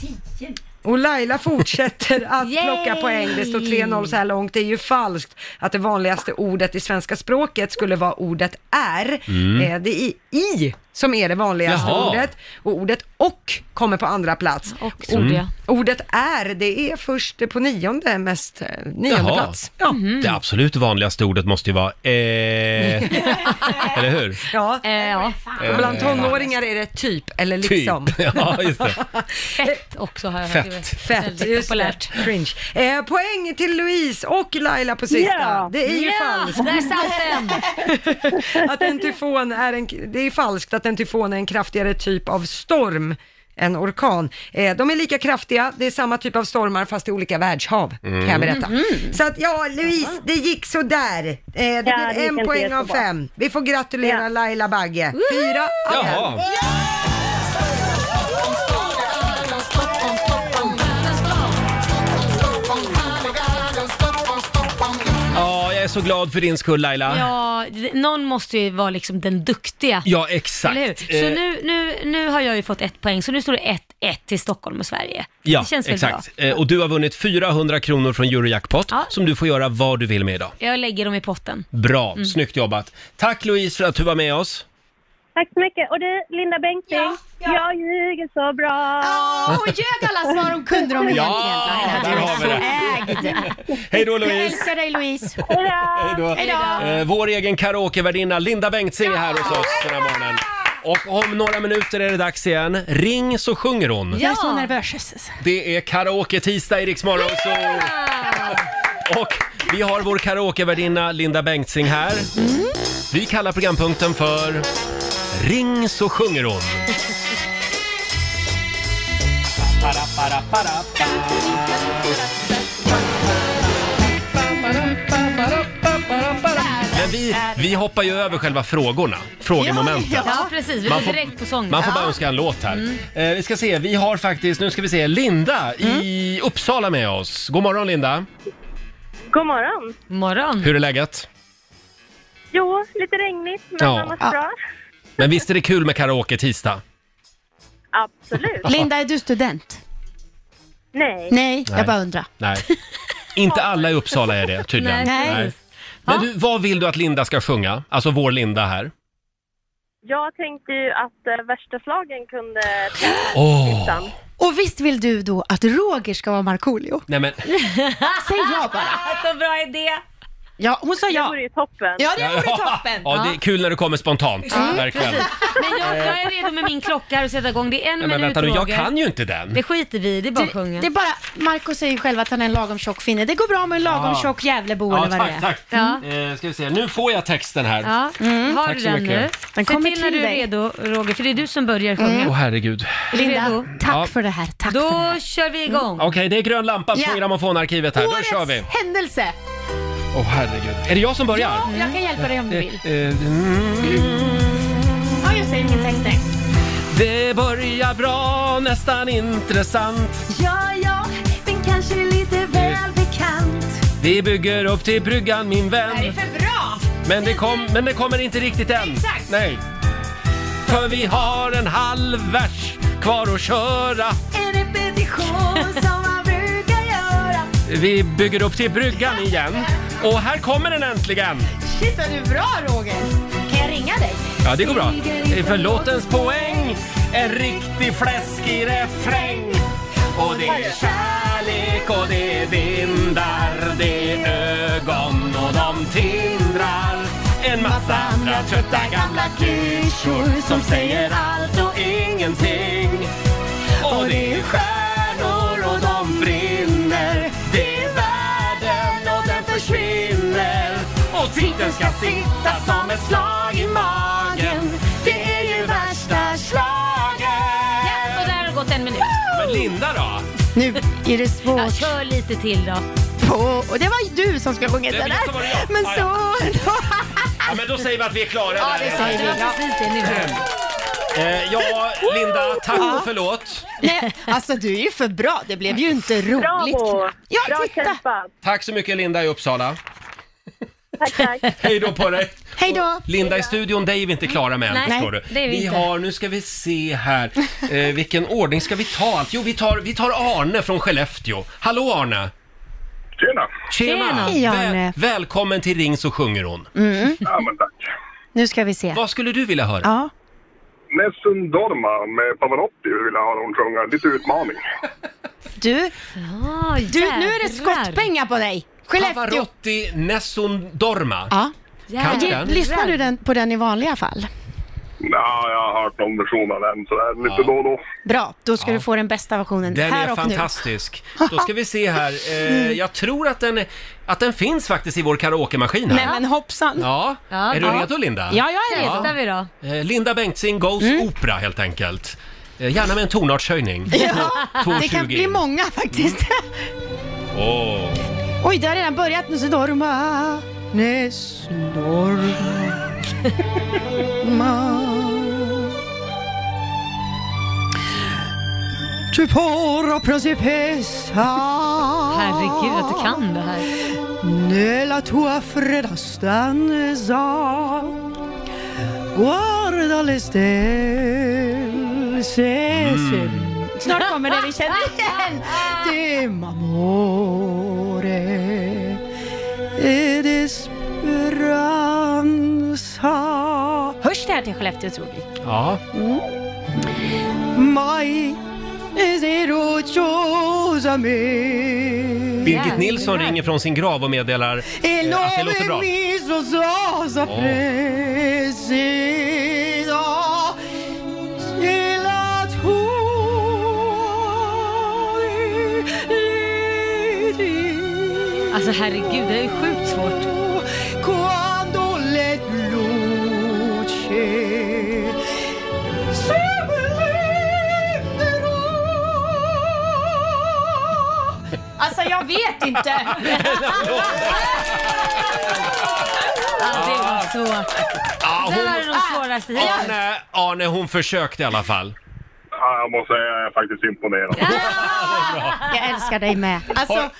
Speaker 2: och Laila fortsätter att plocka poäng. Det står 3-0 så här långt. Det är ju falskt att det vanligaste ordet i svenska språket skulle vara ordet är.
Speaker 13: Mm.
Speaker 2: Eh, Det är i som är det vanligaste
Speaker 5: Jaha.
Speaker 2: ordet. Och ordet och kommer på andra plats. Och,
Speaker 5: trodde Mm. jag.
Speaker 2: Ordet är, det är först på nionde mest, eh, nionde
Speaker 1: Jaha.
Speaker 2: plats. Ja.
Speaker 1: Mm. Det absolut vanligaste ordet måste ju vara eh, eller hur?
Speaker 2: Ja. Och bland
Speaker 1: Eh.
Speaker 2: tonåringar är det typ eller liksom.
Speaker 1: Typ. Ja, just det.
Speaker 4: Fett också har jag hört. Det är
Speaker 1: Fett.
Speaker 2: Fett,
Speaker 4: väldigt
Speaker 2: just
Speaker 4: populärt.
Speaker 2: det. Cringe. Eh, poäng till Louise och Laila på sista.
Speaker 4: Ja.
Speaker 2: Det är ju
Speaker 4: Ja,
Speaker 2: falskt.
Speaker 4: där satt
Speaker 2: att en tyfon är en, det är falskt att en tyfon är en kraftigare typ av storm än orkan. Eh, de är lika kraftiga, det är samma typ av stormar fast i olika världshav,
Speaker 5: Mm.
Speaker 2: kan jag berätta.
Speaker 5: Mhm.
Speaker 2: Så att ja, Louise, det gick sådär. Eh, det
Speaker 5: det
Speaker 2: blir
Speaker 5: gick
Speaker 2: en
Speaker 5: inte
Speaker 2: poäng av
Speaker 5: jättebra.
Speaker 2: fem. Vi får gratulera Laila Bagge. Fyra av fem.
Speaker 1: Jaha. Ja, jag är så glad för din skull Laila.
Speaker 4: Ja, det- någon måste ju vara liksom den duktiga.
Speaker 1: Ja, exakt.
Speaker 4: Eller hur? Så
Speaker 1: Eh,
Speaker 4: nu, nu, nu har jag ju fått ett poäng, så nu står det 1-1 till Stockholm och Sverige.
Speaker 1: Ja,
Speaker 4: det känns väl
Speaker 1: exakt. Eh, Och du har vunnit 400 kronor från Eurojackpot som du får göra vad du vill med idag.
Speaker 4: bra. Jag lägger dem i potten.
Speaker 1: Bra,
Speaker 4: Mm.
Speaker 1: snyggt jobbat. Tack Louise för att du var med oss.
Speaker 9: Tack så mycket. Och du, Linda Bengtzing, jag ljuger så bra.
Speaker 10: Åh, hon ljög alla svar hon kunde om
Speaker 1: Ja,
Speaker 10: egentligen.
Speaker 1: där har vi
Speaker 10: Du är så ägd.
Speaker 1: Hej då
Speaker 10: Jag
Speaker 1: Louise!
Speaker 10: älskar dig Louise.
Speaker 1: Hej då.
Speaker 10: Hej då.
Speaker 1: Eh, Vår egen karaokevärdinna Linda Bengtzing är här hos oss den här morgonen. Och om några minuter är det dags igen. Ring så sjunger hon.
Speaker 10: Jag är så nervös.
Speaker 1: Det är karaoke-tisdag i Rix Morgon, så... Och vi har vår karaokevärdinna Linda Bengtzing här. Vi kallar programpunkten för Ring så sjunger hon. Men vi, vi hoppar ju över själva frågorna, frågemomentet.
Speaker 4: Ja, ja, precis. Vi
Speaker 1: Man
Speaker 4: går
Speaker 1: får-
Speaker 4: direkt på sången.
Speaker 1: Man får bara önska en låt här. Eh, vi ska se, vi har faktiskt, nu ska vi se, Linda i Uppsala med oss. God morgon Linda!
Speaker 9: God morgon.
Speaker 4: Morgon.
Speaker 1: Hur är läget?
Speaker 9: Jo, lite regnigt, men
Speaker 1: Ja.
Speaker 9: annars bra.
Speaker 1: Men visst är det kul med karaoke tisdag?
Speaker 9: Absolut.
Speaker 10: Linda, är du student?
Speaker 9: Nej.
Speaker 10: Nej,
Speaker 1: Nej.
Speaker 10: jag bara undrar.
Speaker 1: Nej. Inte alla i Uppsala är det tydligen.
Speaker 10: Nej.
Speaker 1: Men du, vad vill du att Linda ska sjunga? Alltså vår Linda här.
Speaker 9: Jag tänkte ju att eh, värsta slagen kunde...
Speaker 1: Åh.
Speaker 10: Och visst vill du då att Roger ska vara Markoolio?
Speaker 1: Nej men,
Speaker 10: Säg ja bara.
Speaker 4: Så bra idé.
Speaker 10: Ja, hon sa ja. Det
Speaker 9: vore ju toppen.
Speaker 10: Ja, det vore toppen.
Speaker 1: ja, det är kul när det kommer spontant. Verkligen.
Speaker 4: Precis. Men jag, jag är redo med min klocka här och sätta igång. Det är en
Speaker 1: Nej,
Speaker 4: minut
Speaker 1: men vänta nu, jag
Speaker 4: Roger.
Speaker 1: kan ju inte den.
Speaker 4: Det skiter vi i, det är bara att sjunga.
Speaker 10: Det är bara, Marco säger ju själv att han är en lagom tjock finne. Det går bra med en lagom
Speaker 1: Ja.
Speaker 10: tjock Gävlebo
Speaker 1: Ja,
Speaker 10: eller vad det är.
Speaker 1: tack, tack. Eh, ska vi se, nu får jag texten här.
Speaker 4: Ja. Har
Speaker 1: Tack
Speaker 4: du
Speaker 1: så
Speaker 4: den
Speaker 1: mycket.
Speaker 4: nu?
Speaker 10: Mm. Den
Speaker 4: Se
Speaker 10: kommer
Speaker 4: till när
Speaker 10: till
Speaker 4: du är
Speaker 10: dig. Mm.
Speaker 4: redo Roger, för det är du som börjar sjunga.
Speaker 1: Åh herregud.
Speaker 10: Linda, tack
Speaker 1: Ja.
Speaker 10: för det här. Tack
Speaker 4: Då
Speaker 10: för det här.
Speaker 4: kör vi igång.
Speaker 10: Mm.
Speaker 1: Okej, det är grön lampa
Speaker 10: Ja.
Speaker 1: från grammofonarkivet här. Då
Speaker 10: Årets
Speaker 1: kör vi.
Speaker 10: händelse.
Speaker 1: Åh herregud. Är det jag som börjar?
Speaker 10: Ja, jag kan hjälpa dig om du vill.
Speaker 1: Eh, eh, mm.
Speaker 10: Ja, just det. Ingen text direkt.
Speaker 1: Det börjar bra, nästan intressant.
Speaker 5: Ja, ja, men kanske lite väl bekant.
Speaker 1: Vi bygger upp till bryggan min vän.
Speaker 5: för bra!
Speaker 1: Men det, kom, men det kommer inte riktigt än.
Speaker 5: Exakt.
Speaker 1: Nej. För vi har en halv vers kvar att köra.
Speaker 5: En repetition som man brukar göra.
Speaker 1: Vi bygger upp till bryggan igen. Och här kommer den äntligen.
Speaker 10: Shit, vad du är bra Roger. Kan jag ringa dig?
Speaker 1: Ja, det går bra. Eh, För låtens poäng en riktig fläskig refräng. Och det är kärlek och det är vindar, det är ögon och de tindrar. En massa andra trötta gamla klyschor som säger allt och ingenting. Och det är stjärnor och de brinner. Det är världen och den försvinner. Och titeln ska sitta som ett slag i magen. Det är ju värsta slagen.
Speaker 4: Ja, och där har det gått en minut.
Speaker 1: Men Linda då?
Speaker 10: Nu är det svårt.
Speaker 4: Ja, kör lite till då.
Speaker 10: På. Och det var ju du som skulle sjunga
Speaker 1: Det
Speaker 10: den
Speaker 1: var- det var jag.
Speaker 10: där. Men
Speaker 1: Ja,
Speaker 10: så...
Speaker 1: Ja, men då säger vi att vi är klara
Speaker 10: Ja,
Speaker 1: där.
Speaker 10: det säger vi. Ja.
Speaker 1: Eh, ja, Linda, tack och förlåt.
Speaker 10: Nej, alltså du är ju för bra. Det blev ju inte roligt knappt. Ja, titta!
Speaker 1: Tack så mycket Linda i Uppsala.
Speaker 9: Tack, tack.
Speaker 1: Hej då på dig!
Speaker 10: Hej då!
Speaker 1: Linda i studion, dig är vi inte klara med
Speaker 4: Nej,
Speaker 1: än, förstår
Speaker 4: nej,
Speaker 1: du.
Speaker 4: det är vi
Speaker 1: vi
Speaker 4: inte.
Speaker 1: har, nu ska vi se här, eh, vilken ordning ska vi ta allt? Jo, vi tar, vi tar Arne från Skellefteå. Hallå
Speaker 13: Tjena!
Speaker 1: Arne! Tjena!
Speaker 10: Tjena. Hej, Arne.
Speaker 1: Väl, välkommen till Ring så sjunger hon.
Speaker 10: Mm.
Speaker 13: Ja, men tack.
Speaker 10: Nu ska vi se.
Speaker 1: Vad skulle du vilja höra?
Speaker 10: Ja.
Speaker 13: Nessun Dorma med Pavarotti vill jag höra hon sjunga. Lite utmaning.
Speaker 10: Du, du nu är
Speaker 4: jädrar.
Speaker 10: det skottpengar på dig. Skellefteå.
Speaker 1: Pavarotti Nessun Dorma.
Speaker 10: Ja.
Speaker 1: Kan du den?
Speaker 10: Lyssnar du den, på den i vanliga fall?
Speaker 13: Ja, jag har hört någon version av den sådär lite då och då.
Speaker 10: Bra, då ska du få den bästa versionen
Speaker 1: Den
Speaker 10: här Mm.
Speaker 1: är
Speaker 10: och nu.
Speaker 1: fantastisk. Då ska vi se här. Eh, jag tror att den, är, att den finns faktiskt i vår karaokemaskin här.
Speaker 10: Nej men hoppsan.
Speaker 1: Ja. Är du redo, Linda?
Speaker 10: Ja, jag är redo.
Speaker 4: Testar vi då.
Speaker 1: Eh, Linda Bengtzing Goes Opera helt enkelt. Eh, gärna med en tonartshöjning.
Speaker 10: Ja, det
Speaker 1: 2,20
Speaker 10: kan bli
Speaker 1: in.
Speaker 10: många faktiskt.
Speaker 1: Åh.
Speaker 10: Oj, det har redan börjat. Nu så dorma, nes dorma. Tu porro principessa.
Speaker 4: Herregud att du kan det här.
Speaker 10: Nella tua fredda stanza Guarda le stelle se, se. Snart kommer det vi känner igen! Demamore e desperanza Hörs det här till Skellefteå tror vi?
Speaker 1: Ja.
Speaker 10: Mai Eserochosa me
Speaker 1: Birgit Nilsson ringer från sin grav och meddelar eh, att det låter bra. Åh.
Speaker 4: Alltså herregud, det är ju sjukt svårt.
Speaker 10: Alltså jag vet inte.
Speaker 4: det var så.
Speaker 1: Ah,
Speaker 4: Den var
Speaker 1: hon,
Speaker 4: nog svåraste hittills.
Speaker 1: Arne, Arne, hon försökte i alla fall.
Speaker 13: Ja, jag måste säga jag är faktiskt imponerad.
Speaker 10: Jag älskar dig med. Alltså,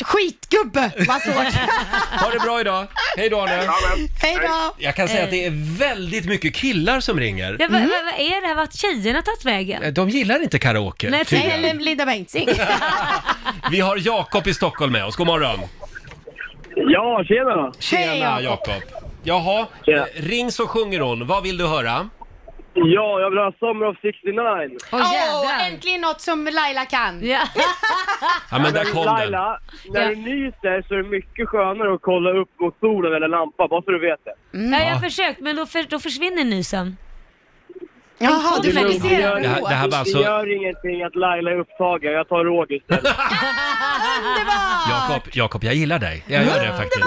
Speaker 10: skitgubbe vad svårt.
Speaker 1: Ha det bra idag. Hej då Arne.
Speaker 10: Hej då.
Speaker 1: Jag kan säga att det är väldigt mycket killar som ringer.
Speaker 4: Ja, vad,
Speaker 10: Mm.
Speaker 4: vad, vad är det här? Vart har tjejerna tagit vägen?
Speaker 1: Eh, De gillar inte karaoke.
Speaker 4: Nej,
Speaker 1: tydligen.
Speaker 10: eller Linda Bengtzing.
Speaker 1: Vi har Jakob i Stockholm med oss. God morgon.
Speaker 16: Ja, tjena!
Speaker 1: Tjena
Speaker 16: Hej, Jakob.
Speaker 1: Jakob. Jaha, eh, ring så sjunger hon. Vad vill du höra?
Speaker 16: Ja, jag vill ha Summer of 69.
Speaker 10: Åh, äntligen något som Laila kan.
Speaker 1: Ja, men där kom den.
Speaker 16: Laila, när du nyser så är det mycket skönare att kolla upp mot solen eller lampan, bara så du vet det.
Speaker 10: Mm.
Speaker 4: Ja, jag har försökt, men då, för, då försvinner nysen.
Speaker 10: Jaha,
Speaker 4: du
Speaker 16: lugnt.
Speaker 4: fixerar
Speaker 16: gör-
Speaker 1: det här- det här var alltså-
Speaker 16: det gör ingenting att Laila är upptagen, jag tar Roger istället.
Speaker 1: Jakob, Jakob, jag gillar dig. Jag gör
Speaker 10: Mm.
Speaker 1: det faktiskt.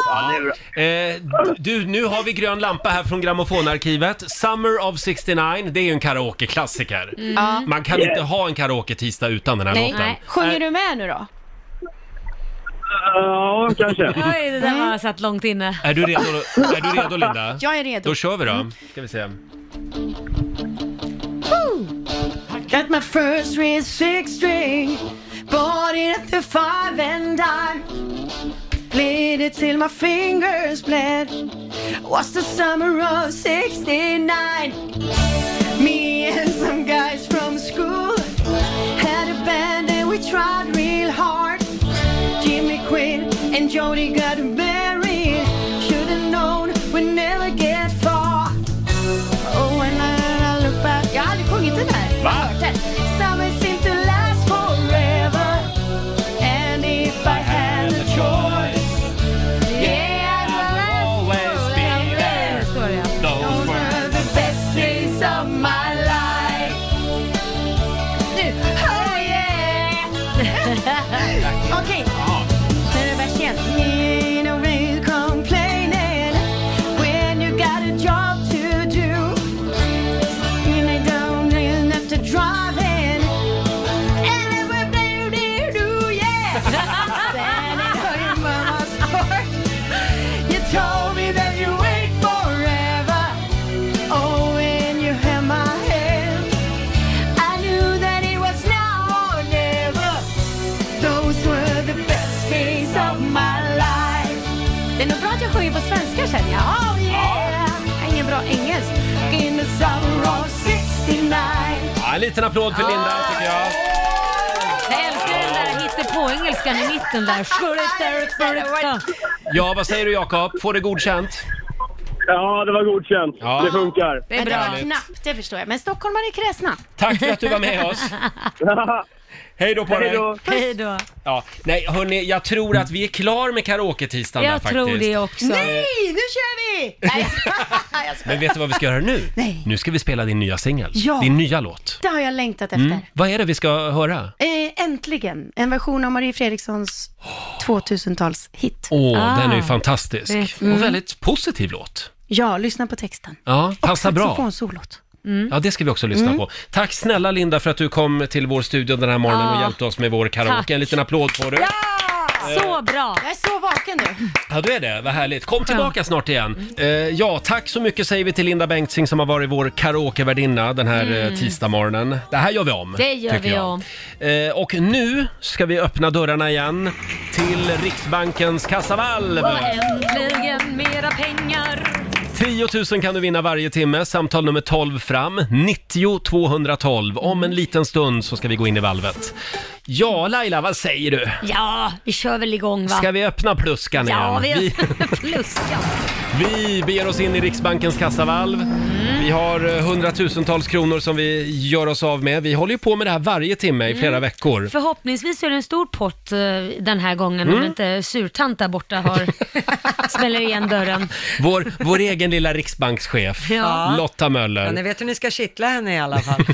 Speaker 1: Ja. Eh, du, nu har vi grön lampa här från grammofonarkivet. Summer of 69, det är ju en karaokeklassiker.
Speaker 10: Mm. Ja.
Speaker 1: Man kan
Speaker 10: Yeah.
Speaker 1: inte ha en karaoke-tisdag utan den här
Speaker 10: Nej.
Speaker 1: låten.
Speaker 10: Sjunger du med nu då?
Speaker 16: Ja, kanske.
Speaker 4: Oj, det
Speaker 10: Mm.
Speaker 4: där var satt långt inne.
Speaker 1: Är du redo, är du redo Linda?
Speaker 10: Jag är redo. Mm.
Speaker 1: Då kör vi då. Ska vi se.
Speaker 10: I got my first red six string Bought it at the five and dime Played it till my fingers bled Was the summer of 69 Me and some guys from school Had a band and we tried real hard Jimmy quit and Jody got married Should've known we'd never get far Oh, and I, I look back Jag har aldrig sjungit den här.
Speaker 5: Va?
Speaker 10: Jag har hört den. Summer seems to last forever And if I had a choice Yeah, I'd always be there Those were the best days of my life Oh yeah Okej. Men det var känt. Ain't no real complaining when you got a job to do. And I don't really have to drive in. And I will do, do, do, yeah. Then I heard your mama's heart. You told me that you wait forever. Oh, and you held my hand. I knew that it was now or never. Those were the best days of my life. Det är nog bra att jag sjunger på svenska känner jag. Oh yeah! Jag har Ingen bra engelsk. In the summer of 69.
Speaker 1: Ja, en liten applåd för Linda
Speaker 10: Ah.
Speaker 1: tycker jag.
Speaker 4: Jag älskar den där hittepå-engelskan i mitten där. Skjurrit, där, skjurrit, där.
Speaker 1: Ja, vad säger du Jakob? Får det godkänt?
Speaker 16: Ja, det var godkänt.
Speaker 1: Ja.
Speaker 16: Det funkar.
Speaker 10: Det är bra. knappt, det förstår jag. Men stockholmare är kräsna.
Speaker 1: Tack för att du var med oss. Hej då på dig!
Speaker 4: Hej då.
Speaker 1: Ja, nej hörni, jag tror att vi är klar med karaoke-tisdagen
Speaker 4: Jag
Speaker 1: här faktiskt.
Speaker 4: tror det också.
Speaker 10: Nej, nu kör vi! Nej, jag skojar.
Speaker 1: Men vet du vad vi ska göra nu?
Speaker 10: Nej.
Speaker 1: Nu ska vi spela din nya singel,
Speaker 10: Ja.
Speaker 1: din nya låt.
Speaker 10: Det har jag längtat efter.
Speaker 1: Mm. Vad är det vi ska höra?
Speaker 10: Eh, äntligen, en version av Marie Fredrikssons 2000-talshit.
Speaker 1: Åh, den är ju fantastisk.
Speaker 10: Ah. Mm.
Speaker 1: Och väldigt positiv låt.
Speaker 10: Ja, lyssna på texten.
Speaker 1: Ja, passar bra.
Speaker 10: Saxofonsolot.
Speaker 1: Ja, det ska vi också lyssna
Speaker 10: Mm.
Speaker 1: på. Tack snälla Linda för att du kom till vår studio den här morgonen
Speaker 10: Ja.
Speaker 1: och hjälpte oss med vår karaoke.
Speaker 10: Tack.
Speaker 1: En liten applåd på dig.
Speaker 4: Så bra!
Speaker 10: Jag är så vaken nu.
Speaker 1: Ja, du är det. Vad härligt. Kom tillbaka snart igen. Eh, ja, tack så mycket säger vi till Linda Bengtzing som har varit vår karaokevärdinna den här
Speaker 4: Mm.
Speaker 1: mm. tisdagsmorgonen. Det här gör vi om.
Speaker 4: Det gör
Speaker 1: tycker
Speaker 4: vi
Speaker 1: jag.
Speaker 4: om.
Speaker 1: Eh, och nu ska vi öppna dörrarna igen till Riksbankens kassavalv.
Speaker 4: Och äntligen mera pengar.
Speaker 1: 10 000 kan du vinna varje timme. Samtal nummer 12 fram. 90 212. Om en liten stund så ska vi gå in i valvet. Ja, Laila, vad säger du?
Speaker 4: Ja, vi kör väl igång va?
Speaker 1: Ska vi öppna pluskan
Speaker 4: Ja,
Speaker 1: igen?
Speaker 4: vi pluskan.
Speaker 1: Vi beger oss in i Riksbankens kassavalv.
Speaker 4: Mm.
Speaker 1: Vi har eh, hundratusentals kronor som vi gör oss av med. Vi håller ju på med det här varje timme i flera
Speaker 4: Mm.
Speaker 1: veckor.
Speaker 4: Förhoppningsvis är det en stor pott eh, den här gången om
Speaker 1: Mm.
Speaker 4: inte surtant där borta har smäller igen dörren.
Speaker 1: Vår, vår egen lilla riksbankschef,
Speaker 2: Ja.
Speaker 1: Lotta
Speaker 2: Ja,
Speaker 1: Möller.
Speaker 2: ni vet hur ni ska kittla henne i alla fall.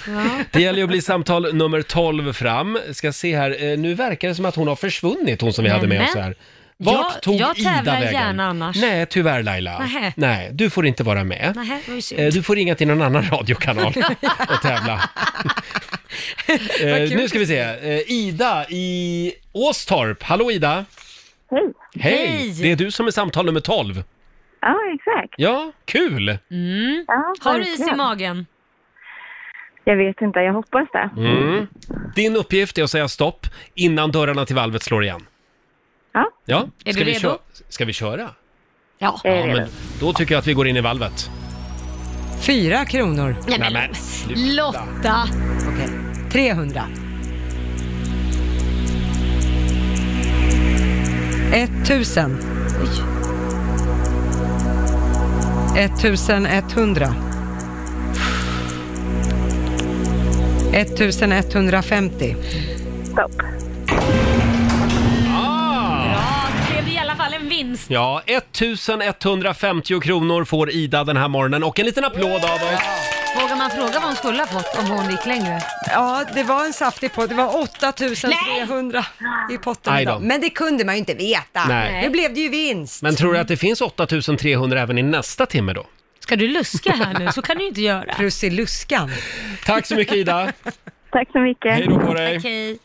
Speaker 1: Det gäller ju att bli samtal nummer 12 fram. Ska se här, eh, nu verkar det som att hon har försvunnit, hon som vi hade med
Speaker 4: Nämen.
Speaker 1: oss här. Vart
Speaker 4: Jag-
Speaker 1: tog
Speaker 4: jag
Speaker 1: Ida
Speaker 4: tävlar
Speaker 1: vägen?
Speaker 4: gärna annars.
Speaker 1: Nej, tyvärr Laila.
Speaker 4: Nähä.
Speaker 1: Nej, du får inte vara med.
Speaker 4: Nähä, det var ju synd.
Speaker 1: Eh, Du får ringa till någon annan radiokanal och tävla. Eh,
Speaker 4: Vad kul.
Speaker 1: nu ska vi se. Eh, Ida i Åstorp. Hallå Ida!
Speaker 9: Hej!
Speaker 1: Hej! Det är du som är samtal nummer 12.
Speaker 9: Ja, exakt.
Speaker 1: Ja, kul!
Speaker 4: Mm.
Speaker 9: Ja,
Speaker 4: Har du is i
Speaker 9: verkligen.
Speaker 4: magen?
Speaker 9: Jag vet inte, jag hoppas det.
Speaker 1: Mm. Din uppgift är att säga stopp innan dörrarna till valvet slår igen.
Speaker 9: Ja.
Speaker 1: Ja,
Speaker 9: Är
Speaker 1: ska
Speaker 9: du
Speaker 1: vi
Speaker 9: redo?
Speaker 1: kö- Ska vi köra?
Speaker 4: Ja.
Speaker 1: Ja, men då tycker jag att vi går in i valvet.
Speaker 2: Fyra kronor.
Speaker 1: Nej, men- Nej, men sluta.
Speaker 4: Lotta!
Speaker 2: Okej. 300. 1000. 1100. 1150.
Speaker 9: Stopp.
Speaker 4: Ja, det blev i alla fall en vinst.
Speaker 1: Ja, 1150 kronor får Ida den här morgonen och en liten applåd av oss.
Speaker 4: Vågar man fråga vad hon skulle ha fått om hon gick längre?
Speaker 2: Ja, det var en saftig pott. Det var 8300 i potten
Speaker 1: Aj då.
Speaker 2: idag. Men det kunde man ju inte veta.
Speaker 1: Nej.
Speaker 2: Nu blev det ju vinst.
Speaker 1: Men tror du att det finns 8300 även i nästa timme då?
Speaker 4: Ska du luska här nu? Så kan du ju inte göra.
Speaker 2: Prussiluskan.
Speaker 1: Tack så mycket Ida!
Speaker 9: Tack så mycket.
Speaker 1: Hej då på dig.
Speaker 4: Okej.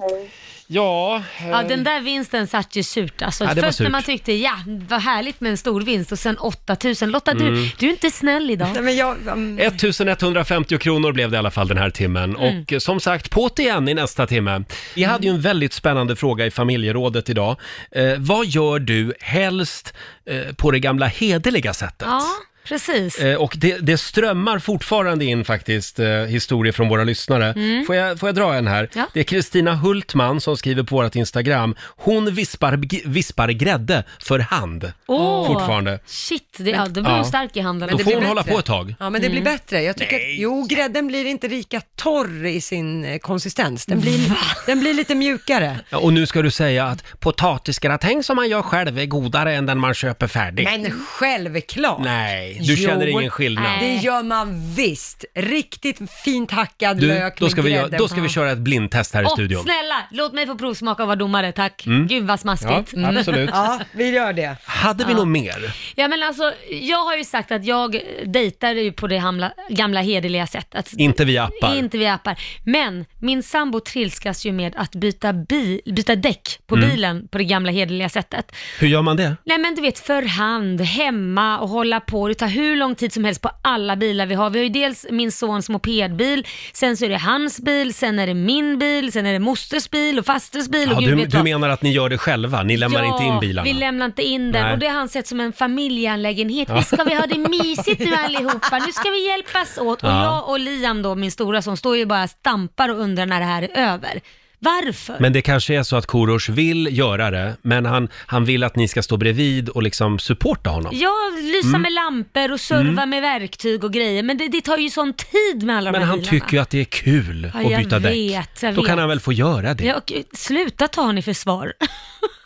Speaker 1: Ja,
Speaker 4: Ja, den där vinsten satt ju surt alltså.
Speaker 1: Eh. Ja, det var
Speaker 4: Först när
Speaker 1: surt.
Speaker 4: man tyckte, ja, vad härligt med en stor vinst och sen 8000. Lotta,
Speaker 1: Mm.
Speaker 4: du, du är inte snäll idag. Nej,
Speaker 2: men jag... um,
Speaker 1: 1150 kronor blev det i alla fall den här timmen.
Speaker 4: Mm.
Speaker 1: Och eh, som sagt, på det igen i nästa timme. Vi hade ju en väldigt spännande fråga i familjerådet idag. Eh, vad gör du helst eh, på det gamla hederliga sättet?
Speaker 4: Ja, precis.
Speaker 1: Eh, och det, det strömmar fortfarande in faktiskt eh, historier från våra lyssnare.
Speaker 4: Mm.
Speaker 1: Får, jag, får jag dra en här?
Speaker 4: Ja.
Speaker 1: Det är Kristina Hultman som skriver på vårt Instagram. Hon vispar, g- vispar grädde för hand.
Speaker 4: Åh.
Speaker 1: Fortfarande.
Speaker 4: Shit, det, ja, då blir hon
Speaker 1: Ja.
Speaker 4: stark i handen.
Speaker 1: Då får hon hålla på ett tag.
Speaker 2: Ja, men det blir
Speaker 4: Mm.
Speaker 2: bättre. Jag tycker att, jo, grädden blir inte lika torr i sin eh, konsistens. Den blir, den blir lite mjukare.
Speaker 1: Ja, och nu ska du säga att potatisgratäng som man gör själv är godare än den man köper färdig.
Speaker 2: Men självklart!
Speaker 1: Nej, du känner ingen skillnad.
Speaker 2: Det gör man visst. Riktigt fint hackad
Speaker 1: Du,
Speaker 2: lök
Speaker 1: då, ska
Speaker 2: med
Speaker 1: vi,
Speaker 2: grädden
Speaker 1: göra- då ska
Speaker 2: på.
Speaker 1: vi köra ett blindtest här i
Speaker 4: Åh,
Speaker 1: studion.
Speaker 4: snälla, låt mig få provsmaka och vara domare, tack.
Speaker 1: Mm.
Speaker 4: Gud vad smaskigt.
Speaker 1: Ja, absolut.
Speaker 2: Ja, vi gör det.
Speaker 1: Hade vi
Speaker 4: Mm. Ja.
Speaker 1: något mer?
Speaker 4: Ja men alltså, jag har ju sagt att jag dejtar ju på det hamla, gamla hederliga sättet.
Speaker 1: Inte via appar.
Speaker 4: Inte via appar. Men min sambo trilskas ju med att byta, bi, byta däck på
Speaker 1: Mm.
Speaker 4: bilen på det gamla hederliga sättet.
Speaker 1: Hur gör man det?
Speaker 4: Nej men du vet för hand, hemma och hålla på. Det tar hur lång tid som helst på alla bilar vi har. Vi har ju dels min sons mopedbil, sen så är det hans bil, sen är det min bil, sen är det mosters bil och fasters bil och
Speaker 1: Ja,
Speaker 4: gud
Speaker 1: du,
Speaker 4: vet
Speaker 1: du
Speaker 4: vad.
Speaker 1: menar att ni gör det själva? Ni lämnar
Speaker 4: ja,
Speaker 1: inte in bilarna?
Speaker 4: vi lämnar inte in den
Speaker 1: Nej.
Speaker 4: och det har han sett som en familjeanlägenhet.
Speaker 1: Ja.
Speaker 4: Visst ska vi ha det mysigt nu allihopa, nu ska vi hjälpas åt. Och
Speaker 1: Ja.
Speaker 4: jag och Liam då, min stora son, står ju bara och stampar och undrar när det här är över. Varför?
Speaker 1: Men det kanske är så att Korosh vill göra det, men han, han vill att ni ska stå bredvid och liksom supporta honom.
Speaker 4: Ja, lysa
Speaker 1: Mm.
Speaker 4: med lampor och serva
Speaker 1: Mm.
Speaker 4: med verktyg och grejer. Men det, det tar ju sån tid med alla de
Speaker 1: Men
Speaker 4: här
Speaker 1: han
Speaker 4: bilarna.
Speaker 1: tycker ju att det är kul
Speaker 4: Ja, jag
Speaker 1: att byta
Speaker 4: vet, jag
Speaker 1: däck. Då
Speaker 4: vet.
Speaker 1: kan han väl få göra det.
Speaker 4: Ja, och, eh, sluta ta honom i försvar.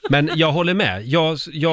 Speaker 1: Men jag håller med. Jag, jag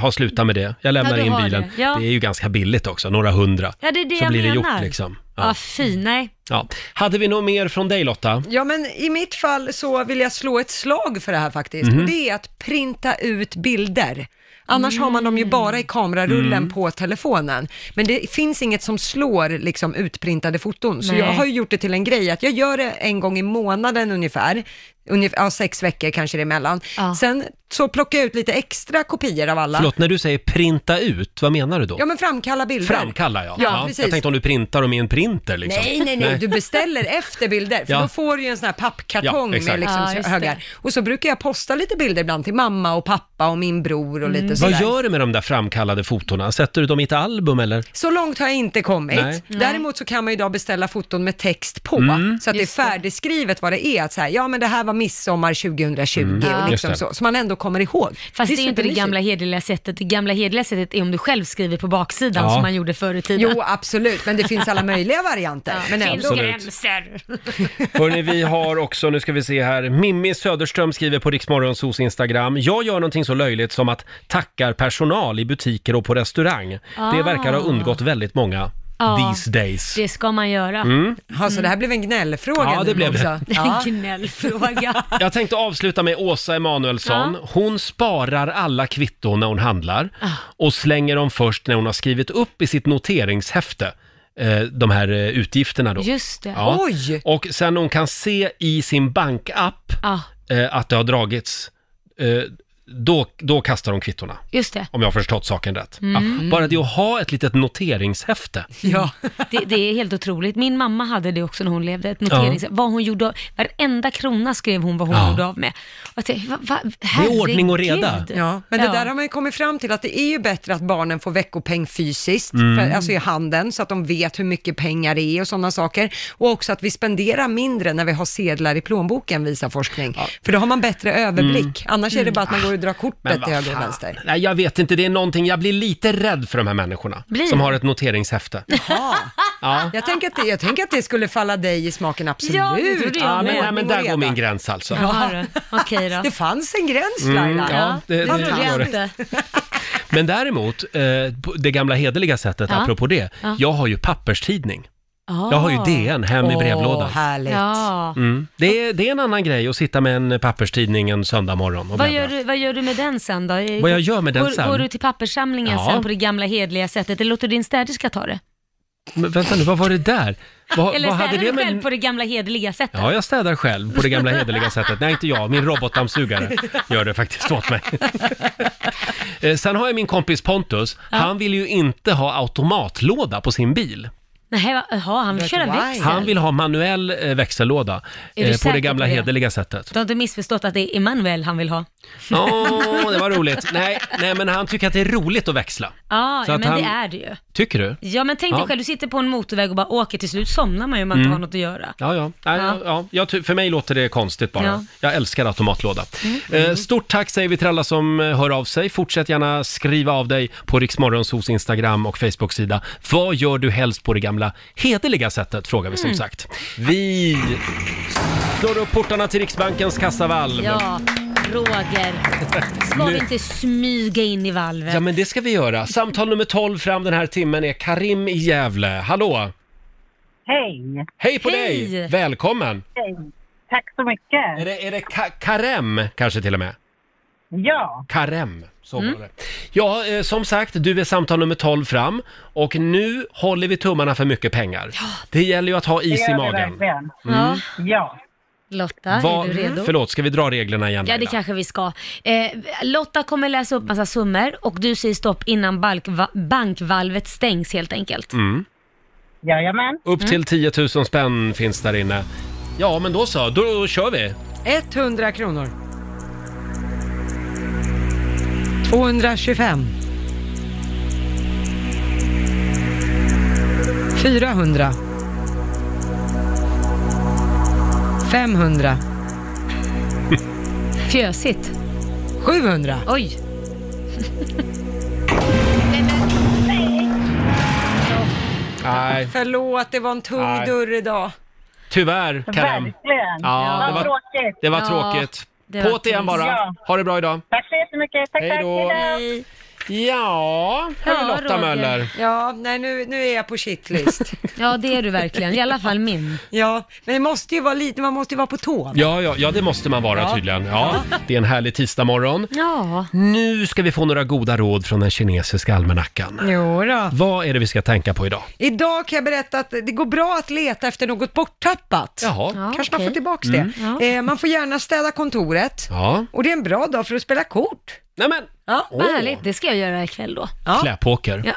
Speaker 1: har slutat med det. Jag lämnar
Speaker 4: Ja, du
Speaker 1: in
Speaker 4: har
Speaker 1: bilen.
Speaker 4: det. Ja.
Speaker 1: är ju ganska billigt också, några hundra.
Speaker 4: Ja, det är det
Speaker 1: Så
Speaker 4: jag
Speaker 1: blir det
Speaker 4: menar. Ah.
Speaker 1: gjort liksom.
Speaker 4: Ja, fy nej.
Speaker 1: Ja. Hade vi något mer från dig Lotta?
Speaker 2: Ja, men i mitt fall så vill jag slå ett slag för det här faktiskt.
Speaker 1: Mhm.
Speaker 2: Och det är att printa ut bilder. Annars har man dem ju bara i kamerarullen
Speaker 1: Mm.
Speaker 2: på telefonen. Men det finns inget som slår liksom utprintade foton. Så
Speaker 4: Nej.
Speaker 2: jag har ju gjort det till en grej att jag gör det en gång i månaden ungefär. Ungef- ja, sex veckor kanske det är emellan. Sen så plockar jag ut lite extra kopior av alla.
Speaker 1: Förlåt, när du säger printa ut, vad menar du då?
Speaker 2: Ja, men framkalla bilder.
Speaker 1: Framkalla ja.
Speaker 2: Ja, precis.
Speaker 1: Jag tänkte om du printar dem i en printer liksom.
Speaker 2: Nej, nej, nej, du beställer efter bilder, för
Speaker 1: Ja.
Speaker 2: då får du ju en sån här
Speaker 1: Ja,
Speaker 2: pappkartong
Speaker 1: exakt.
Speaker 2: med liksom
Speaker 1: Ja, just
Speaker 2: högar. Och så brukar jag posta lite bilder ibland till mamma och pappa och min bror och
Speaker 4: Mm.
Speaker 2: lite sådär.
Speaker 1: Vad gör du med de där framkallade fotona? Sätter du dem i ett album eller?
Speaker 2: Så långt har jag inte kommit.
Speaker 1: Nej. Nej.
Speaker 2: Däremot så kan man ju idag beställa foton med text på,
Speaker 1: Mm.
Speaker 2: så att det är färdigskrivet vad det är. Att så här, ja men det här var midsommar 2020
Speaker 4: Mm.
Speaker 2: och liksom
Speaker 4: Just det.
Speaker 2: så, så man ändå kommer ihåg.
Speaker 4: Fast det är ju inte det
Speaker 2: supermysigt.
Speaker 4: gamla hederliga sättet. Det gamla hederliga sättet är om du själv skriver på baksidan
Speaker 1: Ja.
Speaker 4: som man gjorde förr i tiden.
Speaker 2: Jo, absolut, men det finns alla möjliga varianter. men
Speaker 4: finns
Speaker 2: ändå.
Speaker 1: Absolut.
Speaker 4: gränser.
Speaker 1: Hörni, vi har också, nu ska vi se här, Mimmi Söderström skriver på Riksmorgonsos Instagram. Jag gör någonting så löjligt som att tackar personal i butiker och på restaurang. Det
Speaker 4: Ah.
Speaker 1: verkar ha undgått väldigt många
Speaker 4: Ja.
Speaker 1: these days.
Speaker 4: Det ska man göra.
Speaker 1: Mm.
Speaker 2: Ja, så det här blev en gnällfråga
Speaker 1: Ja, det
Speaker 2: nu
Speaker 1: blev det.
Speaker 2: också. Ja.
Speaker 4: En gnällfråga.
Speaker 1: Jag tänkte avsluta med Åsa Emanuelsson. Hon sparar alla kvitton när hon handlar och slänger dem först när hon har skrivit upp i sitt noteringshäfte eh, de här eh, utgifterna då.
Speaker 4: Just det.
Speaker 1: Ja.
Speaker 4: Oj!
Speaker 1: Och sen hon kan se i sin bankapp
Speaker 4: Ja,
Speaker 1: eh, att det har dragits, eh, då, då kastar de kvittorna.
Speaker 4: just det.
Speaker 1: Om jag har förstått saken rätt.
Speaker 4: Mm.
Speaker 1: Ja, bara det att ha ett litet noteringshäfte.
Speaker 2: Ja.
Speaker 4: Det, det är helt otroligt. Min mamma hade det också när hon levde, ett noterings...
Speaker 1: Ja.
Speaker 4: Vad hon gjorde av... Varenda krona skrev hon vad hon
Speaker 1: Ja.
Speaker 4: gjorde av med. Och jag tänkte, va, va,
Speaker 1: ordning och reda.
Speaker 4: herregud.
Speaker 2: Ja, men det där har man ju kommit fram till att det är ju bättre att barnen får veckopeng fysiskt,
Speaker 1: Mm.
Speaker 2: för, alltså i handen, så att de vet hur mycket pengar det är och sådana saker. Och också att vi spenderar mindre när vi har sedlar i plånboken, visar forskning. För då har man bättre överblick. Annars är det bara att man går och drar kortet till
Speaker 1: Mm. vad
Speaker 2: höger och
Speaker 1: fan.
Speaker 2: vänster.
Speaker 1: Nej, jag vet inte. Det är någonting, jag blir lite rädd för de här människorna
Speaker 2: Blir
Speaker 1: som
Speaker 2: du?
Speaker 1: har ett noteringshäfte. Ja.
Speaker 2: Jag tänker, att det, jag tänker att det skulle falla dig i smaken, absolut.
Speaker 4: Ja, det trodde jag
Speaker 1: Ja, men,
Speaker 4: med.
Speaker 1: nej, men där går min gräns alltså.
Speaker 4: Jaha, du. Okej då.
Speaker 2: Det fanns en gräns,
Speaker 1: Mm,
Speaker 2: Laila.
Speaker 1: ja, det- det gör det. Men däremot, eh, på det gamla hederliga sättet,
Speaker 4: Ja.
Speaker 1: apropå det,
Speaker 4: Ja.
Speaker 1: jag har ju papperstidning.
Speaker 4: Ah.
Speaker 1: Jag har ju DN hem i brevlådan.
Speaker 2: Åh, härligt.
Speaker 4: Ja.
Speaker 1: Mm. Det, är, det är en annan grej att sitta med en papperstidning en söndag morgon och
Speaker 4: Vad
Speaker 1: bläddra.
Speaker 4: gör, du, vad gör du med den sen då?
Speaker 1: Vad jag gör med den
Speaker 4: går,
Speaker 1: sen?
Speaker 4: Går du till papperssamlingen
Speaker 1: Ja.
Speaker 4: sen på det gamla hederliga sättet eller låter du din städerska ta det?
Speaker 1: Men vänta nu, vad var det där? Vad,
Speaker 4: eller
Speaker 1: vad hade
Speaker 4: städar
Speaker 1: det
Speaker 4: du
Speaker 1: med...
Speaker 4: själv på det gamla hederliga sättet?
Speaker 1: Ja, jag städar själv på det gamla hederliga sättet. Nej, inte jag. Min robotdammsugare gör det faktiskt åt mig. Eh, Sen har jag min kompis Pontus. Han vill ju inte ha automatlåda på sin bil.
Speaker 4: Nej, va- jaha, han vill köra växel.
Speaker 1: Han vill ha manuell eh, växellåda
Speaker 4: du
Speaker 1: eh, på
Speaker 4: säker
Speaker 1: det gamla
Speaker 4: på det?
Speaker 1: hederliga sättet.
Speaker 4: Du har inte missförstått att det är Emanuel han vill ha?
Speaker 1: Åh, det var roligt. Nej, nej, men han tycker att det är roligt att växla.
Speaker 4: Ja,
Speaker 1: Så
Speaker 4: ja
Speaker 1: att
Speaker 4: men
Speaker 1: han-
Speaker 4: det är det ju.
Speaker 1: Tycker du?
Speaker 4: Ja, men tänk
Speaker 1: Ja.
Speaker 4: dig själv, du sitter på en motorväg och bara åker, till slut somnar man ju om man
Speaker 1: Mm.
Speaker 4: inte har något att göra.
Speaker 1: Ja, ja. Nej, ja.
Speaker 4: Ja.
Speaker 1: ja. Jag ty- för mig låter det konstigt bara.
Speaker 4: Ja. Mm.
Speaker 1: Jag älskar automatlåda. Eh, stort tack säger vi till alla som eh, hör av sig. Fortsätt gärna skriva av dig på Riksmorgonsos Instagram och Facebook-sida. Vad gör du helst på det gamla hederliga sättet, frågar vi som
Speaker 4: Mm.
Speaker 1: sagt. Vi slår upp portarna till Riksbankens kassavalv.
Speaker 4: Ja, Roger. Ska
Speaker 1: Nu-
Speaker 4: vi inte smyga in i valvet?
Speaker 1: Ja, men det ska vi göra. Samtal nummer 12 fram den här timmen är Karim i Gävle. Hallå!
Speaker 17: Hej!
Speaker 1: Hej på
Speaker 17: Hej.
Speaker 1: dig! Välkommen!
Speaker 17: Hej. Tack så mycket.
Speaker 1: Är det, är det ka- Karem kanske till och med?
Speaker 17: Ja.
Speaker 1: Karem, så
Speaker 4: Mm.
Speaker 1: var det. Ja, eh, som sagt, du är samtal nummer 12 fram och nu håller vi tummarna för mycket pengar. Det gäller ju att ha
Speaker 17: det
Speaker 1: is
Speaker 17: gör
Speaker 1: i
Speaker 17: vi
Speaker 1: magen.
Speaker 17: verkligen.
Speaker 4: Ja.
Speaker 17: Ja.
Speaker 4: Lotta,
Speaker 1: mm. Vad- Mm,
Speaker 4: är du redo?
Speaker 1: Förlåt, ska vi dra reglerna igen?
Speaker 4: Ja, det
Speaker 1: Laila?
Speaker 4: kanske vi ska. Eh, Lotta kommer läsa upp massa summor och du säger stopp innan balkva- bankvalvet stängs helt enkelt.
Speaker 1: Mm.
Speaker 17: Jajamän.
Speaker 1: Upp
Speaker 4: Mm.
Speaker 1: till 10 000 spänn finns där inne. Ja, men då så, då kör vi.
Speaker 2: 100 kronor. 225. 400. 500.
Speaker 4: Pjösigt.
Speaker 2: 700.
Speaker 4: Oj.
Speaker 1: Nej,
Speaker 2: Förlåt, det var en tung
Speaker 1: Nej.
Speaker 2: dörr idag.
Speaker 1: tyvärr Karen.
Speaker 17: Verkligen.
Speaker 1: Ja, det var-
Speaker 17: tråkigt.
Speaker 1: Det var tråkigt. På't igen bara.
Speaker 17: Ja.
Speaker 1: Ha det bra idag.
Speaker 17: Tack så jättemycket. Tack,
Speaker 1: Hej
Speaker 17: tack.
Speaker 1: då.
Speaker 17: Hej
Speaker 1: Ja, här är Lotta Möller.
Speaker 2: Ja, nej nu, nu är jag på shitlist.
Speaker 4: ja, det är du verkligen. I alla fall min.
Speaker 2: Ja, men det måste ju vara lite, man måste ju vara på tå.
Speaker 1: Ja, ja, ja, det måste man vara
Speaker 2: Ja.
Speaker 1: tydligen. Ja, det är en härlig tisdagmorgon.
Speaker 4: Ja.
Speaker 1: Nu ska vi få några goda råd från den kinesiska almanackan.
Speaker 2: Jo då.
Speaker 1: Vad är det vi ska tänka på idag?
Speaker 2: Idag kan jag berätta att det går bra att leta efter något borttappat.
Speaker 1: Jaha.
Speaker 2: Kanske
Speaker 4: Ah,
Speaker 1: Ja,
Speaker 2: man
Speaker 1: okej.
Speaker 2: får tillbaka det.
Speaker 1: Mm.
Speaker 2: Eh, man får gärna städa kontoret.
Speaker 1: Ja.
Speaker 2: Och det är en bra dag för att spela kort.
Speaker 1: Nej men!
Speaker 2: Ja.
Speaker 4: Vad härligt, det ska jag göra ikväll då.
Speaker 1: Kläpåker.
Speaker 4: Ja.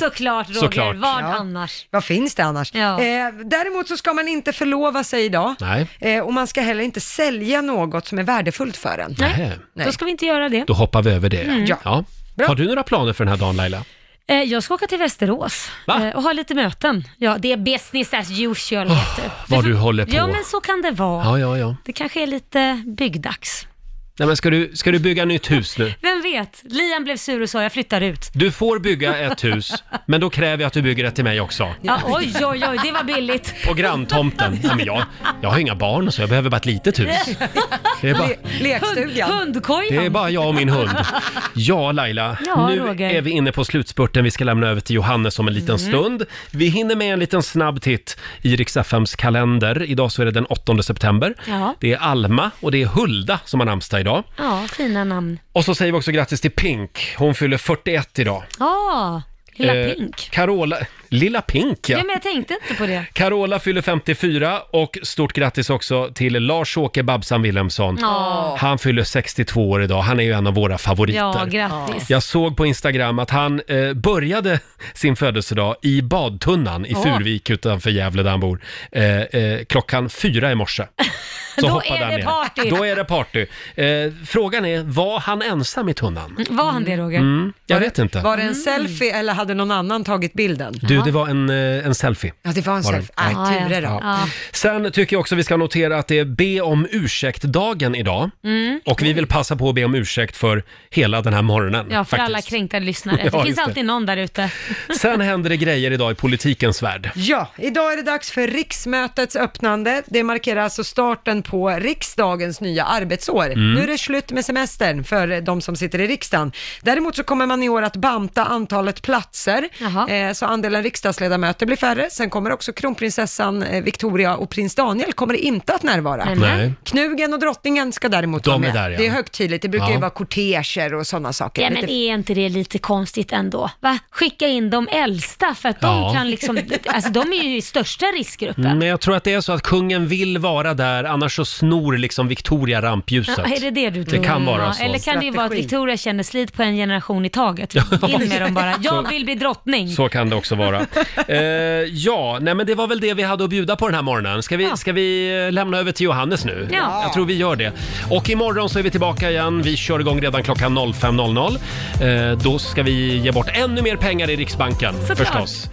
Speaker 4: Såklart Roger,
Speaker 1: Såklart.
Speaker 4: vad
Speaker 2: Ja.
Speaker 4: annars?
Speaker 2: Vad finns det annars?
Speaker 4: Ja.
Speaker 2: Eh, däremot så ska man inte förlova sig idag.
Speaker 1: Nej.
Speaker 2: Eh, och man ska heller inte sälja något som är värdefullt för en.
Speaker 1: Nej.
Speaker 4: Då ska vi inte göra det.
Speaker 1: Då hoppar vi över det.
Speaker 4: Mm. Ja.
Speaker 1: Ja. Har du några planer för den här dagen Laila?
Speaker 4: Eh, jag ska åka till Västerås
Speaker 1: Va? Ah,
Speaker 4: eh, och ha lite möten. Ja, det är business as usual heter det.
Speaker 1: Vad du håller på.
Speaker 4: Ja, men så kan det vara.
Speaker 1: ja, ja, ja.
Speaker 4: Det kanske är lite byggdags.
Speaker 1: Nej, men ska, du, ska du bygga nytt hus nu?
Speaker 4: Vem vet? Lian blev sur och sa jag flyttar ut.
Speaker 1: Du får bygga ett hus, men då kräver jag att du bygger ett till mig också.
Speaker 4: Ja, oj, oj, oj, det var billigt.
Speaker 1: På granntomten. Nej, men jag, jag har inga barn så jag behöver bara ett litet hus. Det är bara,
Speaker 2: lekstugan.
Speaker 4: Hund, hundkojan.
Speaker 1: det är bara jag och min hund. Ja, Laila.
Speaker 4: Ja,
Speaker 1: nu
Speaker 4: Roger.
Speaker 1: är vi inne på slutspurten. Vi ska lämna över till Johannes om en liten
Speaker 4: Mm.
Speaker 1: stund. Vi hinner med en liten snabb titt i Rix FMs kalender. Idag så är det den 8 september.
Speaker 4: Ja.
Speaker 1: Det är Alma och det är Hulda som har namnsdag idag.
Speaker 4: ja, fina namn.
Speaker 1: Och så säger vi också grattis till Pink. Hon fyller 41 idag.
Speaker 4: Ja, lilla
Speaker 1: Eh,
Speaker 4: Pink.
Speaker 1: Carola... Lilla Pink,
Speaker 4: Ja.
Speaker 1: ja.
Speaker 4: men jag tänkte inte på det.
Speaker 1: Carola fyller 54 och stort grattis också till Lars-Åke Babsan Wilhelmsson.
Speaker 4: Ja.
Speaker 1: Han fyller 62 år idag. Han är ju en av våra favoriter.
Speaker 4: Ja, grattis.
Speaker 1: Jag såg på Instagram att han eh, började sin födelsedag i badtunnan i
Speaker 4: Åh.
Speaker 1: Furuvik utanför Gävle där han bor. Eh, eh, klockan fyra i morse.
Speaker 4: Då
Speaker 1: hoppade
Speaker 4: är
Speaker 1: han
Speaker 4: det
Speaker 1: ner.
Speaker 4: party.
Speaker 1: Då är det party. Eh, frågan är, var han ensam i tunnan?
Speaker 4: Mm, Var han det Roger?
Speaker 1: Mm, jag vet inte.
Speaker 2: Var det en selfie eller hade någon annan tagit bilden?
Speaker 1: Du, det var en, eh, en selfie.
Speaker 2: Ja, det var en selfie. Aj, turer då. Ja.
Speaker 1: Sen tycker jag också vi ska notera att det är be om ursäkt-dagen idag.
Speaker 4: Mm.
Speaker 1: Och vi vill passa på att be om ursäkt för hela den här morgonen.
Speaker 4: Ja, för
Speaker 1: faktiskt.
Speaker 4: alla kränkta lyssnare.
Speaker 1: Ja,
Speaker 4: det
Speaker 1: just
Speaker 4: finns
Speaker 1: det.
Speaker 4: alltid någon där ute.
Speaker 1: Sen händer det grejer idag i politikens värld.
Speaker 2: Ja, idag är det dags för riksmötets öppnande. Det markerar alltså starten på riksdagens nya arbetsår.
Speaker 5: Mm.
Speaker 2: Nu är det slut med semestern för de som sitter i riksdagen. Däremot så kommer man i år att banta antalet platser, eh, så andelen riksdagsledamöter blir färre. Sen kommer också kronprinsessan eh, Victoria och prins Daniel kommer inte att närvara.
Speaker 1: Nej, men. Nej.
Speaker 2: Knugen och drottningen ska däremot
Speaker 1: De
Speaker 2: vara med.
Speaker 1: är där, ja.
Speaker 2: Det är högtidligt, det brukar
Speaker 1: Ja.
Speaker 2: ju vara korteger och sådana saker.
Speaker 4: Ja, men
Speaker 2: Lite-
Speaker 4: är inte det lite konstigt ändå? Va? Skicka in de äldsta för att de
Speaker 1: Ja. Mm,
Speaker 4: kan liksom, alltså de är ju i största riskgruppen.
Speaker 1: Men jag tror att det är så att kungen vill vara där, annars så snor liksom Victoria rampljuset.
Speaker 4: Ja, är det det du tror?
Speaker 1: Det kan vara
Speaker 4: Ja,
Speaker 1: så.
Speaker 4: Eller kan det ju vara att Victoria känner slit på en generation i taget? In med dem bara.
Speaker 1: Så-
Speaker 4: Jag vill bli drottning.
Speaker 1: Så kan det också vara. Eh, ja, nej men det var väl det vi hade att bjuda på den här morgonen. Ska vi, ska vi eh, lämna över till Johannes nu?
Speaker 4: Ja.
Speaker 1: Jag tror vi gör det. Och imorgon så är vi tillbaka igen. Vi kör igång redan klockan 05.00. Eh, då ska vi ge bort ännu mer pengar i Riksbanken
Speaker 4: Såklart.
Speaker 1: förstås.